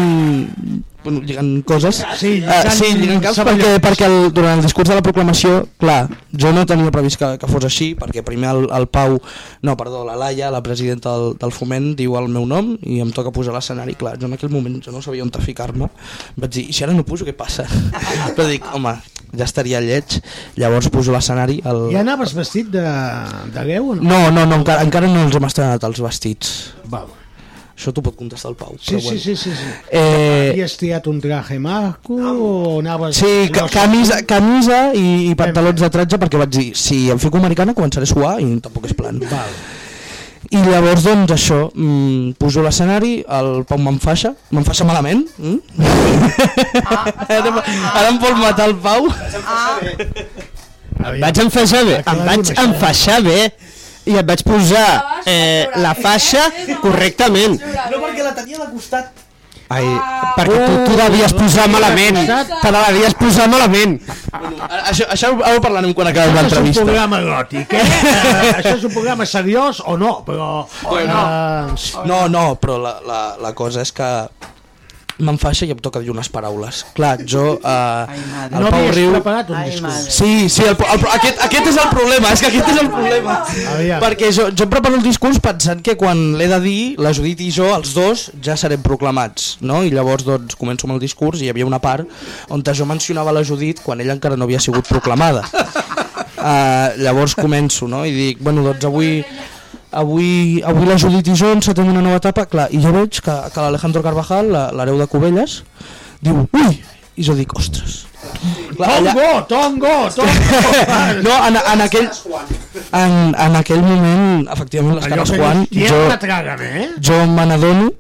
R: bueno, lligant coses.
E: Sí,
R: lligant,
E: lligant
R: sí, lligant caps
E: saballots.
R: perquè, perquè el, durant el discurs de la proclamació, clar, jo no tenia previst que, que fos així, perquè primer el, el Pau, no, perdó, la Laia, la presidenta del, del Foment, diu el meu nom i em toca posar l'escenari, clar, jo en aquell moment jo no sabia on ficar-me, vaig dir, i si ara no poso, què passa? [LAUGHS] Però dic, home, ja estaria lleig, llavors poso l'escenari, el...
E: I anaves vestit de, de veu o no?
R: No, no, no, encara, encara no els hem estrenat els vestits.
E: Val.
R: Això t'ho pot contestar el Pau.
E: Sí,
R: però
E: sí,
R: bueno.
E: sí, sí, sí.
R: Eh,
E: Havies tirat un traje maco o anaves...
R: Sí, ca
E: allò-
R: camisa, camisa i, i pantalons de tratge perquè vaig dir, si em fico americana començaré a suar i tampoc és plan.
E: Val.
R: I llavors, doncs, això, mm, poso l'escenari, el Pau m'enfaixa, m'enfaixa malament, mm? [LAUGHS] ara, ara em vol matar el Pau. Ah.
E: Em
A: vaig enfaixar bé, em vaig enfaixar bé i et vaig posar eh, la faixa
R: eh?
A: correctament.
R: No, perquè la tenia de costat.
A: Ai,
E: Ah!
A: perquè tu t'ho devies posar malament, te la devies posar malament.
R: Ara, Això, això ho- ara ho parlarem quan
E: Això
R: acabem
E: és un
R: l'entrevista.
E: programa gòtic, eh? Eh, Això és un programa seriós o no, però... eh,
R: Bueno. No, no, però la, la, la cosa és que m'enfaixa i em toca dir unes paraules. Clar, jo... Eh, el
E: No
R: Pau
E: havies
R: Riu...
E: preparat un discurs.
R: Sí, sí, el, el, aquest, aquest és el problema, és que aquest és el problema.
E: Aviam.
R: Perquè jo, jo em preparo el discurs pensant que quan l'he de dir, la Judit i jo, els dos, ja serem proclamats, no? I llavors, doncs, començo amb el discurs i hi havia una part on jo mencionava la Judit quan ella encara no havia sigut proclamada. Uh, llavors començo, no? I dic, bueno, doncs avui... Avui, avui la Judit i jo encetem una nova etapa, clar, i jo veig que, que l'Alejandro Carvajal, la- l'hereu de Cubelles, diu, ui, i jo dic, ostres.
E: Tongo, tongo, tongo!
R: [LAUGHS] No, en, en aquell... En, en aquell moment, efectivament, les
E: Allò
R: cares
E: que
R: Juan,
E: dius, tia,
R: jo,
E: la tràgame, eh?
R: jo me n'adono,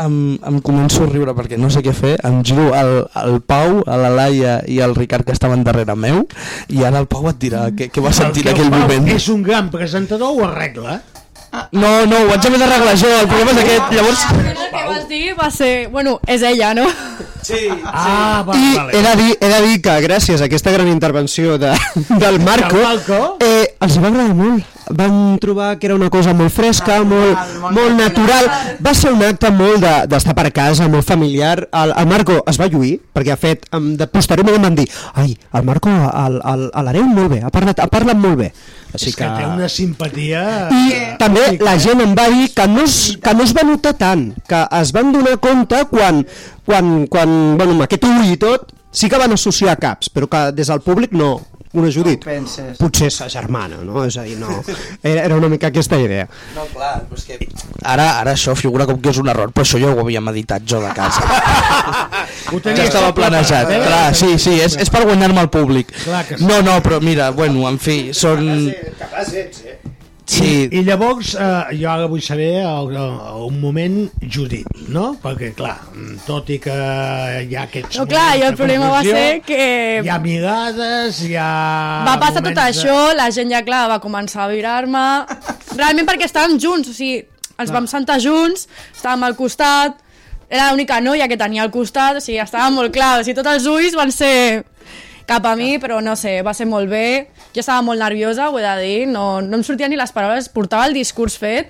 R: em, em començo a riure perquè no sé què fer, em giro al, al Pau, a la Laia i al Ricard que estaven darrere meu, i ara el Pau et dirà què, què va sentir en
E: El que
R: aquell
E: Pau
R: moment.
E: És un gran presentador, ho arregla.
R: No, no, ho haig d'haver d'arreglar jo, el problema és aquest, llavors...
Q: El que vas dir va ser... Bueno, és ella, no?
R: Sí.
E: Ah, va,
A: I
E: vale.
A: he de, dir, he de dir que gràcies a aquesta gran intervenció de, del Marco,
E: Del Marco?
A: [LAUGHS] Eh, els va agradar molt. Vam trobar que era una cosa molt fresca, molt, molt natural. Va ser un acte molt de- d'estar de, per casa, molt familiar. El, el Marco es va lluir, perquè ha fet, em- de, posteriorment em van dir ai, el Marco al- al- a l'Areu molt bé, ha parlat, ha parlat molt bé. Així
E: És que té una simpatia...
A: i també la gent em va dir que no, es, que no es va notar tant, que es van donar compte quan, quan, quan bueno, amb aquest ull i tot, sí que van associar caps, però que des del públic no, una Judit.
F: penses.
A: Potser sa germana, no? És a dir, no. Era, era una mica aquesta idea.
R: No, clar, però és que... Ara, ara això figura com que és un error, però això ja ho havia meditat jo de casa. ja estava planejat,
E: Eh?
R: clar, sí, sí, és, és per guanyar-me el públic.
E: Clar que sí.
R: No, no, però mira, bueno, en fi, són...
E: Capaç ets, eh?
R: Sí,
E: I llavors, eh, jo ara vull saber el, el, un moment Judit, no? Perquè, clar, mm, tot i que hi ha aquests...
Q: No, clar, i el
E: moments de
Q: problema va
E: confusió,
Q: ser que-
E: Hi ha mirades, hi ha...
Q: Va passar tot
E: Ah, moments
Q: això, la gent ja, clar, va començar a virar-me... Realment perquè estàvem junts, o sigui, ens vam sentar junts, estàvem al costat, era l'única noia que tenia al costat, o sigui, estava molt clar, o sigui, tots els ulls van ser cap a mi, però no sé, va ser molt bé. Jo estava molt nerviosa, ho he de dir, no, no em sortien ni les paraules, portava el discurs fet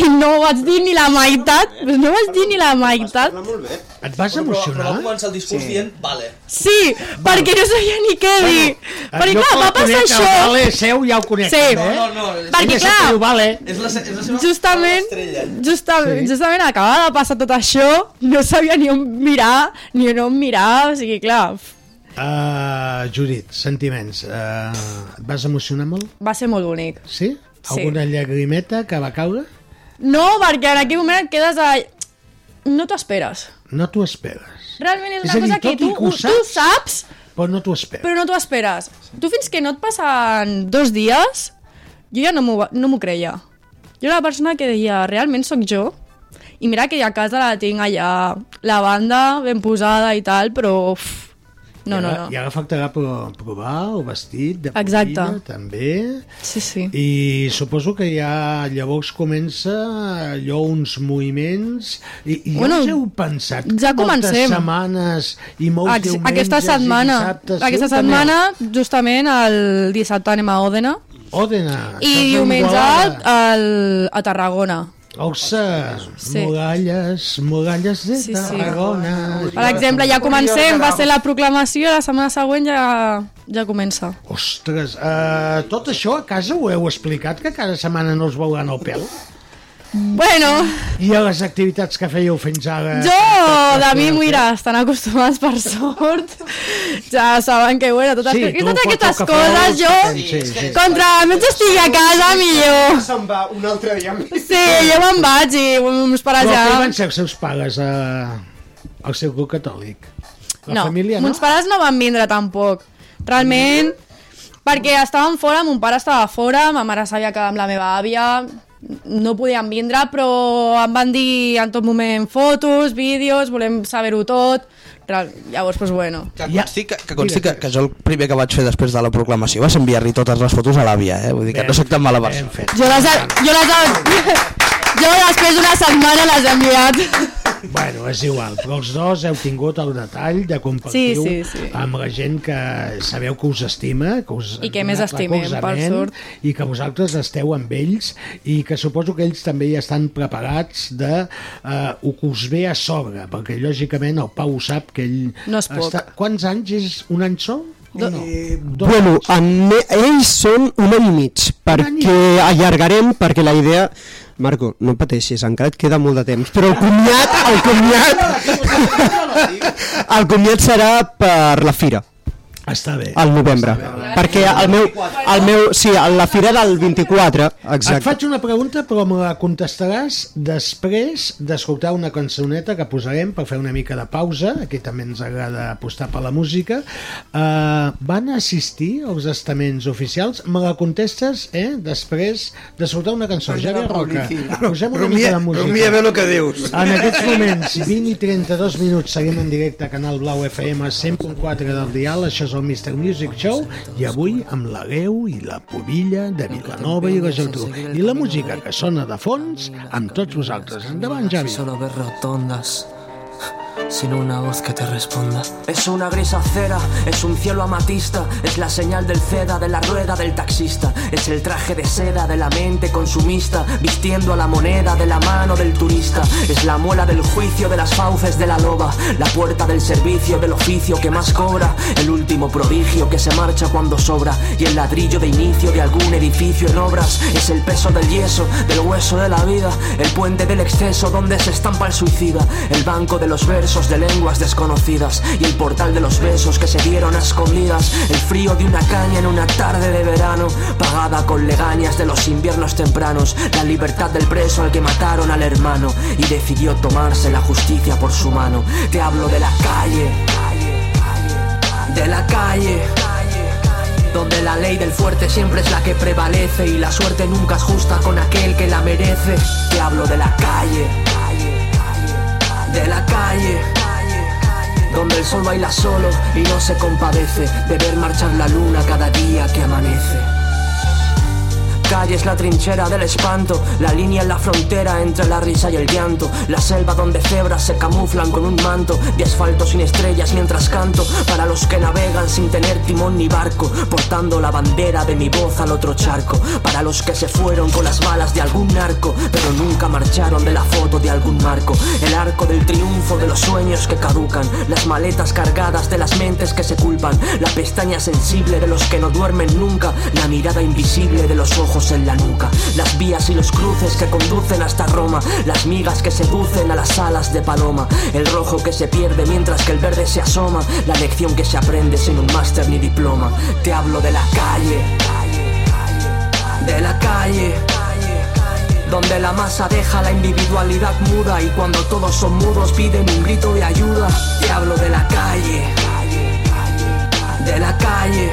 Q: i no ho vaig dir ni la meitat, no vaig dir ni la meitat.
E: De... Et vas emocionar?
R: va començar el discurs sí. dient, vale.
Q: Sí, perquè no sabia ni què dir. Perquè clar, va passar això...
E: Vale, seu, ja ho conec.
Q: Sí.
E: també, eh?
Q: No, no, no, Perquè,
E: Ella sempre
Q: clar,
E: diu, vale.
R: És la, és la
Q: justament, justament,
E: Sí.
Q: justament acabava de passar tot això, no sabia ni on mirar, ni on em mirar, o sigui, clar, f-
E: Uh, Judit, sentiments. Uh, et vas emocionar molt?
Q: va ser molt bonic.
E: Sí?
Q: Sí.
E: Alguna llagrimeta que va caure?
Q: No, perquè en aquell moment et quedes a... No t'ho esperes.
E: No t'ho esperes,
Q: Realment és
E: És
Q: una
E: a dir,
Q: cosa que
E: tot
Q: tu
E: i que ho
Q: ho, tu ho saps,
E: però no t'ho esperes.
Q: però no t'ho esperes. Tu fins que no et passen dos dies, jo ja no m'ho va- no m'ho creia. Jo era la persona que deia, realment sóc jo? I mira que a casa la tinc allà, la banda ben posada i tal, però... Uf, No, no,
E: I
Q: no.
E: ara falta ara pro- provar el vestit de
Q: Exacte.
E: Paulina, també.
Q: Sí, sí.
E: I suposo que ja llavors comença allò uns moviments i, i bueno,
Q: Bueno,
E: ja us heu pensat
Q: ja comencem.
E: moltes setmanes i molts
Q: Ex-
E: diumenges
Q: aquesta setmana,
E: i dissabtes.
Q: aquesta
E: Sí, ho teniu.
Q: setmana, justament el dissabte anem a Òdena
E: Òdena.
Q: i
E: això és
Q: diumenge
E: Igualada.
Q: al, a Tarragona.
E: Oxa,
Q: Sí.
E: muralles, muralles de
Q: Sí, sí.
E: Tarragona.
Q: Per exemple, ja comencem, va ser la proclamació, la setmana següent ja, ja comença.
E: Ostres, uh, tot això a casa ho heu explicat, que cada setmana no us veuran el pèl?
Q: Bueno,
E: I a les activitats que fèieu fins ara?
Q: jo, de mi, mira, estan acostumats per sort. Ja saben que, bueno, totes,
E: Sí,
Q: que-
E: tu,
Q: totes
E: quan
Q: aquestes
E: toca
Q: coses,
E: flors,
Q: jo,
H: [LAUGHS]
E: sí, sí.
Q: contra menys estigui a casa, millor.
V: Se'n va un altre dia més.
Q: Sí, jo me'n vaig i uns pares
E: Però
Q: ja...
E: què van ser els seus pares a... al seu club catòlic? La
Q: no,
E: família, no?
Q: mons pares no van vindre tampoc. Realment, perquè estaven fora, mon pare estava fora, ma mare s'havia quedat amb la meva àvia, no podien vindre, però em van dir en tot moment fotos, vídeos, volem saber-ho tot. Real, llavors, doncs bueno.
R: Que consti, que, que, consti que, que jo el primer que vaig fer després de la proclamació va ser enviar-li totes les fotos a l'àvia, eh? Vull dir que no soc tan mala persona.
Q: Jo les, he- jo les, he- jo després d'una setmana les he enviat.
E: Bueno, és igual, però els dos heu tingut el detall de compartir
Q: Sí, sí, sí.
E: amb la gent que sabeu que us estima, que us
Q: I que més
E: donat
Q: estimem, per
E: recolzament,
Q: sort.
E: I que vosaltres esteu amb ells i que suposo que ells també ja estan preparats de eh, el que us ve a sobre, perquè lògicament el Pau sap que ell...
Q: No és poc.
E: Quants anys és un any sol? Do... No. Dos
A: Bueno, en, ells són un any i mig, perquè allargarem, perquè la idea... Marco, no pateixis, encara et queda molt de temps, però el comiat, el
E: [LAUGHS]
A: comiat, el comiat serà per la fira.
E: Està bé.
A: Al novembre. Perquè el meu, el meu, sí, la fira del 24,
E: Et
A: exacte.
E: faig una pregunta, però me la contestaràs després d'escoltar una cançoneta que posarem per fer una mica de pausa. Aquí també ens agrada apostar per la música. Uh, van assistir als estaments oficials? Me la contestes eh, després d'escoltar una cançó. Javier Roca, posem una mica de música.
G: Rumia bé el que dius.
E: En aquests moments, 20 i 32 minuts, seguim en directe a Canal Blau FM 100.4 del Dial, això és el Mr. Music Show, i avui amb la greu i la pobilla de Vilanova i la Geltrú. I la música que sona de fons amb tots vosaltres. Endavant, Javi.
C: Solo ver rotondas sin una voz que te responda. Es una gris acera, es un cielo amatista, es la señal del ceda de la rueda del taxista, es el traje de seda de la mente consumista, vistiendo a la moneda de la mano del turista, es la muela del juicio de las fauces de la loba, la puerta del servicio del oficio que más cobra, el último prodigio que se marcha cuando sobra, y el ladrillo de inicio de algún edificio en obras, es el peso del yeso, del hueso de la vida, el puente del exceso donde se estampa el suicida, el banco de los versos de lenguas desconocidas y el portal de los besos que se dieron a escondidas, el frío de una caña en una tarde de verano, pagada con legañas de los inviernos tempranos, la libertad del preso al que mataron al hermano y decidió tomarse la justicia por su mano. Te hablo de la calle, de la calle donde la ley del fuerte siempre es la que prevalece y la suerte nunca es justa con aquel que la merece. Te hablo de la calle, de la calle, donde el sol baila solo y no se compadece de ver marchar la luna cada día que amanece. Calle es la trinchera del espanto, la línea en la frontera entre la risa y el llanto, la selva donde cebras se camuflan con un manto de asfalto sin estrellas mientras canto, para los que navegan sin tener timón ni barco, portando la bandera de mi voz al otro charco, para los que se fueron con las balas de algún narco, pero nunca marcharon de la foto de algún marco, el arco del triunfo de los sueños que caducan, las maletas cargadas de las mentes que se culpan, la pestaña sensible de los que no duermen nunca, la mirada invisible de los ojos en la nuca, las vías y los cruces que conducen hasta Roma, las migas que seducen a las alas de paloma, el rojo que se pierde mientras que el verde se asoma, la lección que se aprende sin un máster ni diploma. Te hablo de la calle, de la calle. Donde la masa deja la individualidad muda y cuando todos son mudos piden un grito de ayuda. Te hablo de la calle, de la calle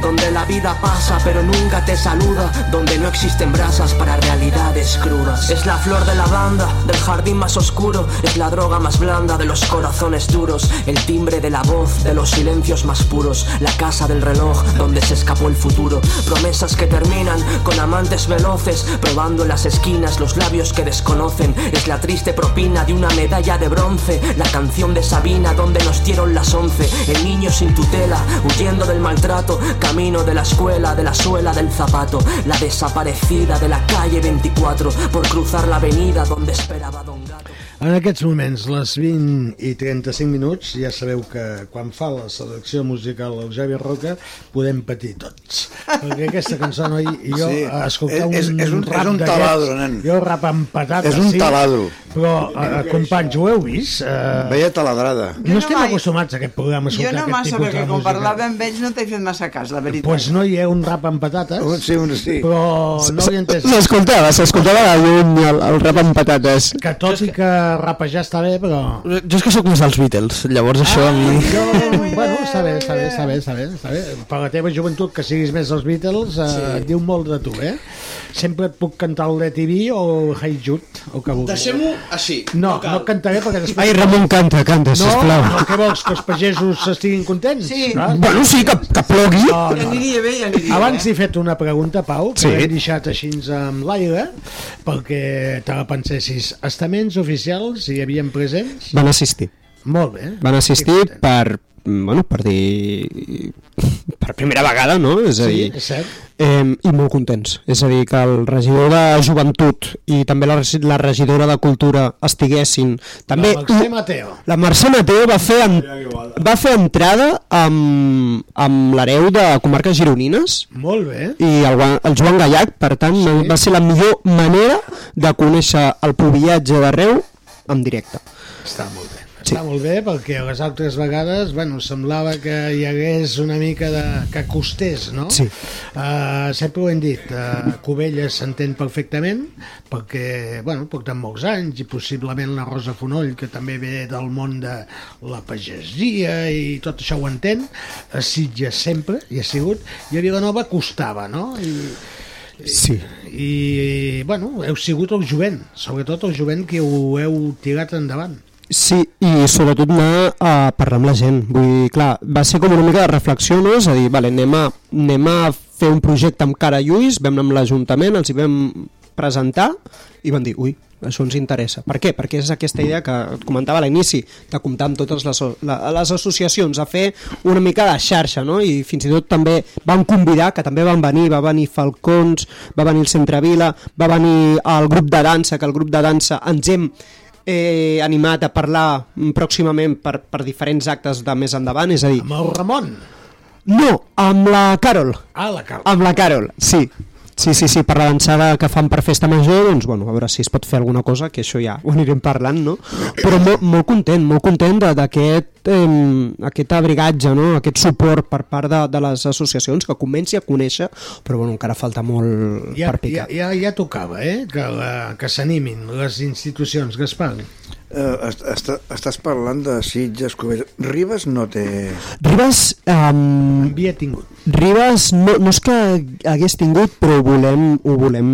C: donde la vida pasa pero nunca te saluda, donde no existen brasas para realidades crudas. Es la flor de la banda, del jardín más oscuro, es la droga más blanda de los corazones duros, el timbre de la voz, de los silencios más puros, la casa del reloj donde se escapó el futuro, promesas que terminan con amantes veloces, probando en las esquinas los labios que desconocen, es la triste propina de una medalla de bronce, la canción de Sabina donde nos dieron las once, el niño sin tutela, huyendo del maltrato, camino de la escuela, de la suela del zapato, la desaparecida de la calle 24, por cruzar la avenida donde esperaba Don Gato.
E: En aquests moments, les 20 i 35 minuts, ja sabeu que quan fa la selecció musical Eusebi Roca, podem patir tots. Perquè aquesta cançó, noi, i jo sí. escoltar un,
G: és, és un
E: rap
G: és un
E: d'aquests,
G: taladro, nen.
E: Jo rap amb patates,
G: És un
E: sí,
G: taladro.
E: Però, eh, companys, ho heu vist? Eh,
G: Veia taladrada.
E: no estem acostumats a aquest programa a
F: Jo
E: escoltar
F: no
E: aquest
F: massa,
E: tipus
F: perquè
E: de
F: quan
E: música.
F: parlava amb ells no t'he fet massa cas, la veritat.
E: Pues no hi ha un rap amb patates.
G: Sí, un sí.
E: Però no l'he entès.
A: S'escoltava, s'escoltava la llum, el, el rap amb patates.
E: Que tot i que rapejar està bé, però...
R: Jo és que sóc més dels Beatles, llavors això... Ah,
E: Jo, bueno, està bé, està bé, està bé, està bé, està bé. Per la teva joventut, que siguis més dels Beatles, eh, sí. et diu molt de tu, eh? Sempre et puc cantar el Let It Be o Hey Jude, o que vulguis.
D: Deixem-ho així.
E: No, no, no cantaré perquè després...
A: Ai, Ramon, canta, canta,
E: no,
A: sisplau.
E: no, què vols, que els pagesos estiguin contents? Ah.
F: Sí.
A: Bueno, sí, que, que plogui.
E: No,
F: Ja
E: no,
F: aniria bé, ja aniria
E: Abans
F: bé.
E: he fet una pregunta, Pau, que
A: Sí.
E: sí. l'he deixat així amb l'aire, perquè te la pensessis. Estaments oficials hi havien presents?
A: Van assistir.
E: Molt bé.
A: Van assistir per, mm, bueno, per dir... Per primera vegada, no? És a
E: Sí,
A: dir,
E: és cert.
A: Eh, I molt contents. És a dir, que el regidor de Joventut i també la, regi- la regidora de Cultura estiguessin... També,
E: La Mercè eh? Mateo.
A: La Mercè Mateo va fer, en, va fer entrada amb, amb l'hereu de comarques gironines
E: Molt bé.
A: i el, Gua- el Joan Gallac, per tant, sí. va ser la millor manera de conèixer el pobillatge d'arreu en directe.
E: Està molt bé. Sí. Està molt bé perquè les altres vegades bueno, semblava que hi hagués una mica de... que costés, no?
A: Sí.
E: Uh, sempre ho hem dit, uh, Covelles s'entén perfectament perquè bueno, porten molts anys i possiblement la Rosa Fonoll, que també ve del món de la pagesia i tot això ho entén, a Sitges sempre hi ha sigut, i a Vilanova costava, no? I,
A: Sí.
E: i bueno, heu sigut el jovent, sobretot el jovent que ho heu tirat endavant.
A: Sí, i sobretot anar a parlar amb la gent. Vull dir, clar, va ser com una mica de reflexió, no? És a dir, vale, anem a, anem a fer un projecte amb cara i ulls, vam anar amb l'Ajuntament, els hi vam presentar i van dir, ui, això ens interessa. Per què? Perquè és aquesta idea que et comentava a l'inici, de comptar amb totes les, la, les associacions, a fer una mica de xarxa, no? I fins i tot també van convidar, que també van venir, va venir Falcons, va venir el Centre Vila, va venir el grup de dansa, que el grup de dansa ens hem eh, animat a parlar mm, pròximament per, per diferents actes de més endavant, és a dir...
E: Amb el Ramon?
A: No, amb la Carol.
E: Ah, la Carol.
A: Amb la Carol, sí. Sí, sí, sí, per la dansada que fan per festa major, doncs, bueno, a veure si es pot fer alguna cosa, que això ja ho anirem parlant, no? Però molt, molt content, molt content de- d'aquest eh, aquest abrigatge, no? aquest suport per part de, de les associacions, que comenci a conèixer, però bueno, encara falta molt
E: Ja,
A: per picar.
E: ja, ja, ja tocava, eh? Que, la, que s'animin les institucions, Gaspar.
G: Eh, est- est- estàs parlant de Sitges, Covelles... Ribes no té...
A: Ribes... Um,
E: havia tingut.
A: Ribes, no, no és que hagués tingut, però ho volem, ho volem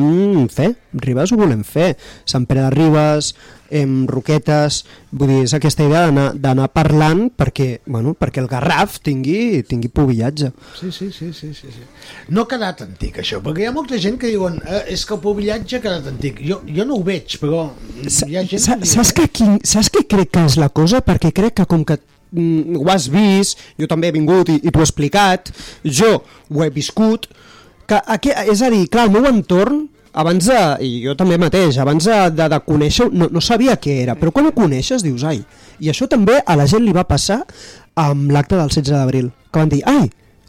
A: fer. Ribes ho volem fer. Sant Pere de Ribes, em, Roquetes... Vull dir, és aquesta idea d'anar- d'anar parlant perquè, bueno, perquè el Garraf tingui, tingui pobillatge.
E: Sí, sí, sí, sí, sí, sí. No ha quedat antic, això, perquè hi ha molta gent que diuen eh, és que el pobillatge ha quedat antic. Jo, jo no ho veig, però hi ha gent...
A: Sa-
E: que diu,
A: Saps que, quin, saps que crec que és la cosa? Perquè crec que com que mm, ho has vist, jo també he vingut i, i t'ho he explicat, jo ho he viscut, que aquí, és a dir, clar, el meu entorn abans de, i jo també mateix, abans de, de, de conèixer no, no sabia què era, però quan ho coneixes dius, ai, i això també a la gent li va passar amb l'acte del 16 d'abril, que van dir, ai,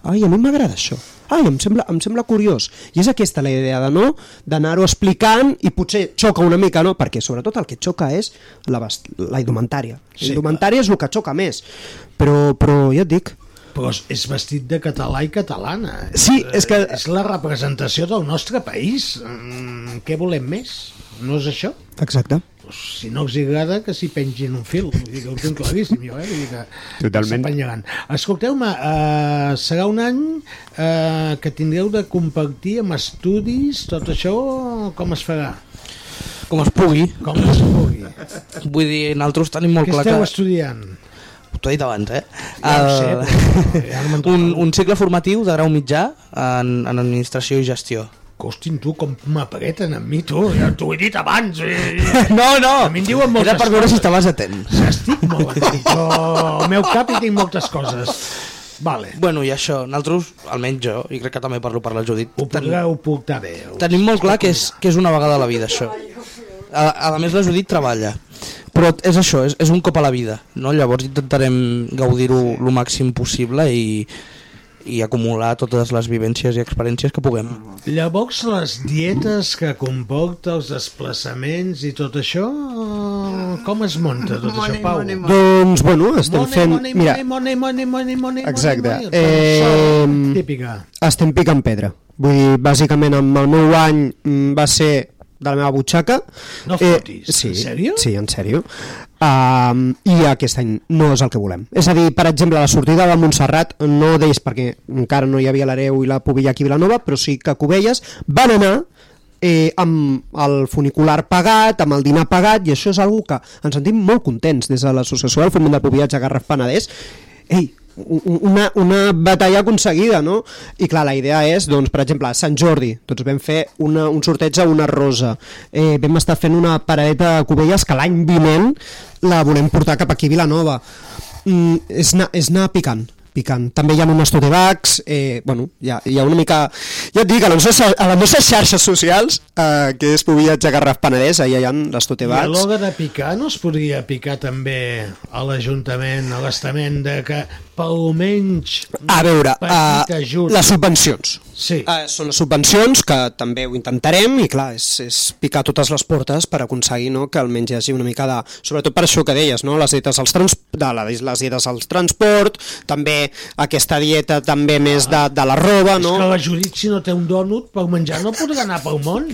A: ai, a mi m'agrada això, ai, em sembla, em sembla curiós, i és aquesta la idea de no d'anar-ho explicant i potser xoca una mica, no? Perquè sobretot el que xoca és la, vest- la indumentària,
E: Sí,
A: la indumentària és el que xoca més, però, però ja et dic,
E: Però és- és vestit de català i catalana.
A: Sí, és que-
E: Eh, És la representació del nostre país. Mm, què volem més? No és això?
A: exacte.
E: pues, si no els agrada, que s'hi pengin un fil. Vull dir que ho tinc claríssim, jo, eh? Vull dir que
A: Totalment.
E: s'apanyaran. Escolteu-me, eh, serà un any eh, que tindreu de compartir amb estudis, tot això, com es farà?
R: Com es pugui.
E: Com es pugui.
R: Vull dir, nosaltres tenim molt
E: Què
R: clar
E: esteu
R: que...
E: estudiant?
R: T'ho he dit abans, eh?
E: Ja ho sé,
R: El... un, un cicle formatiu de grau mitjà en, en administració i gestió.
E: Costin, tu, com m'apareten amb mi, tu. Ja t'ho he dit abans. Eh?
R: [LAUGHS] No, no!
E: A mi em diuen moltes
R: Era per veure si
E: coses.
R: estaves atent.
E: Estic molt atent, però al meu cap hi tinc moltes coses. Vale.
R: Bueno, i això, nosaltres, almenys jo, i crec que també parlo per la Judit,
E: Ho podreu portar bé.
R: Tenim molt clar que és, que és una vegada a la vida, això. A, a més, la Judit treballa. Però és això, és, és un cop a la vida. No? Llavors intentarem gaudir-ho el màxim possible i, i acumular totes les vivències i experiències que puguem.
E: Llavors, les dietes que comporta, els desplaçaments i tot això, eh, com es munta tot això, Pau?
A: Doncs, bueno, estem
E: Money,
A: fent...
E: money,
A: mira,
E: money, money, money, money, money,
A: Exacte.
E: money,
A: Eh,
E: Típica.
A: Estem picant pedra. Vull dir, bàsicament amb el meu any mm, va ser de la meva butxaca.
E: No
A: fotis, sí, en sèrio? Sí, en sèrio. Um, I aquest any no és el que volem. És a dir, per exemple, la sortida de Montserrat, no deies perquè encara no hi havia l'Areu i la Pobilla aquí a Vilanova, però sí que a Cubelles van anar eh, amb el funicular pagat, amb el dinar pagat, i això és algo que ens sentim molt contents des de l'Associació del Foment del Pobillatge Garraf Penedès. Ei, u- u- una, una batalla aconseguida, no? I clar, la idea és, doncs, per exemple, a Sant Jordi, doncs vam fer una, un sorteig a una rosa, eh, vam estar fent una paradeta de Covelles que l'any vinent la volem portar cap aquí a Vilanova. Mm, és, anar, és anar picant, picant. També hi ha unes tote bags, eh, bueno, hi ha, hi ha una mica... Ja et dic, a les nostres, a les nostres xarxes socials, eh, que és Pobillatge Garraf Penedès, allà hi ha les tote
E: I a
A: bags.
E: l'hora de picar no es podria picar també a l'Ajuntament, a l'estament de que pel menys
A: A veure,
E: petit
A: uh,
E: ajut.
A: les subvencions.
E: Sí.
R: Ah,
A: Uh, són les subvencions que també ho intentarem i clar, és, és picar totes les portes per aconseguir no, que almenys hi hagi una mica de... Sobretot per això que deies, no? les, dietes als trans... de la, les dietes al transport, també aquesta dieta també més de, de la roba, no?
E: És que la Judit, si no té un dònut per menjar, no podrà anar pel món.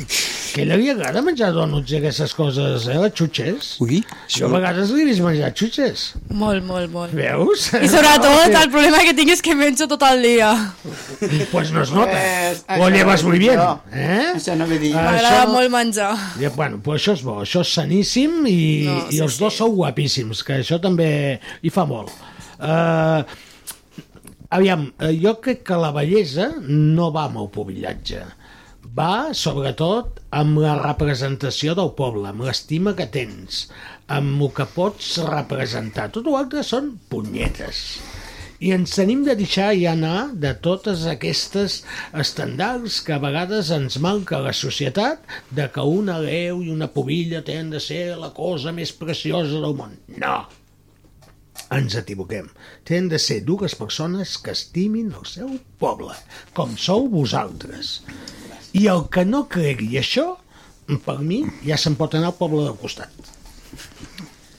E: Que a ella li agrada menjar dònuts i aquestes coses, eh, les xutxes.
A: Ui,
E: jo a vegades li he vist menjar xutxes.
F: [LAUGHS]
Q: Molt, molt, molt.
E: Veus?
Q: I sobretot el problema que tinc és que menjo tot el dia.
E: Pues Doncs no es nota.
F: Pues,
E: Ho
F: això
E: llevas
F: no,
E: muy bien.
F: no.
E: Eh?
F: Això no me digui.
Q: M'agrada molt menjar.
E: Ja, bueno, però això és bo, això és saníssim i, no, sí, i els dos sou guapíssims, que això també hi fa molt. Uh, aviam, eh, jo crec que la bellesa no va amb el pobillatge, va sobretot amb la representació del poble, amb l'estima que tens, amb el que pots representar. Tot l'altre són punyetes. I ens tenim de deixar i anar de totes aquestes estandards que a vegades ens manca a la societat de que una leu i una pobilla tenen de ser la cosa més preciosa del món. No! Ens equivoquem. Tenen de ser dues persones que estimin el seu poble, com sou vosaltres. I el que no cregui això, per mi, ja se'n pot anar al poble del costat.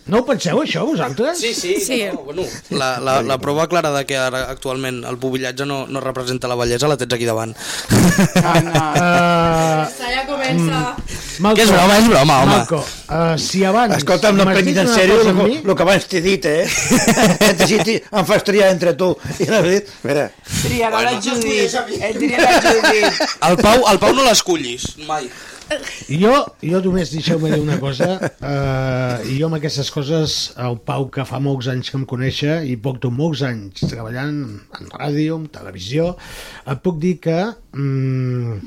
E: No ho penseu, això, vosaltres?
R: Sí, sí,
Q: Sí.
R: No, bueno, la, la, la prova clara de que ara actualment el pobillatge no, no representa la bellesa la tens aquí davant. [LAUGHS]
E: Uh,
Q: Ja comença...
E: mm. Malco,
R: Que és broma, és broma, home.
E: Malco, uh, si abans...
G: Escolta'm, no em prenguis en sèrio el, que- el que abans t'he dit,
E: [LAUGHS]
G: eh? Et dit, em fas triar entre tu. I l'has dit, a veure,
F: Triarà la Judit. Ell triarà la Judit.
R: El Pau, el Pau no l'escullis, mai.
E: Jo, jo només deixeu-me dir una cosa. Uh, jo amb aquestes coses, el Pau, que fa molts anys que em coneixer i porto molts anys treballant en ràdio, en televisió, et puc dir que mm,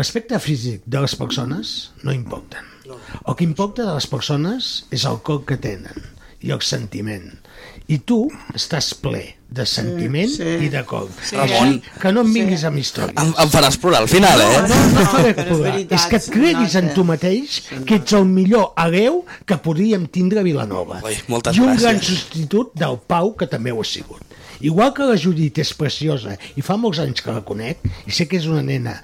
E: l'aspecte físic de les persones no importen. El que importa de les persones és el cor que tenen i el sentiment. I tu estàs ple de sentiment sí, sí. i de cor.
R: Sí.
E: Així que no em vinguis sí. amb històries.
R: Em, em faràs plorar al final, eh?
E: No, no, no, faré
F: és
E: plorar.
F: veritat,
E: És que et creguis en tu mateix que ets el millor hereu que podríem tindre a Vilanova.
R: Ui, moltes
E: I un
R: gràcies.
E: gran substitut del Pau, que també ho ha sigut. Igual que la Judit és preciosa i fa molts anys que la conec i sé que és una nena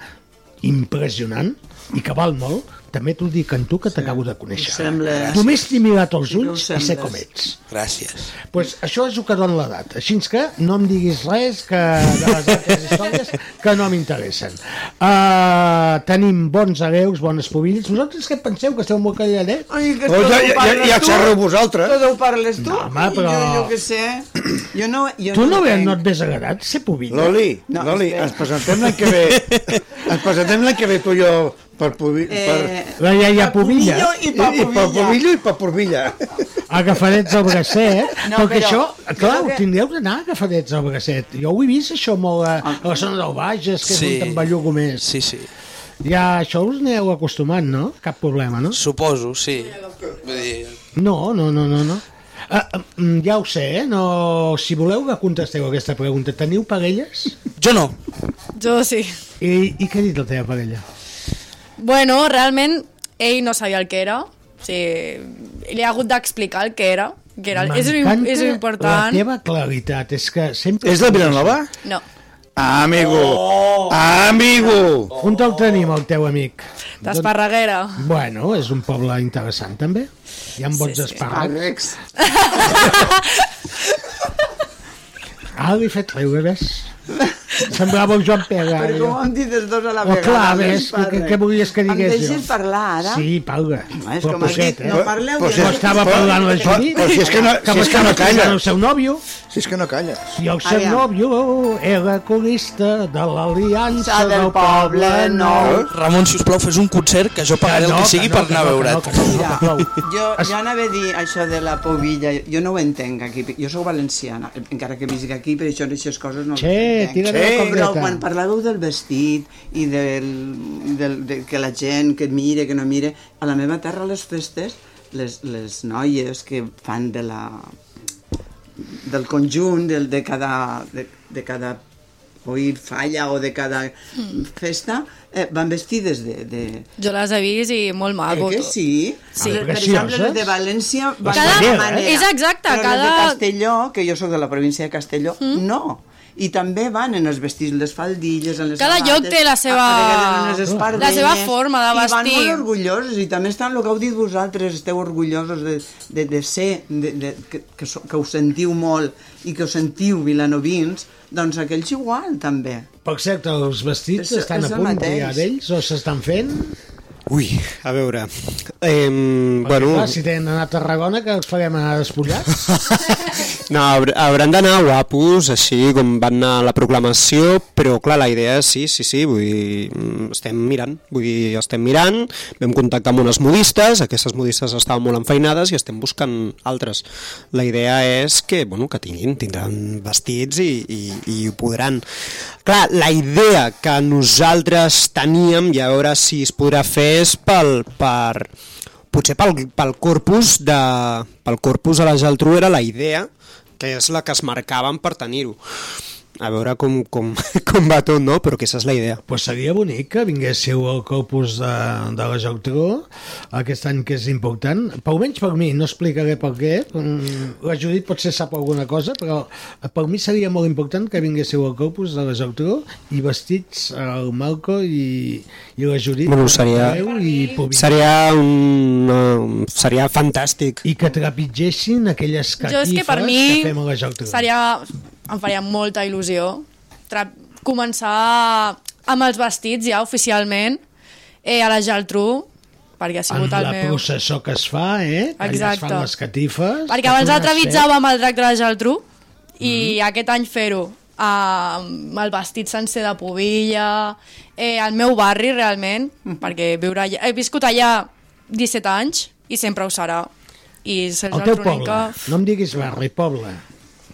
E: impressionant i que val molt, també t'ho dic en tu que t'acabo de conèixer.
F: sembla.
E: Només t'he mirat els
F: Sí que ho
E: ulls i sé
F: sembles.
E: com ets.
R: Gràcies.
E: Pues això és el que dona l'edat. Així que no em diguis res que de les
F: [LAUGHS]
E: altres històries que no m'interessen. Uh, tenim bons hereus, bones pobilles. Vosaltres què penseu, que esteu molt calladets?
F: Ai, que
E: Oh,
F: tot
E: ja-
F: ho
E: ja-
F: parles
E: ja- ja
F: tu.
E: xerreu vosaltres.
F: Tot ho parles tu.
E: No, home,
F: i
E: però-
F: Jo, jo què sé. Jo no, jo
E: Tu no,
F: ho
E: ve,
F: entenc.
E: no et ves agradat ser pobilla?
G: Loli,
F: No,
G: Loli,
F: espera.
G: ens presentem l'any que ve. ens presentem l'any que ve tu i jo per Pubi...
F: Eh,
G: per...
E: La iaia pobilla.
G: I, i per Pubillo i per Purbilla.
E: Agafadets al bracet,
G: No,
E: no, perquè
G: però-
E: això, clar,
G: jo
E: ho
G: que-
E: tindreu d'anar agafadets al bracet. Jo ho he vist, això, molt a, a la zona del Bages, que sí.
R: Sí.
E: és on te'n bellugo més.
R: Sí, sí.
E: Ja, això us aneu acostumant, no? Cap problema, no?
R: Suposo, sí. Vull dir,
E: No, no, no, no, no. Ah, ah, mm, ja ho sé, eh? No... Si voleu que contesteu aquesta pregunta, teniu parelles?
R: Jo no.
Q: Jo sí.
E: I, i què ha dit la teva parella?
Q: Bueno, realment ell no sabia el que era. O sigui, li ha hagut d'explicar el que era. Que era és, lo-
E: M'encanta
Q: és lo important.
E: La teva claritat, és que sempre...
G: És de Vilanova?
Q: No.
G: Amigo! Amigo!
E: On te'l tenim, el teu amic?
Q: D'Esparreguera.
E: Bueno, és un poble interessant, també. Hi ha bons sí, sí. espàrrecs. Ah, li he fet riure, ves? Semblava el Joan Pega.
F: Però com hem dit els dos a la
E: Oh,
F: vegada?
E: clar,
F: no
E: ves,
F: es parla.
E: què- què volies que digués
F: Em deixes
E: jo?
F: parlar ara?
E: Sí, parla. No,
F: és com has dit, no parleu,
E: eh? Però,
F: jo no-
E: però estava
F: Però-
E: parlant la
F: però-
E: Judit.
F: però si és que no- si és que no
E: m'estava
F: calla.
E: explicant El seu nòvio.
G: Si és que no calles.
E: I el seu
F: Aviam.
E: nòvio era corista de l'Aliança
F: Sa del
E: del Poble
F: Poble
E: Nou.
R: Ramon, si us plau, fes un concert que jo pagaré
E: Que no,
R: el
E: que
R: que sigui
E: no,
R: per
E: que
R: anar a
E: no, que
R: veure't.
E: no, que no, que no.
F: Jo, jo anava a dir això de la pobilla, jo no ho entenc aquí, jo sóc valenciana, encara que visc aquí, per això aquestes coses no
E: Che,
F: les
E: tira
F: entenc.
E: de la
F: però
E: cobreta.
F: quan parlàveu del vestit i del, del, de, que la gent que mira, que no mira, a la meva terra a les festes, les, les noies que fan de la, del conjunt, del, de cada, de, de cada oir falla o de cada festa, eh, van vestides de, de,
Q: Jo les he vist i molt maco.
F: Eh que
Q: tot.
F: sí?
Q: Sí.
F: Per
Q: Precioses.
F: exemple, les de València van
Q: Ah, Cada- eh?
F: cada... manera.
Q: és exacte,
F: Però les de
Q: cada-
F: Castelló, que jo sóc de la província de Castelló, mm? no. I també van en els vestits, les faldilles, en les
Q: Cada
F: sabates,
Q: lloc té la seva-
F: a vegades en les espardelles,
Q: la seva forma de
F: I van
Q: vestir.
F: molt orgullosos, i també estan el que heu dit vosaltres, esteu orgullosos de, de, de ser, de, de, que, que, so, que ho sentiu molt i que ho sentiu vilanovins, doncs aquells igual, també.
E: Per cert, els vestits
F: És-
E: estan
F: és
E: a
F: el
E: punt
F: mateix.
E: ja d'ells o s'estan fent?
A: Ui, a veure... Eh, bueno,
E: Clar, si tenen anar a Tarragona, que els farem anar despullats.
A: no, haur- hauran d'anar guapos, així com van anar a la proclamació, però clar, la idea és, sí, sí, sí, vull dir, mm, estem mirant, vull dir, estem mirant, vam contactar amb unes modistes, aquestes modistes estaven molt enfeinades i estem buscant altres. La idea és que, bueno, que tinguin, tindran vestits i, i, i ho podran. Clar, la idea que nosaltres teníem, i a veure si es podrà fer, és pel, per, potser pel, pel corpus de, pel corpus a la Geltrú era la idea que és la que es marcaven per tenir-ho [LAUGHS] a veure com, com, [LAUGHS] com va tot, no? Però aquesta és la idea.
E: pues seria bonic que vinguéssiu al corpus de, de la Jautró aquest any que és important. Pel menys per mi, no explicaré per què. Mm, La Judit potser sap alguna cosa, però per mi seria molt important que vinguéssiu al corpus de la Jautró i vestits el Malco i, i la Judit.
A: Bueno, seria-
E: Andreu I Pubi.
A: Seria un... eh, seria fantàstic.
E: I que trepitgessin aquelles
Q: Jo
E: catifes
Q: és que per
E: que fem a la
Q: mi
E: Jautró.
Q: seria, em faria molta il·lusió tra- començar amb els vestits ja oficialment eh, a la Geltrú, perquè ha
E: amb
Q: sigut el
E: la
Q: meu...
E: processó que es fa, eh? Allà es
Q: Exacte.
E: fan les catifes.
Q: Perquè abans la
E: trepitjava...
Q: trepitjàvem el drac de la Geltrú i aquest any fer-ho eh, amb el vestit sencer de pubilla, eh, el meu barri realment, perquè viure allà, he viscut allà 17 anys i sempre ho serà. I ser
E: El teu
Q: geltrúnica-
E: poble, no em diguis barri, poble.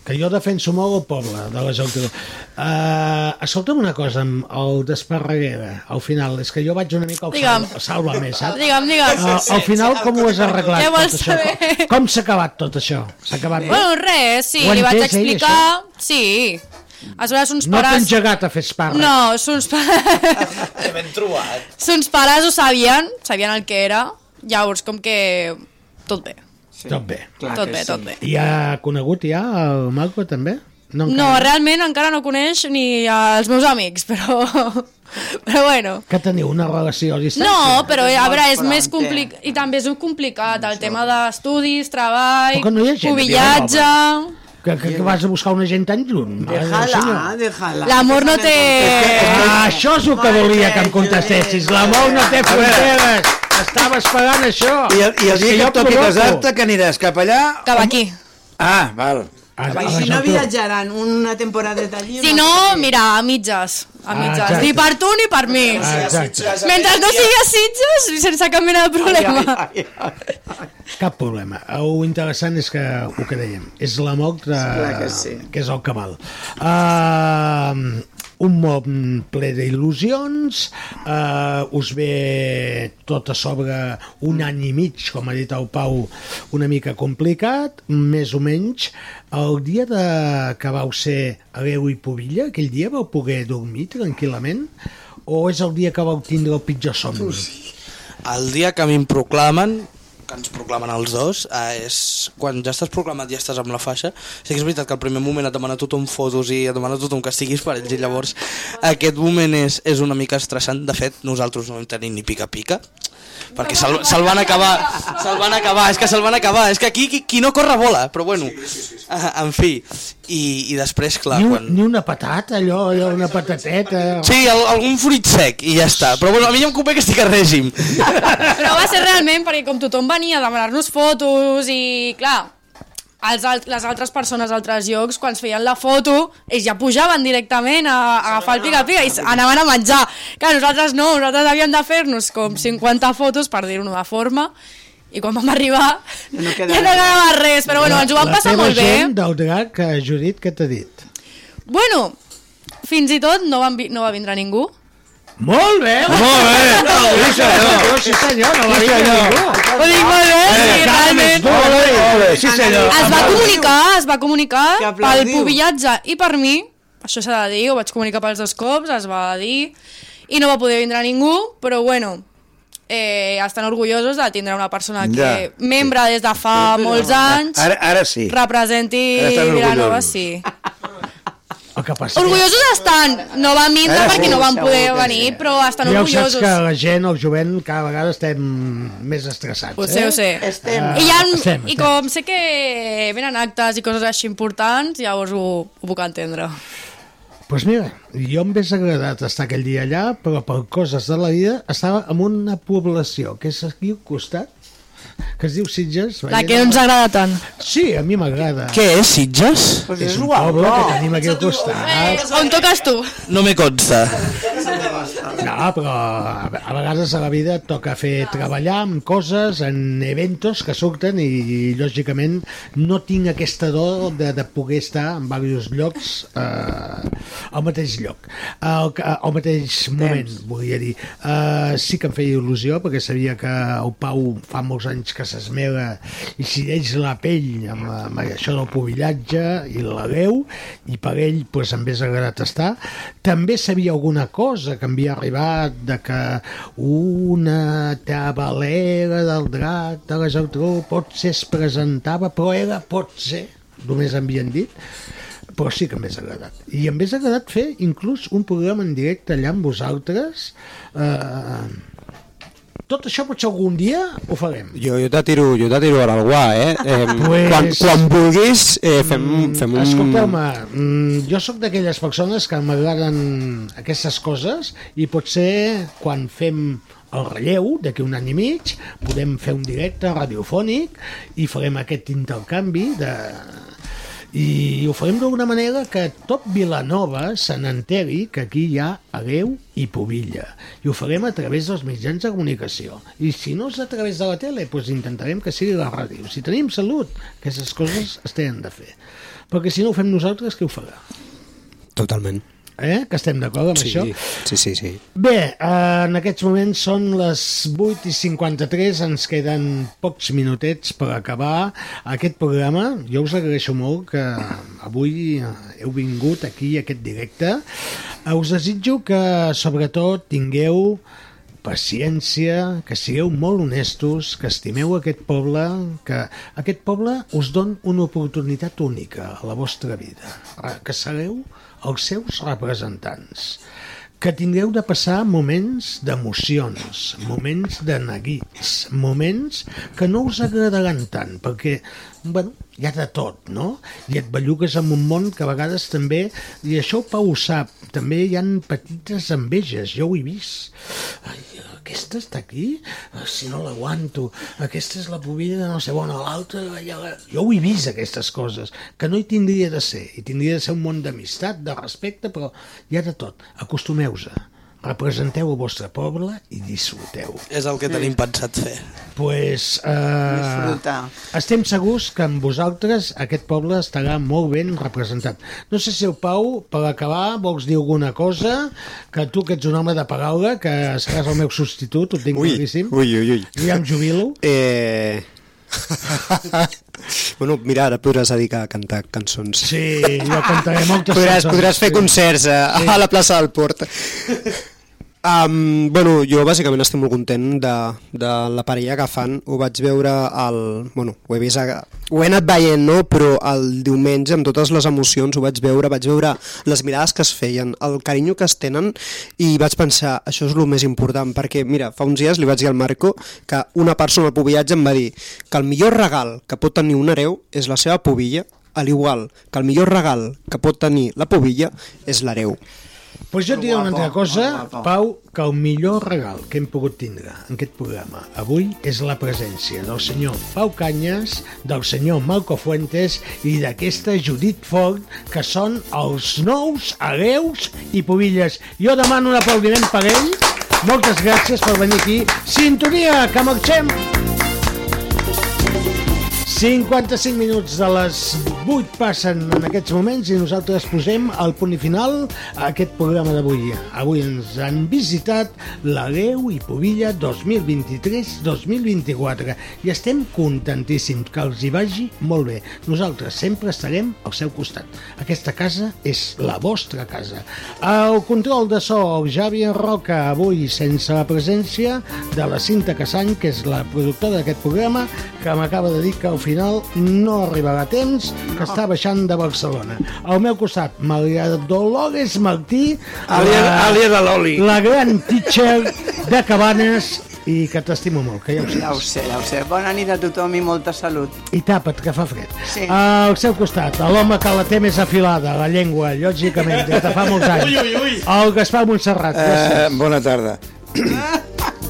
E: Que jo defenso molt el poble de la Geltrú. Uh, escolta'm una cosa, amb el d'Esparreguera, al final, és que jo vaig una mica al
Q: Digue'm.
E: salva, salva més, saps?
Q: Digue'm, digue'm.
E: Eh, al final, com ho has arreglat
Q: Què vols
E: tot això?
Q: saber?
E: Com- Com s'ha acabat tot això? S'ha acabat bé?
Q: Bueno, res, sí,
E: Ho
Q: li vaig
E: entès, ell,
Q: explicar... sí. Aleshores, uns
E: No t'ha
Q: pares...
E: engegat a fer espàrrecs?
Q: No, sons [LAUGHS] pares...
E: ben trobat.
Q: sons pares ho sabien, sabien el que era. Llavors, com que... Tot bé.
E: Sí. Tot bé.
Q: Clar Tot que bé, sí. tot bé.
E: I ha conegut ja el Malco, també?
Q: No,
E: encara.
Q: realment encara no coneix ni els meus amics, però... [LAUGHS] Però bueno.
E: Que teniu una relació a distància?
Q: No, però eh, a veure, és
E: eh?
Q: més complicat, i també és un complicat, el tema d'estudis, treball,
E: Però que no hi ha gent,
Q: cubillatge...
E: Que, que, que vas a buscar una gent tan lluny? mare del senyor.
F: déjala.
Q: L'amor no té...
E: Ah, això és el que volia que em contestessis. L'amor no té
G: A veure.
E: fronteres. Estaves pagant això.
G: I el, i el
E: És
G: dia que
E: jo
G: et toqui
E: provoco.
G: casar-te, que aniràs cap allà...
Q: Cap aquí.
G: Ah, val.
F: I si no viatjaran una temporada d'allí...
Q: Si no, mira, a mitges. A mitges.
F: exacte.
Q: ni per tu ni per mi.
E: Ah, exacte.
Q: Mentre no sigui a Sitges, sense cap mena de problema.
E: Cap problema. El interessant és que ho que dèiem, és la moc de...
F: Clar que sí.
E: que és el que val. Uh, un món ple d'il·lusions, uh, us ve tot a sobre un any i mig, com ha dit el Pau, una mica complicat, més o menys. El dia de, que vau ser a Déu i Pobilla, aquell dia vau poder dormir tranquil·lament? O és el dia que vau tindre el pitjor somni?
R: El dia que a mi em proclamen, que ens proclamen els dos, eh, és quan ja estàs proclamat i ja estàs amb la faixa. Sí que és veritat que al primer moment et demana tothom fotos i et demana tothom que estiguis per ells i llavors aquest moment és, és una mica estressant. De fet, nosaltres no vam tenir ni pica-pica, perquè se'l se van acabar, se'l van acabar, és que se'l van acabar, és que aquí qui, qui no corre vola, però bueno, Ah, en fi, i, i després, clar,
E: Ni, un-
R: quan...
E: ni una patata, allò, allò una patateta...
R: Sí, al, algun fruit sec i ja està, però bueno, a mi ja em convé que estic a règim.
Q: [LAUGHS] Però va ser realment perquè com tothom venia a demanar-nos fotos i, clar, els, alt- les altres persones a altres llocs, quan es feien la foto, ells ja pujaven directament a, a agafar el pica-pica i s- anaven a menjar. Clar, nosaltres no, nosaltres havíem de fer-nos com 50 fotos, per dir-ho de forma, i quan vam arribar
F: no
Q: ja no quedava res, però bueno, ens ho vam passar molt
E: La teva
Q: bé.
E: gent del drac, eh, Judit, què t'ha dit?
Q: Bueno, fins i tot no, van vi no va vindre ningú.
E: Molt bé! Molt bé! Sí, senyor! Sí, senyor! No l'ha dit ningú!
Q: Ho dic molt bé, sí, realment.
G: Molt bé, molt bé, sí senyor.
Q: Es va comunicar, es va comunicar pel
G: aplaudiu.
Q: pubillatge i per mi, això s'ha de dir, ho vaig comunicar pels dos cops, es va dir, i no va poder vindre ningú, però bueno, eh, estan orgullosos de tindre una persona que,
G: Ja.
Q: membre des de fa molts anys,
G: Ara, ara sí.
Q: representi
G: Ara estan orgullosos.
Q: Vilanova, sí.
E: El que passa
Q: Orgullosos estan, no van vindre
E: Ara
Q: perquè
E: sí,
Q: no van
E: segur
Q: poder
E: que
Q: venir, però estan
E: ja ho saps que
Q: orgullosos.
E: la gent, el jovent, cada vegada estem més estressats.
Q: Ho sé,
E: eh?
Q: ho sé.
E: Estem.
Q: I, ha,
E: Ah, Estem,
Q: I
E: estem.
Q: com sé que venen actes i coses així importants, llavors ho, ho puc entendre.
E: pues mira, jo em hauria agradat estar aquell dia allà, però per coses de la vida estava en una població que és aquí al costat, que es diu Sitges.
Q: La que no ens agrada tant.
E: Sí, a mi m'agrada.
R: Què és Sitges?
E: Pues és, un poble que tenim aquí al costat.
Q: On toques tu?
R: No me consta.
E: No, però a a vegades a la vida et toca fer treballar amb coses, en eventos que surten i, lògicament no tinc aquesta do de, de poder estar en diversos llocs eh, al mateix lloc, eh, al, al mateix moment, volia dir. Eh, sí que em feia il·lusió perquè sabia que el Pau fa molts anys que s'esmera i s'hi lleix la pell amb, la- amb això del pobillatge i la veu i per ell pues, em hauria agradat estar. També sabia alguna cosa que em havia arribat de que una tabalera del drac de la Gertrú potser es presentava, però era potser, només em havien dit, però sí que m'hés agradat. I em hauria agradat fer inclús un programa en directe allà amb vosaltres. Eh, tot això potser algun dia ho farem.
A: Jo, jo te tiro, jo te tiro ara al guà,
E: [LAUGHS]
A: eh? eh
E: Pues-
A: quan, quan vulguis eh, fem, fem un...
E: Escolteu-me, mm, jo sóc d'aquelles persones que m'agraden aquestes coses i potser quan fem el relleu d'aquí un any i mig podem fer un directe radiofònic i farem aquest intercanvi de... i ho farem d'alguna manera que tot Vilanova se n'enteri que aquí hi ha Areu i Pobilla i ho farem a través dels mitjans de comunicació i si no és a través de la tele doncs intentarem que sigui la ràdio si tenim salut, aquestes coses es tenen de fer perquè si no ho fem nosaltres, qui ho farà?
A: Totalment.
E: Eh? Que estem d'acord amb
A: Sí,
E: això?
A: sí, sí, sí.
E: Bé, eh, en aquests moments són les 8 i 53, ens queden pocs minutets per acabar aquest programa. Jo us agraeixo molt que avui heu vingut aquí a aquest directe. Eh, Us desitjo que, sobretot, tingueu paciència, que sigueu molt honestos, que estimeu aquest poble, que aquest poble us don una oportunitat única a la vostra vida, eh, que sereu els seus representants que tingueu de passar moments d'emocions, moments de neguits, moments que no us agradaran tant, perquè bueno, hi ha de tot, no? I et bellugues amb un món que a vegades també, i això el Pau ho sap, també hi han petites enveges, jo ho he vist. Ai, aquesta està aquí? Eh, Si no l'aguanto. Aquesta és la pobilla de no sé on, l'altra... ja la- Jo ho he vist, aquestes coses, que no hi tindria de ser. Hi tindria de ser un món d'amistat, de respecte, però hi ha de tot. Acostumeu-se. Representeu el vostre poble i disfruteu.
W: És el que tenim pensat fer.
E: pues, eh,
F: Disfrutar.
E: estem segurs que amb vosaltres aquest poble estarà molt ben representat. No sé si el Pau, per acabar, vols dir alguna cosa, que tu que ets un home de paraula, que seràs el meu substitut, ho tinc
A: Ui,
E: claríssim.
A: ui, ui, ui.
E: Jo ja em jubilo.
A: Eh... bueno, mira, ara podràs dedicar a cantar cançons.
E: Sí, jo cantaré moltes
A: podràs,
E: cançons,
A: Podràs fer
E: sí.
A: concerts a,
E: Sí.
A: a la plaça del Port. Um, bueno, jo bàsicament estic molt content de, de la parella que fan. Ho vaig veure al... Bueno, ho he vist... A, ho he anat veient, no? Però el diumenge, amb totes les emocions, ho vaig veure. Vaig veure les mirades que es feien, el carinyo que es tenen i vaig pensar, això és el més important perquè, mira, fa uns dies li vaig dir al Marco que una persona al pobillatge em va dir que el millor regal que pot tenir un hereu és la seva pobilla, a l'igual que el millor regal que pot tenir la pobilla és l'hereu.
E: Pues jo et diré una
A: Guapo,
E: altra cosa,
A: molt guapo.
E: Pau, que el millor regal que hem pogut tindre en aquest programa avui és la presència del senyor Pau Canyes, del senyor Malco Fuentes i d'aquesta Judit Ford, que són els nous hereus i pobilles. Jo demano un aplaudiment per ell. Moltes gràcies per venir aquí. Sintonia, que marxem! 55 minuts de les 8 passen en aquests moments i nosaltres posem el punt i final a aquest programa d'avui. Avui ens han visitat la Déu i Pobilla 2023-2024 i estem contentíssims que els hi vagi molt bé. Nosaltres sempre estarem al seu costat. Aquesta casa és la vostra casa. El control de so, el Javi Roca, avui sense la presència de la Cinta Casany, que és la productora d'aquest programa, que m'acaba de dir que al final no arribarà a temps, que està baixant de Barcelona. Al meu costat, Maria Dolores Martí,
G: Àlia- àlia de l'oli.
E: la gran teacher de Cabanes, i que t'estimo molt, que ja ho saps.
F: Ja ho sé, ja ho sé. Bona nit a tothom i molta salut.
E: I tapa't, que fa fred.
F: Sí.
E: Al seu costat, a l'home que la té més afilada, la llengua, lògicament, des de fa molts anys.
G: Ui, ui, ui.
E: El Gaspar Montserrat.
G: Eh,
E: gràcies.
G: bona tarda.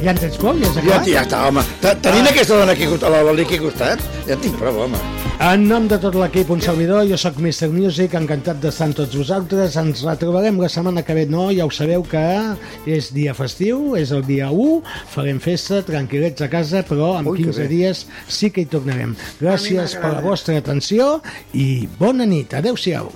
E: Ja en tens prou? Ja has
G: Ja,
E: acabat?
G: ja està, home. Te-
E: Ah.
G: Tenint aquesta dona aquí, a la Loli aquí al costat, ja tinc prou, home.
E: En nom de tot l'equip, un servidor, jo sóc Mr. Music, encantat d'estar amb tots vosaltres. Ens retrobarem la setmana que ve, no? Ja ho sabeu que és dia festiu, és el dia 1, farem festa, tranquil·lets a casa, però en
G: Ui, que
E: 15
G: bé.
E: dies sí que hi tornarem. Gràcies per la vostra atenció i bona nit. Adéu-siau.